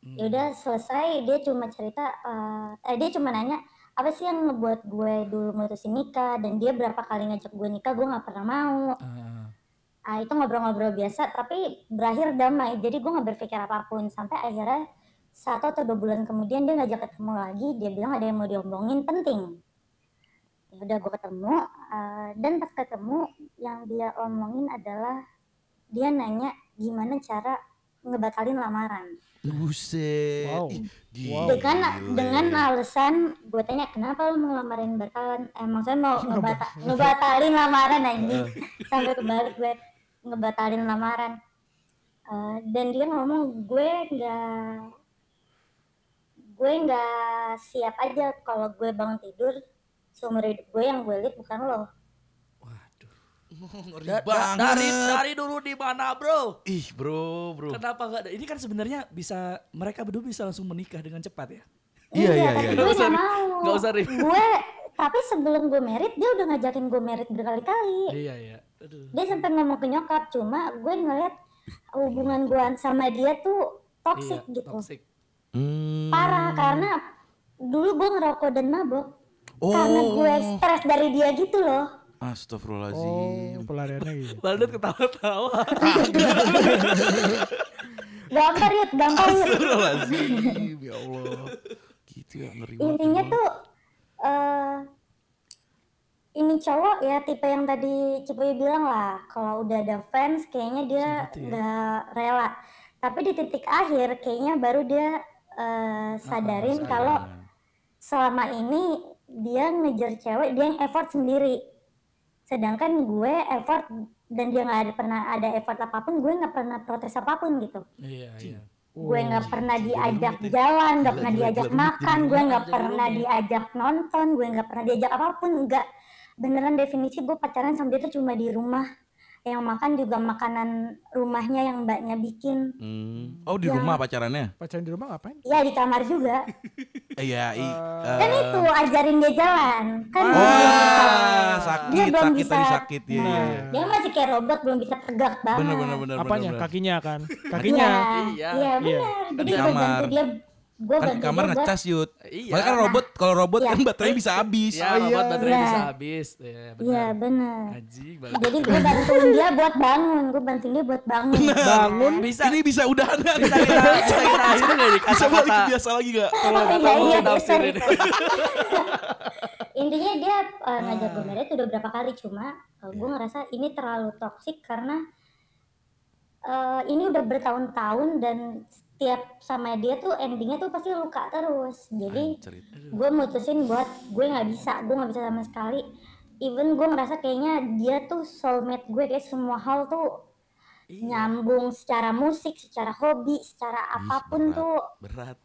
S4: ya udah selesai dia cuma cerita eh, eh, dia cuma nanya apa sih yang ngebuat gue dulu mutusin nikah dan dia berapa kali ngajak gue nikah gue nggak pernah mau
S1: Ah,
S4: ah itu ngobrol-ngobrol biasa tapi berakhir damai jadi gue nggak berpikir apapun sampai akhirnya satu atau dua bulan kemudian dia ngajak ketemu lagi dia bilang ada yang mau diomongin penting ya udah gue ketemu eh, dan pas ketemu yang dia omongin adalah dia nanya gimana cara ngebatalin lamaran
S2: Buset.
S3: Wow.
S2: Ih, Oh,
S3: Wow.
S4: dengan
S2: gile.
S4: kan, dengan alasan gue tanya kenapa lu mau lamarin batalan eh maksudnya mau ngebata- ngebatalin lamaran anjing sampai kebalik gue ngebatalin lamaran Eh, dan dia ngomong gue nggak gue nggak siap aja kalau gue bangun tidur seumur hidup gue yang gue lihat bukan lo
S1: Waduh.
S2: Ngeri
S1: Da- da-
S2: banget.
S1: dari dari dulu di mana, Bro?
S2: Ih bro, eh. bro.
S1: Kenapa nggak ada- Ini kan sebenarnya bisa mereka berdua bisa langsung menikah dengan cepat ya.
S2: Iya, iya,
S4: tapi
S1: iya. Nggak
S2: iya,
S4: gue nggak
S1: usah,
S4: mau
S1: nggak usah, Rin.
S4: gue tapi sebelum gue merit dia udah ngajakin gue merit berkali-kali
S1: Iya, iya. Aduh.
S4: dia sampai ngomong ke nyokap cuma gue ngeliat hubungan gue sama dia tuh toxic
S1: Iya,
S4: gitu
S1: toxic.
S2: Hmm.
S4: parah karena dulu gue ngerokok dan mabok
S2: Oh.
S4: karena gue stres dari dia gitu loh
S3: oh
S2: Astagfirullahaladzim.
S3: pelariannya gitu
S1: Waldet ketawa-tawa.
S4: gampar yuk gampar Yud.
S2: Astagfirullahaladzim. Ya Allah. Gitu ya ngeri banget.
S4: intinya
S2: emang.
S4: tuh eh ini cowok ya tipe yang tadi Cipuy bilang lah kalau udah ada fans kayaknya dia nggak rela tapi di titik akhir kayaknya baru dia eh, sadarin kalau selama ini dia ngejar cewek dia yang effort sendiri sedangkan gue effort dan dia nggak ada pernah ada effort apapun gue nggak pernah protes apapun gitu
S1: Iya, iya.
S4: gue nggak pernah diajak jalan nggak pernah diajak makan gue nggak pernah diajak nonton gue nggak pernah diajak apapun nggak beneran definisi gue pacaran sama dia tuh cuma di rumah yang makan juga makanan rumahnya yang mbaknya bikin
S2: Hmm. Oh di
S4: Ya.
S2: rumah pacarannya?
S3: pacaran di rumah ngapain
S4: ya di kamar juga
S2: Iya. i- eh,
S4: kan
S2: Oh, iya,
S4: itu ajarin dia jalan kan
S2: Wah
S4: dia belum bisa Dia
S2: iya. sakit
S4: belum
S2: sakit
S4: bisa.
S2: tadi sakit ya.
S4: Nah,
S2: ya, ya.
S4: Dia masih kayak robot belum bisa tegak banget.
S2: Bener bener bener.
S3: apanya
S2: bener, bener.
S3: kakinya kan
S4: Iya,
S3: kakinya
S1: Iya.
S4: iya benar. Jadi
S2: Di
S4: gue
S2: kamar.
S4: bantu dia, gue
S2: Kan
S4: bantu
S2: di kamar
S4: dia buat
S2: ngecas yud.
S1: Iya.
S2: Makanya kan robot kalau robot
S4: Iya.
S2: kan baterainya bisa habis.
S1: Iya, robot baterai
S4: Iya.
S1: bisa habis. Iya,
S4: Iya
S1: benar.
S4: benar.
S1: Anjing, Waldet.
S4: Jadi gue bantuin dia buat bangun, gue bantuin dia buat bangun.
S3: bangun
S1: Bisa
S2: Ini bisa udahan kan?
S1: bisa kita bisa kita akhirin nggak nih
S2: Bisa balik ke
S1: kata-kata
S2: biasa lagi gak?
S1: kata-kata
S4: Iya,
S1: lu
S4: iya,
S1: nafsirin.
S4: Intinya dia eh, ngajak gue married udah berapa kali cuma eh, gue ngerasa ini terlalu toksik karena eh, ini udah bertahun-tahun dan setiap sama dia tuh endingnya tuh pasti luka terus. Jadi
S2: Cerita.
S4: gue mutusin buat gue nggak bisa gue nggak bisa sama sekali even gue ngerasa kayaknya dia tuh soulmate gue kayak semua hal tuh nyambung secara musik secara hobi secara apapun
S2: berat.
S4: tuh
S2: Berat.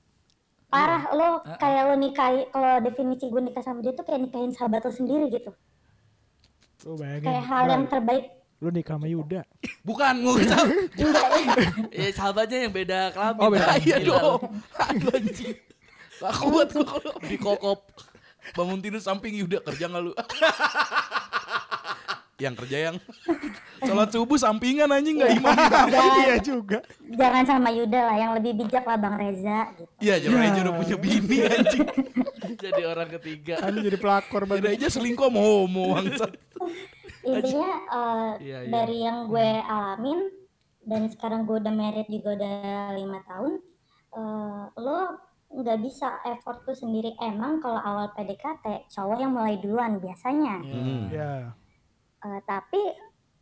S4: parah
S1: Iya.
S4: lo kayak lo nikahi kalau definisi gue nikah sama dia tuh kayak nikahin sahabat lo sendiri gitu
S3: lu
S1: Iya,
S3: bayangin Nah,
S4: kayak hal yang terbaik
S3: lu nikah sama Yuda
S2: Bukan ngucap.
S1: Iya, sahabatnya yang beda kelamin.
S3: Oh, beda
S1: Ah, Iya
S2: Iya
S1: dong.
S2: dong. Aduh anjing. Gak kuat gue kalau dikokop. Bangun tidur samping Yuda kerja gak lu? yang kerja yang sholat subuh sampingan anjing nggak iman
S3: iya juga
S4: Jangan sama Yuda lah, yang lebih bijak lah Bang Reza gitu.
S2: iya jangan aja udah punya bini anjing
S1: Jadi orang ketiga.
S3: kan jadi pelakor
S2: jangan
S3: banget
S2: aja selingkuh sama homo bangsat
S4: Intinya eh,
S1: Iya, iya.
S4: dari yang gue alamin dan sekarang gue udah married juga udah lima tahun, eh, lo nggak bisa effort tuh sendiri. Emang kalau awal PDKT cowok yang mulai duluan biasanya.
S2: Hmm.
S3: ya
S4: Eh, tapi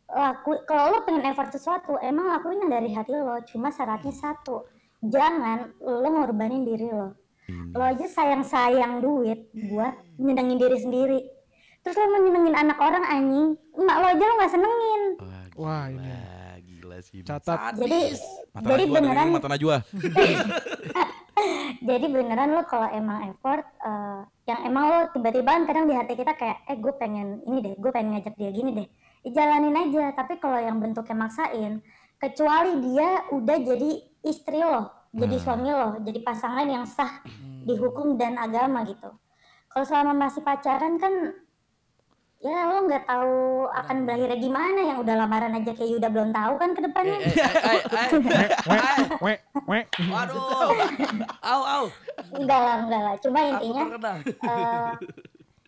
S4: laku kalau lo pengen effort sesuatu emang lakuin yang dari hati lo cuma syaratnya satu jangan lo ngorbanin diri lo
S2: Hmm.
S4: lo aja sayang sayang duit buat nyenengin diri sendiri terus lo mau nyenengin anak orang anjing emak lo aja lo nggak senengin
S2: gila,
S3: Wah, ini.
S2: gila sih ini.
S3: catat
S4: jadi
S2: mata najwa
S4: jadi
S2: dengerin
S4: beneran
S2: mata najwa
S4: jadi beneran lo kalau emang effort eh, yang emang lo tiba-tiba kadang di hati kita kayak eh gue pengen ini deh gue pengen ngajak dia gini deh Ya, jalanin aja tapi kalau yang bentuknya maksain kecuali dia udah jadi istri lo jadi suami lo jadi pasangan yang sah di hukum dan agama gitu kalau selama masih pacaran kan ya lo nggak tahu akan berakhirnya gimana yang udah lamaran aja kayak udah belum tahu kan ke depannya
S1: Eh, eh, eh, eh, eh, eh.
S3: we we
S1: Waduh. Au au.
S4: enggak lah enggak lah cuma
S1: Aku
S4: intinya
S1: terkena.
S4: Eh,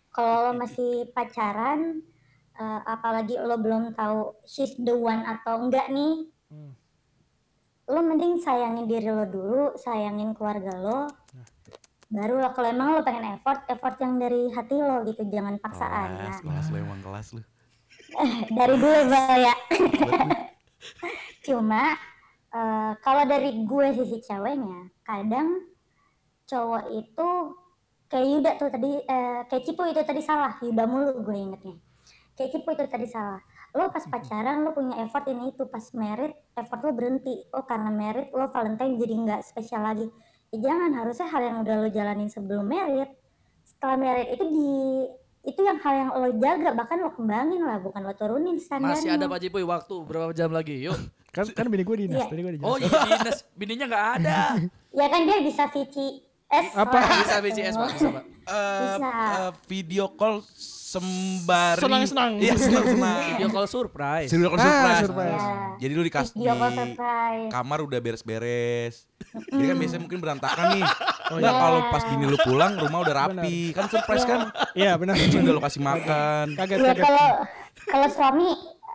S4: kalau lo masih pacaran eh, apalagi lo belum tahu she's the one atau enggak nih
S3: Hmm.
S4: lo mending sayangin diri lo dulu sayangin keluarga lo baru lo kalau emang lo pengen effort effort yang dari hati lo gitu jangan paksaan
S2: kelas
S4: Nah,
S2: kelas lu emang kelas lu
S4: dari dulu Bal, ya cuma eh, kalau dari gue sisi ceweknya kadang cowok itu kayak Yuda tuh tadi eh, kayak Cipu itu tadi salah Yuda mulu gue ingetnya kayak Cipu itu tadi salah lo pas pacaran lo punya effort ini itu pas merit effort lo berhenti oh karena merit lo Valentine jadi nggak spesial lagi Ya jangan harusnya hal yang udah lo jalanin sebelum merit setelah merit itu di itu yang hal yang lo jaga bahkan lo kembangin lah bukan lo turunin standarnya
S1: Masih ada Pak Cipuy waktu berapa jam lagi? Yuk.
S3: kan kan bini gue dinas
S4: Iya.
S3: tadi gue
S1: Oh,
S3: dijelasin
S1: iya, dinas bininya nggak ada.
S4: Ya kan dia bisa Oh, VCS.
S3: Apa?
S4: lah.
S1: Bisa BCS Pak, bisa Pak.
S2: Eh,
S4: Bisa.
S2: eh, video call sembari
S3: Senang-senang.
S2: iya senang senang
S1: Video call surprise.
S2: video call
S3: Ah,
S2: surprise.
S3: surprise.
S4: Iya.
S2: jadi lu di kas di
S4: Video call surprise.
S2: kamar udah beres-beres jadi kan biasanya mungkin berantakan nih
S3: Oh,
S2: Nggak,
S4: iya.
S2: kalau pas bini lu pulang rumah udah rapi kan surprise kan
S3: iya benar
S2: Anjing, udah lu kasih makan
S3: kaget
S4: Ya
S3: kaget
S4: kalau kalau suami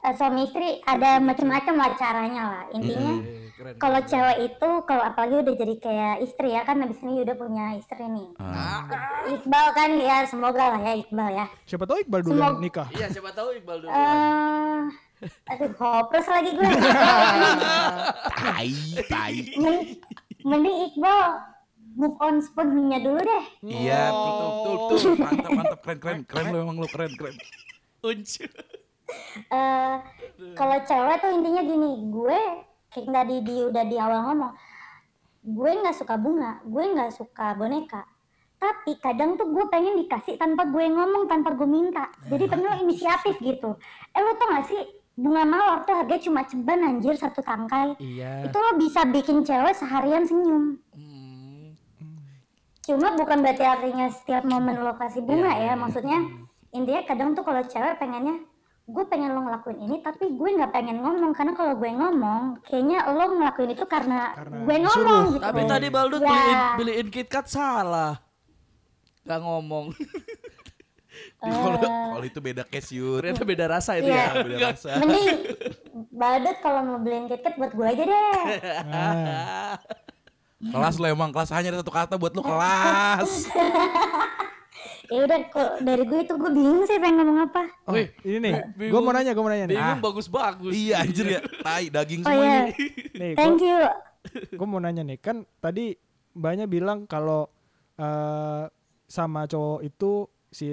S4: eh, suami istri ada macam-macam lah caranya lah. Intinya
S1: Eh, Keren.
S4: kalau cewek itu kalau apalagi udah jadi kayak istri ya kan habis ini udah punya istri nih.
S3: Ah.
S4: Iqbal kan ya semoga lah ya Iqbal ya.
S3: siapa tahu iqbal dulu yang
S4: Semoga-
S3: nikah
S1: Iya, siapa tahu Iqbal dulu.
S4: Eh aduh hopeless lagi gue.
S2: tai tai
S4: mending, mending Iqbal move on sepenuhnya dulu deh.
S2: iya betul betul betul mantap mantap keren keren keren lu emang lu keren keren
S1: Uncu.
S4: eh kalau cewek tuh intinya gini, gue kayak tadi di udah di awal ngomong, gue nggak suka bunga, gue nggak suka boneka. Tapi kadang tuh gue pengen dikasih tanpa gue ngomong, tanpa gue minta. Jadi pengen lo inisiatif gitu. Eh lo tau gak sih bunga mawar tuh harganya cuma ceban anjir satu tangkai.
S1: Iya.
S4: Itu lo bisa bikin cewek seharian senyum.
S1: Hmm.
S4: Cuma bukan berarti artinya setiap momen lo kasih
S3: Iya,
S4: bunga ya, maksudnya intinya kadang tuh kalau cewek pengennya gue pengen lo ngelakuin ini tapi gue nggak pengen ngomong karena kalau gue ngomong kayaknya lo ngelakuin itu karena,
S3: Karena Iya.
S4: gue ngomong gitu.
S1: Tapi tadi Baldut
S4: Ya.
S1: beliin beliin KitKat salah. Gak ngomong.
S4: Ah.
S2: kalau kalau itu beda case yuk
S1: Ternyata beda rasa itu
S4: Iya.
S1: ya.
S2: beda rasa
S4: Mending badut kalau mau beliin KitKat buat gue aja deh.
S3: Ah.
S2: kelas lu emang kelas hanya ada satu kata buat
S4: Ah.
S2: lu kelas
S4: ya udah kok dari gue itu gue bingung sih pengen ngomong apa.
S3: oh,
S1: Wih,
S3: ini nih
S1: bingung.
S3: gue mau nanya gue mau nanya nih Ah.
S1: Bingung bagus-bagus.
S2: iya anjir ya tai daging
S4: Oh
S2: semua
S4: ya,
S2: ini
S3: nih gue
S4: thank you.
S3: gue mau nanya nih kan tadi banyak bilang kalau eh, sama cowok itu si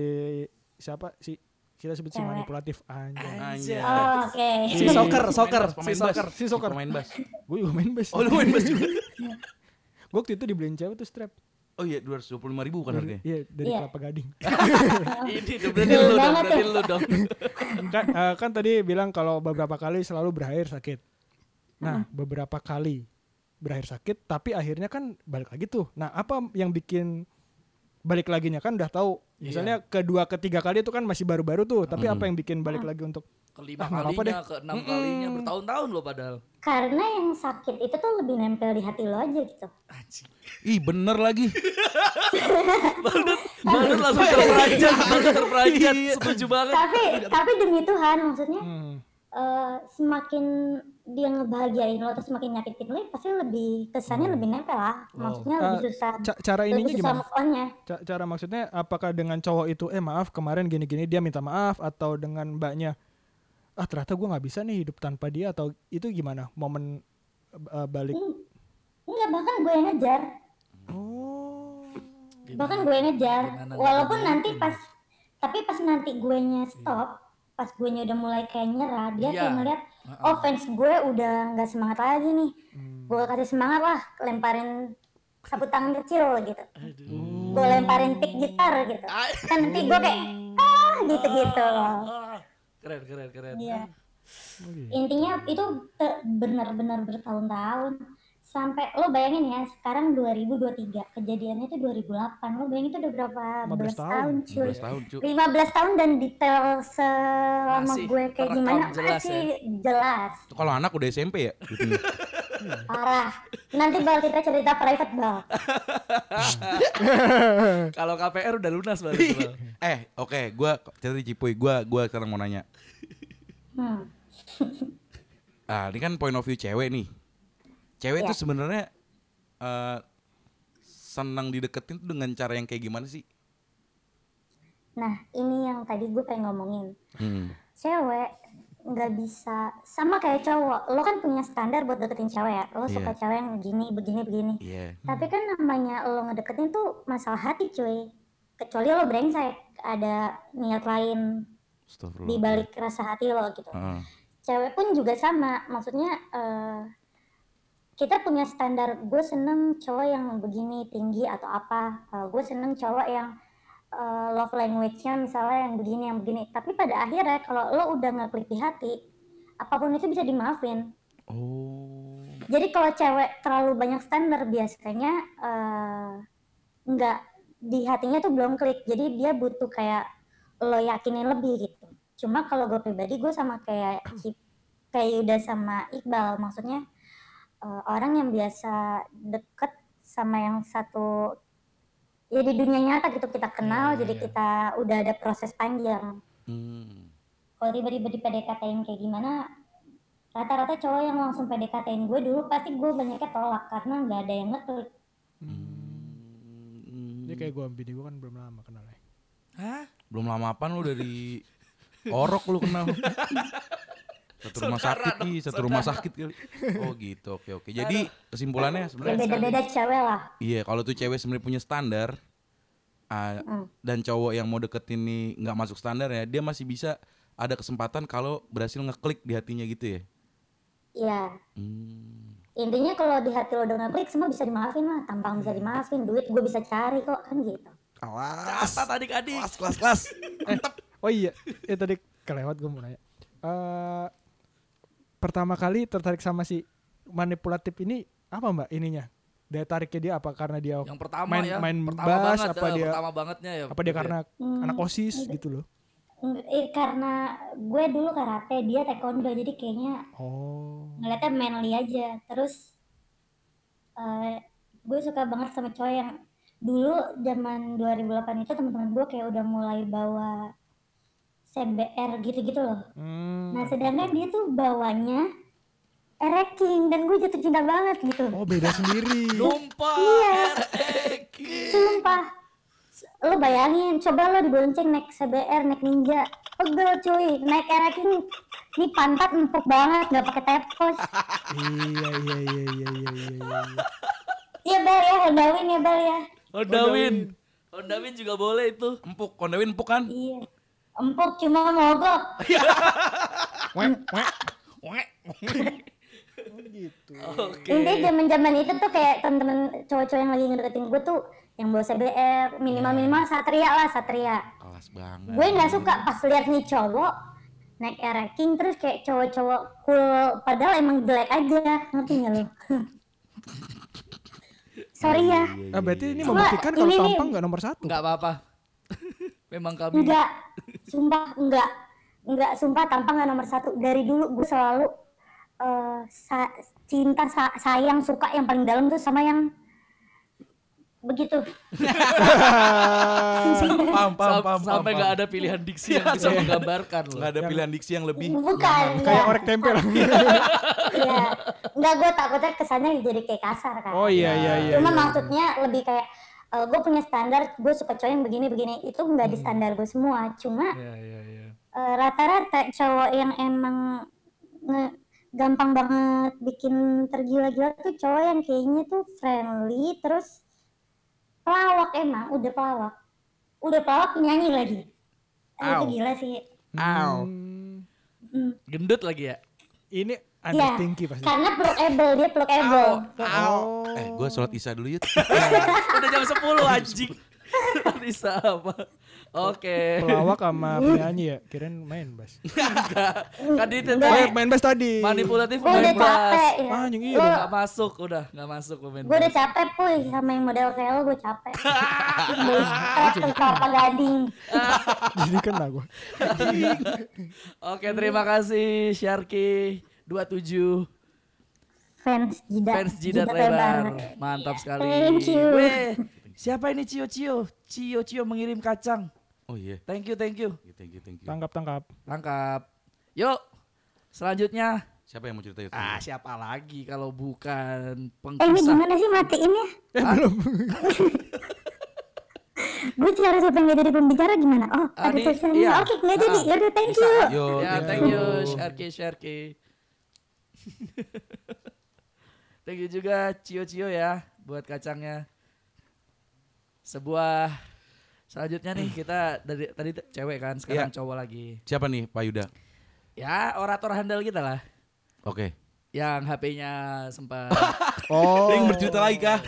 S3: siapa si kita sebut si
S4: Cewek.
S3: manipulatif anjay
S2: Anjir.
S4: Oh, Oke.
S1: Si
S3: Iya.
S1: soccer, soccer, si
S2: pemain
S1: soccer.
S2: bas
S3: si soccer
S2: pemain bas
S3: gue juga main bass
S2: oh lu main bas juga
S3: gue waktu itu dibeliin cewek tuh strap
S2: oh iya dua ratus dua puluh lima ribu kan harganya
S3: iya dari
S4: Iya.
S3: kelapa gading
S1: Ini dong, berarti lu dong,
S4: banget
S1: berarti
S4: ya.
S1: lu dong.
S3: kan, eh, kan tadi bilang kalau beberapa kali selalu berakhir sakit nah beberapa kali berakhir sakit tapi akhirnya kan balik lagi tuh nah apa yang bikin balik laginya kan udah tahu misalnya kedua ketiga kali itu kan masih baru-baru tuh tapi apa yang bikin balik lagi untuk
S1: kelima
S3: Ah, nggak apa-apa
S1: kalinya, ke enam kalinya, bertahun-tahun loh padahal.
S4: Karena yang sakit itu tuh lebih nempel di hati lo aja gitu.
S1: Anjing.
S2: Ih bener lagi.
S1: Baru langsung terperanjat, baru terperanjat,
S3: Iya.
S1: setuju banget.
S4: Tapi tapi demi Tuhan maksudnya
S3: Hmm.
S4: eh, semakin dia ngebahagiain lo atau semakin nyakitin lo ya pasti lebih kesannya lebih nempel lah. Maksudnya lebih
S3: Hmm. Eh,
S4: susah.
S3: ca- cara ininya
S4: lebih susah
S3: gimana?
S4: move on-nya.
S3: Ca- cara maksudnya apakah dengan cowok itu eh maaf kemarin gini-gini dia minta maaf atau dengan mbaknya ah ternyata gue nggak bisa nih hidup tanpa dia atau itu gimana momen eh, balik
S4: Mm. Enggak bahkan gue yang ngejar.
S3: oh
S4: Bahkan gue yang ngejar.
S1: Gimana nggak
S4: Walaupun nanti pas tapi pas nanti gue nya stop, pas gue nya udah mulai kayak nyerah, dia
S1: Iya.
S4: kayak ngeliat oh fans gue udah nggak semangat lagi nih.
S1: Hmm.
S4: Gue kasih semangat lah, lemparin sapu tangan kecil gitu. Gue lemparin pick gitar gitu.
S1: Ah.
S4: Kan nanti gue kayak ah gitu-gitu loh.
S3: Iya.
S1: Ah, keren, keren, keren.
S4: Iya.
S3: Oke.
S4: Intinya itu te- benar-benar bertahun-tahun sampai lo bayangin ya sekarang 2023 kejadiannya itu 2008 lo bayangin itu udah berapa
S3: 15
S4: belas
S3: tahun.
S4: tahun cuy
S2: 15 tahun cu.
S4: 15 tahun dan detail selama
S1: Masih
S4: gue kayak
S1: terekam
S4: gimana
S1: jelas
S4: masih jelas
S2: Itu Kalau anak udah SMP ya. Gitu.
S4: parah nanti bal kita cerita private bal
S1: Kalau KPR udah lunas baru. tuh,
S3: Iya.
S1: Bang.
S2: eh oke gue cerita di Cipuy. Gue gua sekarang mau nanya.
S4: hmm.
S2: Ah, ini kan point of view cewek nih. Cewek
S4: Iya.
S2: itu sebenarnya eh senang dideketin tuh dengan cara yang kayak gimana sih?
S4: nah ini yang tadi gue pengen ngomongin
S2: Hmm.
S4: cewek nggak bisa sama kayak cowok lo kan punya standar buat deketin cewek ya lo suka
S2: Iya.
S4: cewek yang begini begini begini
S2: Iya.
S4: Tapi kan namanya lo ngedeketin tuh masalah hati cuy. Kecuali lo brengsek, ada niat lain di
S2: Astagfirullah.
S4: balik rasa hati lo gitu.
S2: Heeh.
S4: Cewek pun juga sama, maksudnya eh, kita punya standar gue seneng cowok yang begini tinggi atau apa, Eh, gue seneng cowok yang eh, love language-nya misalnya yang begini yang begini. Tapi pada akhirnya kalau lo udah ngeklik di hati, apapun itu bisa dimaafin.
S2: Oh.
S4: Jadi kalau cewek terlalu banyak standar biasanya eh, nggak di hatinya tuh belum klik. Jadi dia butuh kayak lo yakinin lebih gitu. Cuma kalau gue pribadi gue sama kayak Cip- kayak Yuda sama Iqbal maksudnya eh, orang yang biasa deket sama yang satu ya di dunia nyata gitu kita kenal
S1: Iya, iya,
S4: jadi
S1: iya.
S4: kita udah ada proses panjang
S2: Hmm.
S4: kalau tiba-tiba di PDKT-in kayak gimana rata-rata cowok yang langsung PDKT-in gue dulu pasti gue banyaknya tolak karena nggak ada yang ngeklik
S2: Hmm.
S3: ini kayak gue bini gue kan belum lama kenalnya
S1: Hah?
S2: Belum lama apaan lu dari orok lu kenal. Satu rumah
S1: Saudara
S2: sakit
S1: dong,
S2: nih, satu rumah sakit kali. Oh gitu, oke oke. Jadi kesimpulannya
S4: ya
S2: sebenarnya
S4: beda-beda cewek lah
S2: iya kalau tuh cewek sebenarnya punya standar ah, dan cowok yang mau deketin nih nggak masuk standar ya, dia masih bisa ada kesempatan kalau berhasil ngeklik di hatinya gitu ya.
S4: ya
S2: Hmm.
S4: intinya kalau di hati lo udah ngeklik semua bisa dimaafin lah tampang bisa dimaafin duit gue bisa cari kok kan gitu
S2: Awas,
S1: Catat adik-adik.
S2: kelas kelas kelas. Mantap.
S3: oh iya eh tadi kelewat gue mau nanya Eh, pertama kali tertarik sama si manipulatif ini apa mbak ininya daya tariknya dia apa karena dia
S1: Yang pertama
S3: main,
S1: ya.
S3: main
S1: pertama
S3: bass
S1: banget,
S3: apa
S1: eh,
S3: dia
S1: pertama bangetnya ya.
S3: apa dia
S1: Gitu ya.
S3: karena
S4: Hmm.
S3: anak osis gitu loh
S4: Eh, karena gue dulu karate dia taekwondo jadi kayaknya
S3: oh
S4: ngeliatnya manly aja terus eh, gue suka banget sama cowok yang dulu zaman 2008 itu teman-teman gue kayak udah mulai bawa CBR gitu-gitu loh
S3: Hmm.
S4: nah sedangkan dia tuh bawanya ereking dan gue jatuh cinta banget gitu
S3: oh beda sendiri
S1: Numpah.
S4: Iya.
S1: RX.
S4: sumpah S- lo bayangin coba lo dibonceng naik CBR naik ninja pegel cuy naik ereking ini pantat empuk banget nggak pakai tepos
S3: iya iya iya iya iya iya, iya.
S4: Iya bel ya, Hondawin ya bel ya.
S1: Honda Win. Honda Win juga boleh itu.
S2: Empuk, kondawin empuk kan?
S4: Iya. Empuk cuma mogok.
S3: Wek, wek.
S1: Wek.
S3: gitu
S1: Oke.
S4: Intinya zaman-zaman itu tuh kayak temen-temen cowok-cowok yang lagi ngedeketin gue tuh yang bawa CBR, minimal-minimal satria lah satria.
S2: Kelas banget.
S4: Gue nggak suka pas lihat nih cowok naik ereking terus kayak cowok-cowok cool padahal emang jelek aja ngerti nggak lo? Sorry ya,
S3: ah berarti ini
S4: Coba,
S3: membuktikan kalau
S4: ini nih.
S3: tampang nggak nomor satu
S1: Enggak apa-apa. Memang kami
S4: enggak, sumpah enggak. nggak sumpah tampang nggak nomor satu dari dulu gue selalu eh, sa- cinta sa- sayang suka yang paling dalam tuh sama yang begitu
S1: Sam-
S2: paham paham paham
S1: sampai
S2: paham,
S1: nggak
S2: paham.
S1: ada pilihan diksi yang bisa
S2: Iya.
S1: menggambarkan loh.
S2: Nggak ada pilihan diksi yang lebih
S4: bukan
S3: kayak
S4: ya.
S3: orek tempe lah.
S4: Iya. Enggak, gue takutnya kesannya jadi kayak kasar kan.
S3: oh iya iya iya.
S4: Cuma
S3: iya.
S4: maksudnya lebih kayak gue punya standar, gue suka cowok yang begini-begini. Itu nggak di
S3: Hmm.
S4: standar gue semua. Cuma
S1: Iya iya iya.
S4: eh, rata-rata cowok yang emang nge- gampang banget bikin tergila-gila tuh cowok yang kayaknya tuh friendly, terus pelawak emang, udah pelawak. Udah pelawak nyanyi lagi. Eh, Itu
S1: Ow.
S4: gila sih.
S1: Ow.
S3: Hmm,
S4: Mm.
S1: Gendut lagi ya.
S3: ini ada
S4: Iya,
S3: tinggi pasti.
S4: Karena pluckable, dia pluckable.
S3: Oh.
S2: eh gue sholat isya dulu yuk
S1: Udah jam 10 anjing. Bisa apa? Oke.
S3: Pelawak sama penyanyi ya, kirain main bass.
S1: Kan dia
S3: Oh,
S1: tetap
S3: ya, main bass tadi.
S1: manipulatif
S4: Gue udah
S1: main
S4: capek
S1: keras.
S4: ya.
S3: Anjing iya.
S4: Lo-
S1: Gak masuk udah, gak masuk pemain.
S4: Gue udah
S1: keras.
S4: capek puy sama yang model kayak lo gue capek. Terus kelapa gading.
S3: Jadi kena gue.
S1: Oke, terima kasih Syarki 27
S4: Fans Ya, jidat. Iya.
S1: fans jidat lebar. Mantap sekali.
S4: Thank you.
S1: Weh, siapa ini Cio Cio? Cio Cio mengirim kacang.
S2: oh iya
S1: Thank you, thank you.
S2: thank you thank you
S3: Tangkap tangkap.
S1: Lengkap. Yuk, selanjutnya.
S2: siapa yang mau cerita yuk
S1: Ah, siapa lagi kalau bukan
S4: Eh ini
S1: pengkisah?
S4: gimana sih ya? matiinnya?
S3: Eh belum.
S4: Gue cara siapa yang gak jadi pembicara gimana? Oh
S1: Ah,
S4: ada
S1: di-
S4: tulisannya.
S1: iya.
S4: Oke nggak jadi.
S1: Ah,
S4: Yaudah thank
S1: bisa.
S4: you.
S2: yo
S1: ya, thank you, Sharky, Sharky. thank you juga Cio-Cio ya buat kacangnya. Sebuah selanjutnya nih kita dari tadi t- cewek kan sekarang
S2: Iya.
S1: cowok lagi.
S2: siapa nih Pak Yuda
S1: Ya, orator handal kita lah
S2: oke
S1: yang HP-nya sempat
S3: Oh.
S2: Ding bercerita lagi kah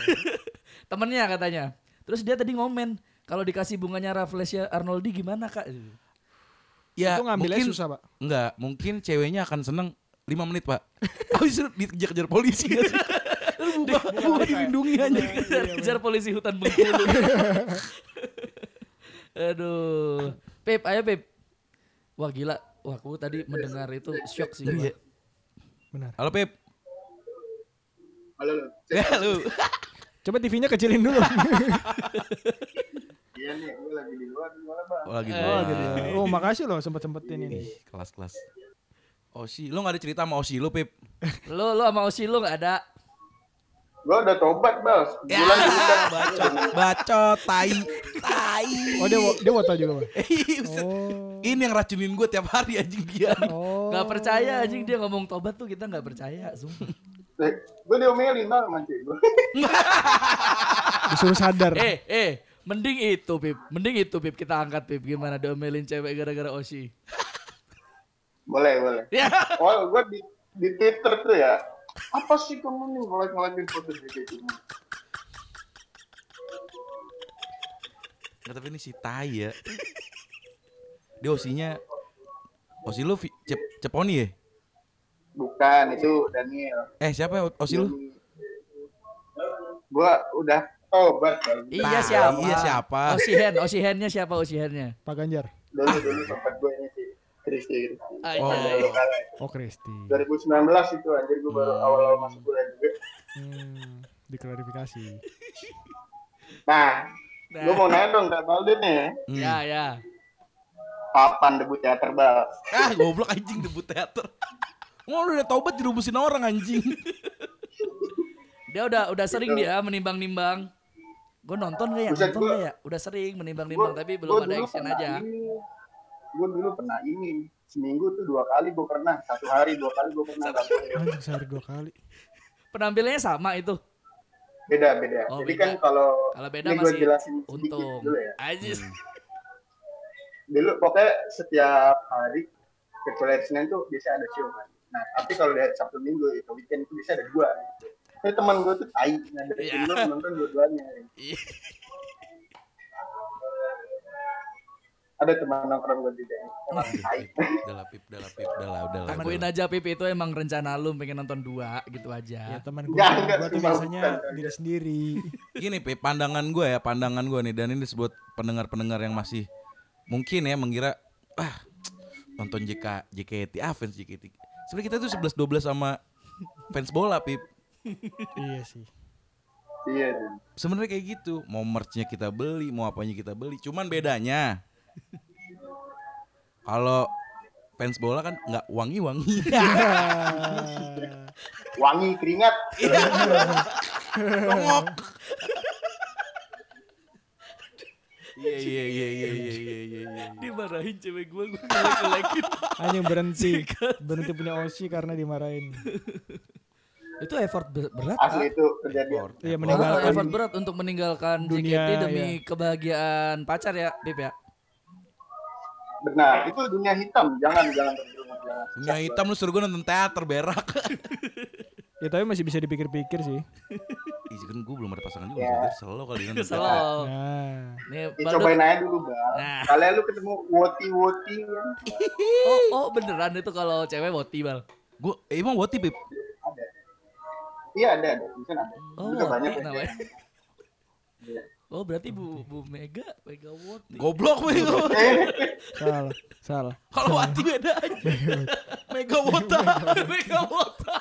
S1: temennya katanya. Terus dia tadi ngomen kalau dikasih bunganya Rafflesia Arnoldi gimana kak?
S2: ya
S3: Itu ngambilnya
S2: mungkin
S3: susah pak.
S2: Enggak, mungkin ceweknya akan seneng 5 menit pak Habis itu dikejar-kejar polisi gak sih? Bunga dilindungi aja
S1: Kejar polisi hutan Bengkulu. Aduh. Pip, ayo Pip. Wah gila. Wah aku tadi mendengar itu shock sih.
S2: ya?
S1: gua.
S3: Benar.
S2: Halo Pep
S5: Halo, lo.
S2: Ya lu
S3: Coba TV-nya kecilin dulu.
S5: Iya nih, gue lagi di luar, gimana bang?
S2: Oh lagi
S3: Oh,
S2: doang.
S3: gitu. oh makasih loh sempet sempetin ini.
S2: Ih, Kelas-kelas Osi, lu gak ada cerita sama Osi lu Pep
S1: Lu, lu sama Osi lu gak ada.
S5: Gue udah tobat, bang.
S2: Ya,
S5: Sebulan tobat.
S2: bacot, bacot, tai, tai
S3: Oh dia wo- dia wota juga pak.
S2: Ih, buset.
S3: Oh.
S2: Ini yang racunin gue tiap hari anjing dia
S3: Oh.
S1: Gak percaya anjing dia ngomong tobat tuh kita gak percaya. Sumpah.
S5: Gue diomelin bang, nanti gue.
S3: Disuruh sadar.
S1: eh, eh. Mending itu Pip. Mending itu Pip. Kita angkat Pip. Gimana diomelin cewek gara-gara Osi.
S5: Boleh, boleh.
S1: Ya.
S5: Oh, gue di, di Twitter tuh ya. Apa sih kamu nih ngolak-ngolakin foto di Twitter?
S2: Nggak, tapi ini si tai ya Dia Osinya Osi lu Vi- Cep- Ceponi ya?
S5: Bukan, itu Daniel.
S2: Eh siapa Osi lu?
S5: Gue udah tobat, bang.
S1: Iya
S2: Tai,
S1: siapa?
S2: iya, siapa?
S1: Osi Hen. Osi Hen-nya siapa Osi Hen-nya?
S3: Pak Ganjar.
S5: Dulu, dulu tempat gue ini sih. Kristi, Kristi.
S1: Oh.
S5: Baru kalah.
S3: Oh Kristi.
S5: 2019 itu anjir gue baru awal-awal masuk kuliah juga.
S3: Hmm, diklarifikasi.
S5: Nah,
S1: Nah.
S5: gue
S2: Oh.
S5: mau nanya dong Kak Baldi nih.
S2: Hmm.
S1: Ya, ya.
S5: Kapan debut teater, Bal?
S2: Ah, goblok anjing debut teater. Wah, lu udah taubat dirubusin orang anjing.
S1: Dia udah udah sering dia menimbang-nimbang. Gue nonton gak ya?
S5: Gitu. Buset,
S1: nonton
S5: gua-
S1: gak ya? Udah sering menimbang-nimbang tapi belum ada action aja.
S5: Gue dulu pernah ini. Seminggu tuh dua kali gue pernah. Satu hari dua kali gue pernah. Satu hari.
S3: Anjing sehari dua kali.
S1: Penampilannya sama itu.
S5: Beda, beda.
S1: Oh,
S5: Jadi
S1: beda.
S5: kan kalau...
S1: Kalau beda
S5: ini gua
S1: masih
S5: jelasin sedikit
S1: untung.
S5: Dulu, ya.
S1: Ajis.
S5: dulu pokoknya setiap hari kecuali hari Senin tuh biasa ada ciuman. Nah, tapi kalau dari Sabtu Minggu itu weekend itu bisa ada dua. Ini teman gue tuh tai, nah dari
S1: Iya.
S5: dulu nonton dua-duanya.
S1: Iya.
S5: Ada teman nongkrong gue juga. Teman tai.
S2: Udah lah, Pip, udah lah, Pip, udah lah, udah lah.
S1: Akuin aja Pip itu emang rencana lu pengen nonton dua gitu
S3: Ya
S1: aja.
S3: teman gue,
S5: Enggak, enggak,
S3: gue tuh
S5: sumpah,
S3: biasanya
S5: bukan.
S3: diri sendiri.
S2: Gini, Pip, pandangan gue ya, pandangan gue nih dan ini buat pendengar-pendengar yang masih mungkin ya mengira ah nonton JK JKT ah fans JKT sebenarnya kita tuh 11 12 sama fans bola pip
S3: iya sih
S5: Iya, Din.
S2: sebenarnya kayak gitu mau merchnya kita beli mau apanya kita beli cuman bedanya kalau fans bola kan nggak wangi wangi
S5: wangi keringat.
S2: iya iya iya iya iya iya iya
S1: Dimarahin cewek gue, gue ngelek-ngelekin.
S3: Anjing berhenti Berhenti punya Oshi karena dimarahin
S1: Itu effort ber- berat.
S5: Asli itu kejadian.
S3: Iya
S1: Oh,
S3: meninggalkan
S1: effort berat untuk meninggalkan
S3: Dunia,
S1: JKT demi kebahagiaan pacar ya, Bib
S5: Iya.
S1: ya.
S5: Benar, itu dunia hitam. Jangan jangan terjerumus jangan.
S2: Punya hitam lu suruh gue nonton teater berak
S3: Ya tapi masih bisa dipikir-pikir sih
S2: Ih kan gue belum ada pasangan
S5: Iya.
S2: juga yeah. Selalu kali ya nonton teater.
S1: Kesel.
S3: Nah
S1: Nih,
S5: Ya,
S1: Badut.
S5: cobain aja dulu, Bang.
S1: Nah.
S5: Kalian lu ketemu woti-woti kan?
S1: Oh, oh, beneran itu kalau cewek boti, Bal.
S2: Gue eh, emang what Pip?
S5: Ada. Iya, ada, ada. Mungkin ada.
S1: Oh,
S5: Juga banyak
S1: woti
S5: ya.
S1: namanya.
S5: Iya.
S1: Oh, berarti Bu Bu Mega, Mega Woti.
S2: Goblok Pip.
S3: salah Salah
S2: Kalau Wati beda aja. Megawota.
S1: Mega Wota.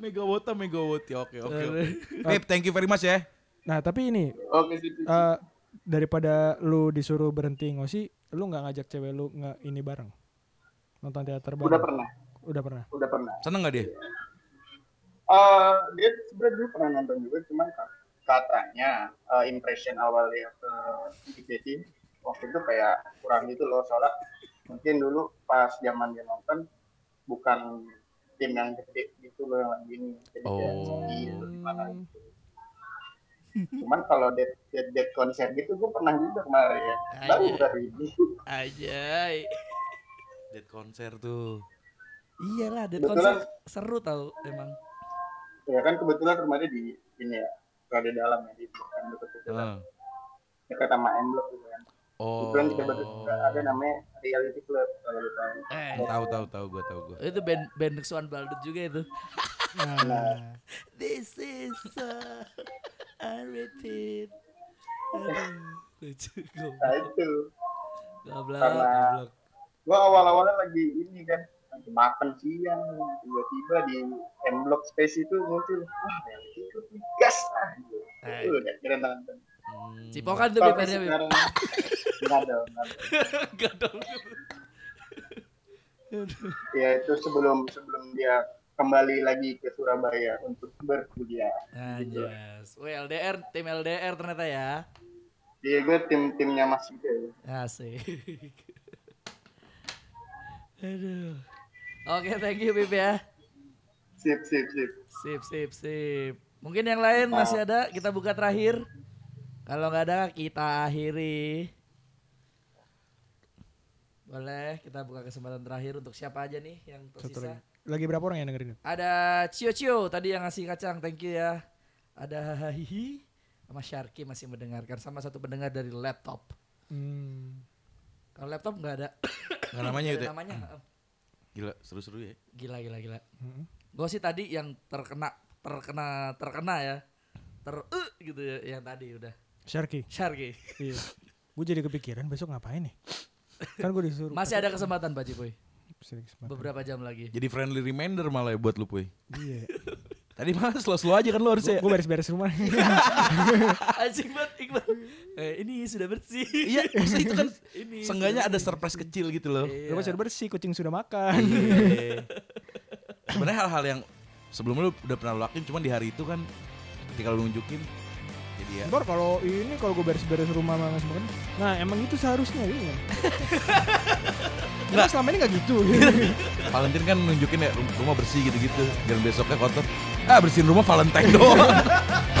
S2: Megawota, Megawati. Oke, oke. oke. Pip, thank you very much ya.
S3: Nah tapi ini
S5: Oke, sip, sip.
S3: eh, Daripada lu disuruh berhenti ngosi Lu nggak ngajak cewek lu nggak ini bareng Nonton teater bareng
S5: Udah pernah,
S3: Udah pernah
S5: udah pernah.
S2: Seneng gak dia?
S5: Eh, dia sebenarnya dulu pernah nonton juga, cuman ka- katanya eh, impression awalnya ke JKT waktu itu kayak kurang gitu loh, soalnya mungkin dulu pas zaman dia nonton bukan tim yang gede gitu loh yang lagi ini, jadi kayak
S2: Oh.
S5: sepi gitu, gimana gitu. Cuman kalau dead, dead, dead konser gitu gue pernah juga kemarin ya. Baru
S1: Anjay.
S5: dari ini.
S1: Ajay.
S2: Dead konser tuh.
S1: Iyalah, dan
S5: Betulan.
S1: konser seru tau emang.
S5: Ya kan kebetulan rumahnya di ini ya, kalau di dalam ya di kan dekat
S2: Heeh.
S5: dekat sama M Block gitu kan.
S2: Ah. Oh.
S5: Kebetulan kita berdua juga ada namanya Reality Club kalau lu tahu.
S1: Eh,
S2: Tahu tahu tahu gue tahu
S5: Oh.
S2: gue.
S1: itu band band Nexuan Baldut juga itu.
S3: Nah,
S1: This is uh, unrated. Lucu
S5: Nah
S1: goblok,
S5: itu,
S1: goblok,
S5: Karena-
S1: goblok.
S5: gua awal-awalnya lagi ini kan lagi makan siang tiba-tiba di M Block Space itu muncul wah Reality Club nih, gas ah gitu.
S1: Eh.
S5: Itu udah keren nonton.
S2: Hmm.
S1: Cipokan tuh
S5: Tapi
S1: BPR-nya. Bib.
S5: sekarang enggak dong. nggak dong.
S1: Enggak dong.
S5: Ya itu sebelum sebelum dia kembali lagi ke Surabaya untuk berkuliah.
S1: Anjas. Wih, LDR, tim LDR ternyata ya.
S5: Iya, gue tim timnya Mas Ida.
S1: Asik. Aduh. Oke, thank you Bib ya.
S5: Sip, sip, sip.
S1: Sip, sip, sip. Mungkin yang lain masih ada, kita buka terakhir. Kalau nggak ada, kita akhiri. Boleh, kita buka kesempatan terakhir untuk siapa aja nih yang
S3: satu
S1: tersisa.
S3: lagi. Lagi berapa orang yang dengerin?
S1: Ada Cio Cio tadi yang ngasih kacang, thank you ya. Ada Hahihi, sama Syarki masih mendengarkan. Sama satu pendengar dari laptop.
S3: Hmm.
S1: Kalau laptop nggak ada.
S2: Nggak namanya
S1: Nggak
S2: itu
S1: ada
S2: ya?
S1: Namanya.
S2: Gila seru-seru ya.
S1: Gila, gila, gila.
S3: Mm-mm.
S1: Gue sih tadi yang terkena, terkena, terkena ya. Ter, eh, gitu ya, yang tadi udah.
S3: Sharky.
S1: Syarki.
S3: Iya. gue jadi kepikiran besok ngapain nih? Kan gue disuruh.
S1: Masih ada kesempatan Pak Cipuy.
S3: Sering kesempatan.
S1: Beberapa jam lagi.
S2: Jadi friendly reminder malah ya buat lu puy.
S3: Iya.
S2: Tadi malah slow-slow aja kan lu harusnya.
S3: Gue beres-beres rumah.
S1: Anjing banget Iqbal. Eh, ini sudah bersih.
S2: Iya, maksudnya itu kan
S1: Ini
S2: seenggaknya ada surprise kecil gitu loh.
S3: Rumah sudah bersih, kucing sudah makan.
S2: Iya. Sebenarnya hal-hal yang sebelumnya lu udah pernah lu lakuin cuman di hari itu kan ketika lu nunjukin jadi ya
S3: Ntar kalau ini kalau gue beres-beres rumah sama Mas Makan, nah emang itu seharusnya ini. Enggak selama ini enggak gitu.
S2: Valentine kan nunjukin ya rum- rumah bersih gitu-gitu jangan besoknya kotor ah bersihin rumah Valentine doang